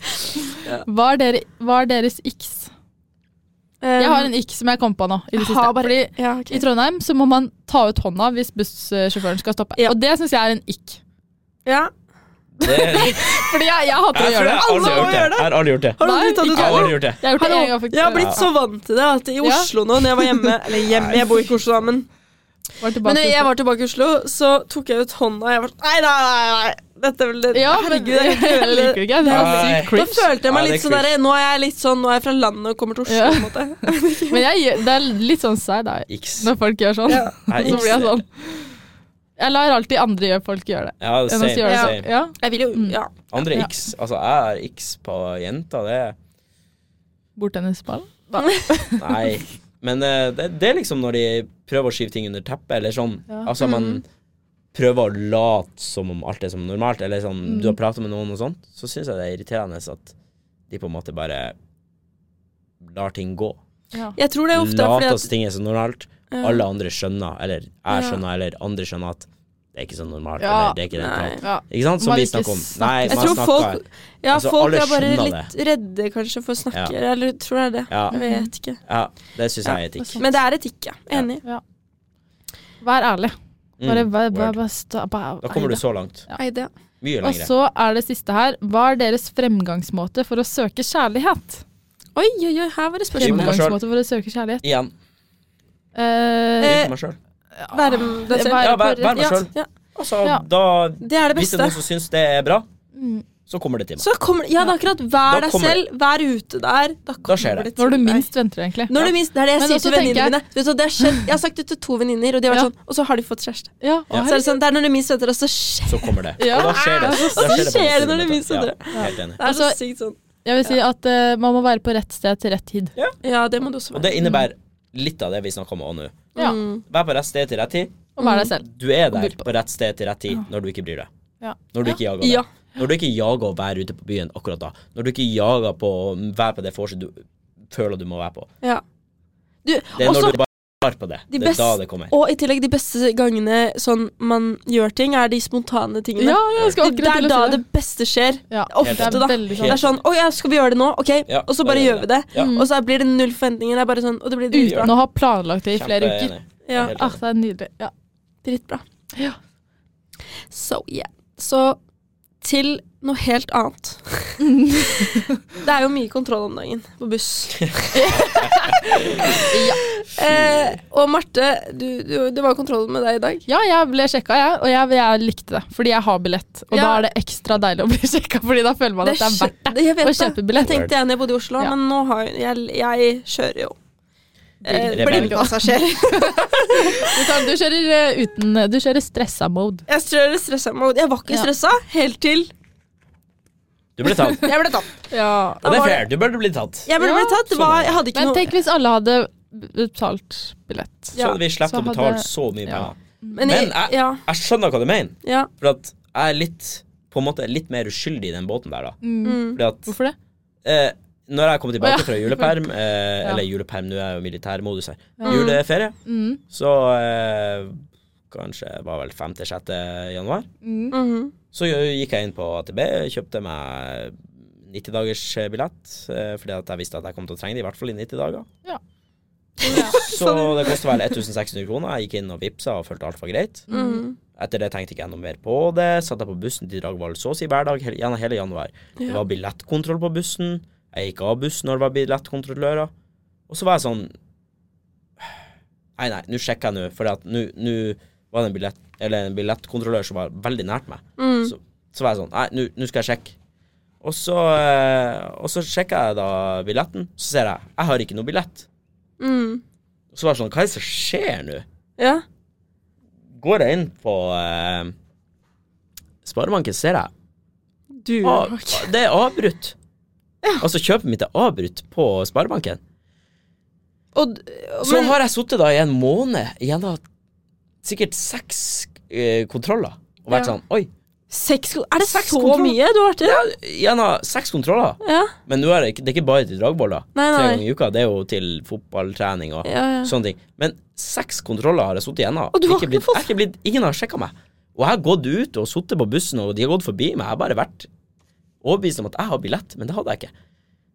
Speaker 3: Hva er, dere, hva er deres x? Jeg har en x som jeg kom på nå. I det
Speaker 1: Jeg
Speaker 3: siste.
Speaker 1: har bare-
Speaker 3: Fordi
Speaker 1: Um, ja, ok.
Speaker 3: I Trondheim så må man ta ut hånda hvis bussjåføren skal stoppe.
Speaker 1: Ja.
Speaker 3: Og det syns jeg er en ikk.
Speaker 1: ja.
Speaker 2: Det-
Speaker 3: Fordi jeg, jeg hater å
Speaker 2: Jeg tror
Speaker 3: gjøre
Speaker 2: jeg
Speaker 3: det.
Speaker 2: aldri har
Speaker 1: Alle må
Speaker 2: gjort
Speaker 1: gjøre
Speaker 2: det. Jeg har aldri gjort det.
Speaker 1: Har du
Speaker 3: Nei,
Speaker 1: blitt tatt ut
Speaker 2: Jeg har
Speaker 1: av
Speaker 2: aldri gjort det.
Speaker 3: Jeg har gjort det
Speaker 1: Hallo,
Speaker 3: en gang, faktisk.
Speaker 1: Jeg har blitt så vant til det at i
Speaker 3: Ja.
Speaker 1: Oslo nå, når jeg var hjemme Eller hjemme, jeg bor ikke i Oslo, da, men
Speaker 3: Var tilbake
Speaker 1: Men når jeg
Speaker 3: til-
Speaker 1: var tilbake i Oslo, så tok jeg ut hånda, og jeg var sånn Nei, nei, nei! nei. Dette vil det,
Speaker 3: ja, men
Speaker 1: Herregud, jeg vil ikke
Speaker 3: jeg liker
Speaker 1: gjøre
Speaker 3: det
Speaker 1: det.
Speaker 3: ikke. Det er
Speaker 2: Nei.
Speaker 1: Da
Speaker 3: sykt cringe.
Speaker 1: følte jeg meg
Speaker 2: Ja, det er
Speaker 1: litt sånn derre Nå er jeg litt sånn Nå er jeg fra landet og kommer til Oslo,
Speaker 3: Ja.
Speaker 1: på en måte.
Speaker 3: Men jeg, gjør- det er litt sånn seig da,
Speaker 2: Iks.
Speaker 3: når folk gjør sånn.
Speaker 1: Ja.
Speaker 2: Nei,
Speaker 3: Så
Speaker 2: iks.
Speaker 3: blir jeg sånn. Jeg lar alltid andre gjøre folk gjøre det.
Speaker 2: Ja,
Speaker 3: Enn å
Speaker 2: same,
Speaker 3: gjøre det.
Speaker 2: same.
Speaker 3: selv. Ja.
Speaker 1: Jeg vil jo
Speaker 3: Mm.
Speaker 1: Ja.
Speaker 2: Andre
Speaker 3: Ja.
Speaker 2: x. Altså, jeg har x på jenta, det er-
Speaker 3: Bordtennisball.
Speaker 2: Nei. Men eh, det, det er liksom når de prøver å skyve ting under teppet, eller sånn.
Speaker 3: Ja.
Speaker 2: Altså,
Speaker 1: Mm.
Speaker 2: man prøver å late som om alt er som normalt, eller sånn
Speaker 1: Mm.
Speaker 2: Du har prata med noen og sånt, så syns jeg det er irriterende at de på en måte bare lar ting gå.
Speaker 3: Ja.
Speaker 1: Jeg tror det er ofte er
Speaker 2: Later
Speaker 1: fordi
Speaker 2: som
Speaker 1: at
Speaker 2: ting er så normalt.
Speaker 1: Ja.
Speaker 2: Alle andre skjønner, eller jeg
Speaker 1: Ja.
Speaker 2: skjønner, eller andre skjønner at det er ikke så normalt,
Speaker 3: Ja.
Speaker 2: eller det er ikke den
Speaker 1: Nei.
Speaker 2: planen.
Speaker 3: Ja.
Speaker 2: Ikke sant? Som
Speaker 3: Man
Speaker 2: vi
Speaker 3: ikke
Speaker 2: snakker om.
Speaker 3: snakker
Speaker 2: Nei,
Speaker 1: Jeg
Speaker 2: man
Speaker 1: tror
Speaker 2: snakker
Speaker 1: folk Ja,
Speaker 2: Altså,
Speaker 1: folk
Speaker 2: alle
Speaker 1: er bare
Speaker 2: skjønner
Speaker 1: litt redde, kanskje, for å snakke. Eller tror jeg det.
Speaker 2: Ja.
Speaker 1: Jeg
Speaker 3: Mm.
Speaker 1: vet ikke.
Speaker 2: Ja, det syns jeg er etikk.
Speaker 1: Men det er etikk, ja. Enig.
Speaker 3: Vær ærlig. Bare,
Speaker 2: Mm,
Speaker 3: bare, bare,
Speaker 2: word.
Speaker 3: bare, stå- bare
Speaker 2: Da kommer du så langt.
Speaker 3: Ja.
Speaker 1: Eide.
Speaker 2: Mye
Speaker 3: Og
Speaker 2: lenger.
Speaker 3: så er det siste her. Hva er deres fremgangsmåte for å søke kjærlighet?
Speaker 1: Oi, oi, oi, her var det
Speaker 2: Gi meg
Speaker 1: spørsmål.
Speaker 2: selv.
Speaker 3: Fremgangsmåte for å søke kjærlighet.
Speaker 2: Igjen.
Speaker 3: Eh,
Speaker 2: Gi
Speaker 1: Eh,
Speaker 2: meg sjøl.
Speaker 1: Være med deg selv.
Speaker 2: Eh, Ja, vær- vær meg
Speaker 1: Ja,
Speaker 2: selv.
Speaker 1: ja.
Speaker 2: Altså,
Speaker 3: ja.
Speaker 2: da
Speaker 1: Det er det
Speaker 2: Hvis det er
Speaker 1: beste.
Speaker 2: noen som syns det er bra,
Speaker 3: Mm.
Speaker 2: så kommer det til meg.
Speaker 1: Så kommer, ja, det er akkurat Vær
Speaker 2: Da
Speaker 1: deg
Speaker 2: kommer det.
Speaker 1: selv, vær ute der. Da kommer
Speaker 2: skjer det.
Speaker 1: til
Speaker 3: når du
Speaker 1: deg.
Speaker 3: minst venter, egentlig.
Speaker 1: Når du minst, Det er det jeg
Speaker 3: Men
Speaker 1: sier til
Speaker 3: også
Speaker 1: venninnene
Speaker 3: tenker
Speaker 1: mine. Vet du hva, det har skjedd- jeg har sagt det til to venninner, og de har vært
Speaker 3: Ja.
Speaker 1: sånn, og så har de fått kjæreste.
Speaker 3: Ja, å,
Speaker 1: Så er det sånn, det er når du minst venter, og så skjer
Speaker 2: Så kommer det.
Speaker 3: Ja.
Speaker 2: Og da skjer det. Da
Speaker 1: så skjer det når
Speaker 2: det
Speaker 1: det minst
Speaker 2: Ja,
Speaker 1: venter.
Speaker 2: helt enig.
Speaker 1: Det er så
Speaker 3: Altså-
Speaker 1: sykt sånn.
Speaker 3: Jeg vil si at eh, man må være på rett sted til rett tid.
Speaker 1: Ja, det må du også være.
Speaker 2: Og det innebærer litt av det vi snakker om også nå.
Speaker 3: Ja,
Speaker 1: Mm.
Speaker 2: Vær på rett sted til rett tid.
Speaker 3: Og være deg selv.
Speaker 2: Du er der
Speaker 3: byr på
Speaker 2: på rett sted til rett tid når du ikke bryr deg.
Speaker 3: Ja.
Speaker 2: Når du ikke jager det.
Speaker 1: Ja.
Speaker 2: Når du ikke jager å være ute på byen akkurat da. Når du ikke jager på å være på det vorset du føler du må være på.
Speaker 1: ja. Du,
Speaker 2: Det er
Speaker 1: også,
Speaker 2: når du bare er på det.
Speaker 1: de
Speaker 2: det er da
Speaker 1: best-
Speaker 2: det kommer.
Speaker 1: og i tillegg, de beste gangene sånn man gjør ting, er de spontane tingene.
Speaker 3: Ja, jeg skal
Speaker 1: det
Speaker 3: akkurat
Speaker 1: er
Speaker 3: til å
Speaker 1: da
Speaker 3: si
Speaker 1: det
Speaker 3: det.
Speaker 1: beste skjer.
Speaker 3: Ja,
Speaker 1: Ofte,
Speaker 3: det er
Speaker 1: da.
Speaker 3: veldig
Speaker 1: Det
Speaker 3: sånn.
Speaker 1: er sånn 'Å ja, skal vi gjøre det nå?' Ok,
Speaker 2: Ja,
Speaker 1: og så
Speaker 2: da
Speaker 1: bare
Speaker 2: gjør
Speaker 1: gjør
Speaker 2: vi
Speaker 1: vi det.
Speaker 3: Mm.
Speaker 2: Ja.
Speaker 1: Og så blir det null forventninger. Det er bare sånn, og det blir dritbra.
Speaker 3: Uten å ha planlagt det i flere uker.
Speaker 2: Kjempeenig.
Speaker 1: Ja,
Speaker 2: Helt
Speaker 3: Ah, det er nydelig. Ja.
Speaker 1: dritbra.
Speaker 3: Ja.
Speaker 1: So, yeah. Så til noe helt annet. det er jo mye kontroll om dagen på buss. eh, og Marte, du, du, det var kontroll med deg i dag.
Speaker 3: Ja, jeg ble sjekka, jeg, og jeg, jeg likte det. Fordi jeg har billett. Og
Speaker 1: Ja.
Speaker 3: da er det ekstra deilig å bli sjekka, Fordi da føler man at det er verdt
Speaker 1: det. Jeg vet
Speaker 3: å
Speaker 1: det.
Speaker 3: kjøpe billett.
Speaker 1: Det tenkte jeg når jeg bodde i Oslo,
Speaker 3: Ja.
Speaker 1: men nå har jeg, jeg, jeg kjører jo. Eh,
Speaker 2: Rebell.
Speaker 1: Blindpassasjer.
Speaker 3: Du, tar- du kjører eh, uten Du kjører stressa mode.
Speaker 1: Jeg kjører stressa mode. Jeg var ikke
Speaker 3: Ja.
Speaker 1: stressa helt til
Speaker 2: Du ble tatt.
Speaker 1: jeg ble tatt.
Speaker 3: Ja.
Speaker 1: Da
Speaker 2: Og det
Speaker 1: var
Speaker 2: er
Speaker 1: det-
Speaker 2: fair, du burde bli tatt.
Speaker 1: Jeg ble,
Speaker 3: Ja,
Speaker 1: ble tatt. Det
Speaker 2: sånn
Speaker 1: var,
Speaker 2: er det.
Speaker 1: jeg hadde ikke
Speaker 3: Men
Speaker 1: noe
Speaker 3: tenk hvis alle hadde betalt billett.
Speaker 1: Ja,
Speaker 2: så vi slapp
Speaker 3: så
Speaker 2: å betale
Speaker 3: hadde-
Speaker 2: så mye
Speaker 3: ja.
Speaker 2: penger.
Speaker 1: Men eh. jeg,
Speaker 2: Men jeg-
Speaker 1: ja,
Speaker 2: Jeg skjønner hva du mener,
Speaker 1: ja.
Speaker 2: for at jeg er litt på en måte litt mer uskyldig i den båten der, da.
Speaker 3: Mm.
Speaker 1: Mm.
Speaker 2: Fordi at
Speaker 3: Hvorfor det?
Speaker 2: eh, når jeg kommer
Speaker 3: Å,
Speaker 2: tilbake
Speaker 3: ja.
Speaker 2: fra juleperm, eh,
Speaker 3: Ja.
Speaker 2: eller juleperm, nå er jeg jo i militærmodus her,
Speaker 3: Ja.
Speaker 2: juleferie,
Speaker 3: Mm.
Speaker 2: så eh, kanskje det var vel 5.-6. januar,
Speaker 3: Mm.
Speaker 1: Mhm.
Speaker 2: så gikk jeg inn på AtB, kjøpte meg 90-dagers billett, eh, fordi at jeg visste at jeg kom til å trenge det, i hvert fall i 90 dager.
Speaker 3: Ja.
Speaker 2: Så det kosta vel 1600 kroner. Jeg gikk inn og vippsa og følte alt var greit.
Speaker 1: Mhm.
Speaker 2: Etter det tenkte ikke jeg noe mer på det. Satt jeg på bussen til Dragvoll så å si hver dag hele, gjennom hele januar. Det var billettkontroll på bussen. Jeg gikk av bussen når det var billettkontrollører. Og så var jeg sånn Nei, nei, nå sjekker jeg nå, for at nå nå var det en, billett, eller en billettkontrollør som var veldig nært meg.
Speaker 1: Mm.
Speaker 2: Så, så var jeg sånn Nei, nå- nå skal jeg sjekke. Og så, eh, og så sjekker jeg da billetten, så ser jeg jeg har ikke noe billett.
Speaker 1: Mm.
Speaker 2: Og så var jeg sånn Hva er det som skjer nå?
Speaker 1: Ja.
Speaker 2: Går jeg inn på eh, Sparebanken, ser jeg
Speaker 1: Du
Speaker 2: Av- Det er avbrutt. Altså kjøpet mitt er avbrutt på Sparebanken.
Speaker 1: Og,
Speaker 2: Så
Speaker 1: men,
Speaker 2: har jeg sittet da i en måned gjennom sikkert seks eh, kontroller og vært
Speaker 1: Ja.
Speaker 2: sånn Oi,
Speaker 1: seks, er det
Speaker 2: Seks
Speaker 1: så
Speaker 2: kontroll.
Speaker 1: mye du har vært i? Ja.
Speaker 2: gjennom seks kontroller.
Speaker 1: Ja.
Speaker 2: Men nå er det, ikke, det er ikke bare til dragboller.
Speaker 1: Nei,
Speaker 2: Tre
Speaker 1: nei.
Speaker 2: ganger i uka. Det er jo til fotballtrening og
Speaker 1: Ja, ja.
Speaker 2: sånne ting. Men seks kontroller har jeg sittet gjennom.
Speaker 1: Og du har ikke
Speaker 2: blitt,
Speaker 1: fått-
Speaker 2: jeg har ikke blitt, ingen har sjekka meg. Og jeg har gått ut og sittet på bussen, og de har gått forbi meg. Jeg har bare vært overbevist om at jeg har billett, men det hadde jeg ikke.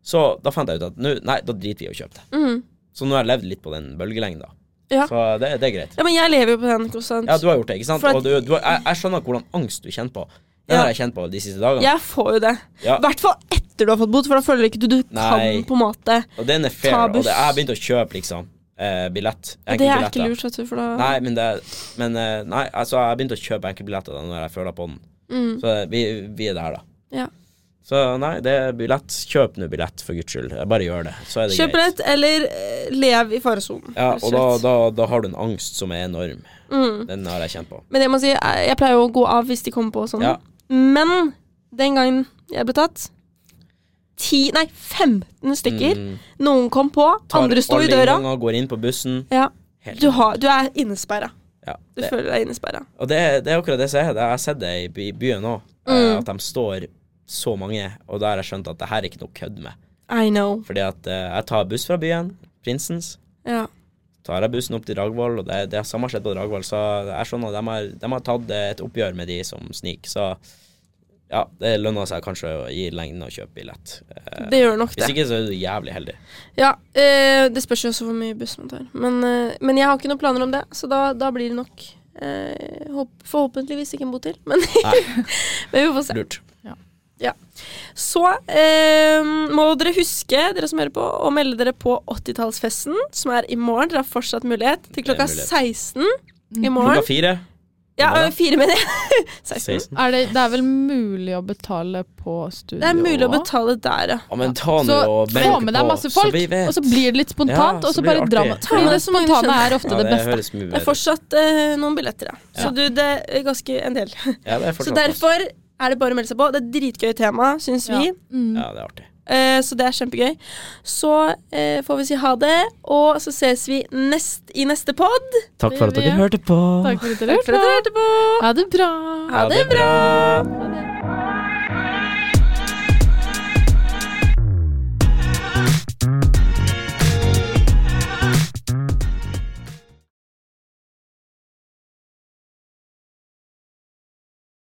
Speaker 2: Så da fant jeg ut at nå, nei, da driter vi i å kjøpe det.
Speaker 1: Mhm.
Speaker 2: Så nå har jeg levd litt på den bølgelengda.
Speaker 1: Ja.
Speaker 2: Så det, det er greit.
Speaker 1: ja, men jeg lever jo på den konstant.
Speaker 2: Ja, du har gjort det, ikke sant?
Speaker 1: For at-
Speaker 2: Og du, du, har- jeg, jeg skjønner hvordan angst du kjenner på. Den
Speaker 1: Ja.
Speaker 2: har jeg kjent på de siste dagene.
Speaker 1: Jeg får jo det. I
Speaker 2: Ja.
Speaker 1: hvert fall etter du har fått bot, for da føler du ikke du, du
Speaker 2: Nei.
Speaker 1: kan på en måte
Speaker 2: Og den er fair.
Speaker 1: Ta
Speaker 2: Og det,
Speaker 1: buss.
Speaker 2: jeg har begynt å kjøpe liksom eh, billett.
Speaker 1: Og det er
Speaker 2: Enkeltbilletter.
Speaker 1: ikke lurt, vet du, for da
Speaker 2: Nei, men det Men eh, nei, altså, jeg har begynt å kjøpe enkeltbilletter da, når jeg føler på den.
Speaker 1: Mm.
Speaker 2: Så vi, vi er der, da.
Speaker 1: Ja.
Speaker 2: Så nei, det er billett. Kjøp nå billett, for guds skyld. Jeg bare gjør det, så er det
Speaker 1: Kjøp
Speaker 2: greit.
Speaker 1: lett, eller eh, lev i faresonen.
Speaker 2: Ja,
Speaker 1: rett
Speaker 2: og da,
Speaker 1: slett.
Speaker 2: da, da har du en angst som er enorm.
Speaker 1: Mm.
Speaker 2: Den har jeg kjent på.
Speaker 1: Men jeg må si, jeg jeg pleier jo å gå av hvis de kommer på og sånn.
Speaker 2: Ja.
Speaker 1: Men den gangen jeg ble tatt ti, Nei, 15 stykker.
Speaker 2: Mm.
Speaker 1: Noen kom på,
Speaker 2: Tar
Speaker 1: andre sto i
Speaker 2: alle
Speaker 1: døra.
Speaker 2: innganger, Går inn på bussen.
Speaker 1: Ja.
Speaker 2: Helt-
Speaker 1: Du, har, du er innesperra.
Speaker 2: Ja,
Speaker 1: Du
Speaker 2: det,
Speaker 1: føler deg innesperra.
Speaker 2: og det, er- det er akkurat det som er. det- Jeg har sett det i by- byen òg,
Speaker 1: Mm.
Speaker 2: at de står så mange, og da har jeg skjønt at det her er ikke noe kødd med.
Speaker 1: I know.
Speaker 2: Fordi at eh, jeg tar buss fra byen, Prinsens.
Speaker 1: Ja.
Speaker 2: Tar jeg bussen opp til Dragvoll, og det, det har samme skjedd på Dragvoll, så jeg skjønner at de har, de har tatt eh, et oppgjør med de som sniker, så ja, det lønner seg kanskje å gi lengden å kjøpe billett. Eh,
Speaker 1: Det gjør nok
Speaker 2: Hvis
Speaker 1: det.
Speaker 2: ikke, så er du jævlig heldig.
Speaker 1: Ja, eh, Det spørs jo også hvor mye buss man tar. Men, eh, men jeg har ikke noen planer om det, så da, da blir det nok eh, håp, Forhåpentligvis ikke en bot til, men, men vi får se.
Speaker 2: Lurt.
Speaker 1: Så eh, må dere huske, dere som hører på, å melde dere på 80-tallsfesten, som er i morgen. Dere har fortsatt mulighet til
Speaker 2: Det er
Speaker 1: klokka
Speaker 2: mulighet.
Speaker 1: 16 i
Speaker 2: Klokka
Speaker 1: morgen.
Speaker 2: fire.
Speaker 1: Ja,
Speaker 2: Hva da?
Speaker 1: eh, fire, mener jeg. 16.
Speaker 2: 16.
Speaker 3: Er det, det er vel mulig å betale på studio?
Speaker 1: Det er mulig å
Speaker 3: også?
Speaker 1: betale der, ja.
Speaker 2: Ja, men ta nå
Speaker 3: Så
Speaker 2: og
Speaker 3: få
Speaker 2: melk
Speaker 3: med deg
Speaker 2: på,
Speaker 3: masse folk,
Speaker 2: så vi vet.
Speaker 3: og så blir det litt spontant,
Speaker 2: Ja, så
Speaker 3: og så
Speaker 2: blir det
Speaker 3: bare dra
Speaker 2: artig.
Speaker 3: med.
Speaker 1: Ja.
Speaker 3: Fordi det spontane er ofte
Speaker 2: ja,
Speaker 3: det
Speaker 2: det
Speaker 3: beste.
Speaker 2: høres mye
Speaker 1: Det er
Speaker 2: bedre ut.
Speaker 1: fortsatt eh, noen billetter, ja.
Speaker 2: Ja.
Speaker 1: Så du, det er ganske en del.
Speaker 2: Ja, det er
Speaker 1: Så
Speaker 2: fortsatt masse.
Speaker 1: derfor er det bare å melde seg på. Det er et dritgøy tema, syns vi.
Speaker 3: Ja. Mm.
Speaker 2: Ja, det er artig.
Speaker 1: Eh, så det er kjempegøy. Så eh, får vi si ha det, og så ses vi nest, i neste pod.
Speaker 2: Takk
Speaker 3: for at dere
Speaker 2: hørte på.
Speaker 3: Takk for at dere
Speaker 1: Takk for at dere hørte
Speaker 3: hørte
Speaker 1: på.
Speaker 3: på. Ha det bra.
Speaker 1: Ha det
Speaker 2: bra.
Speaker 3: Ha det.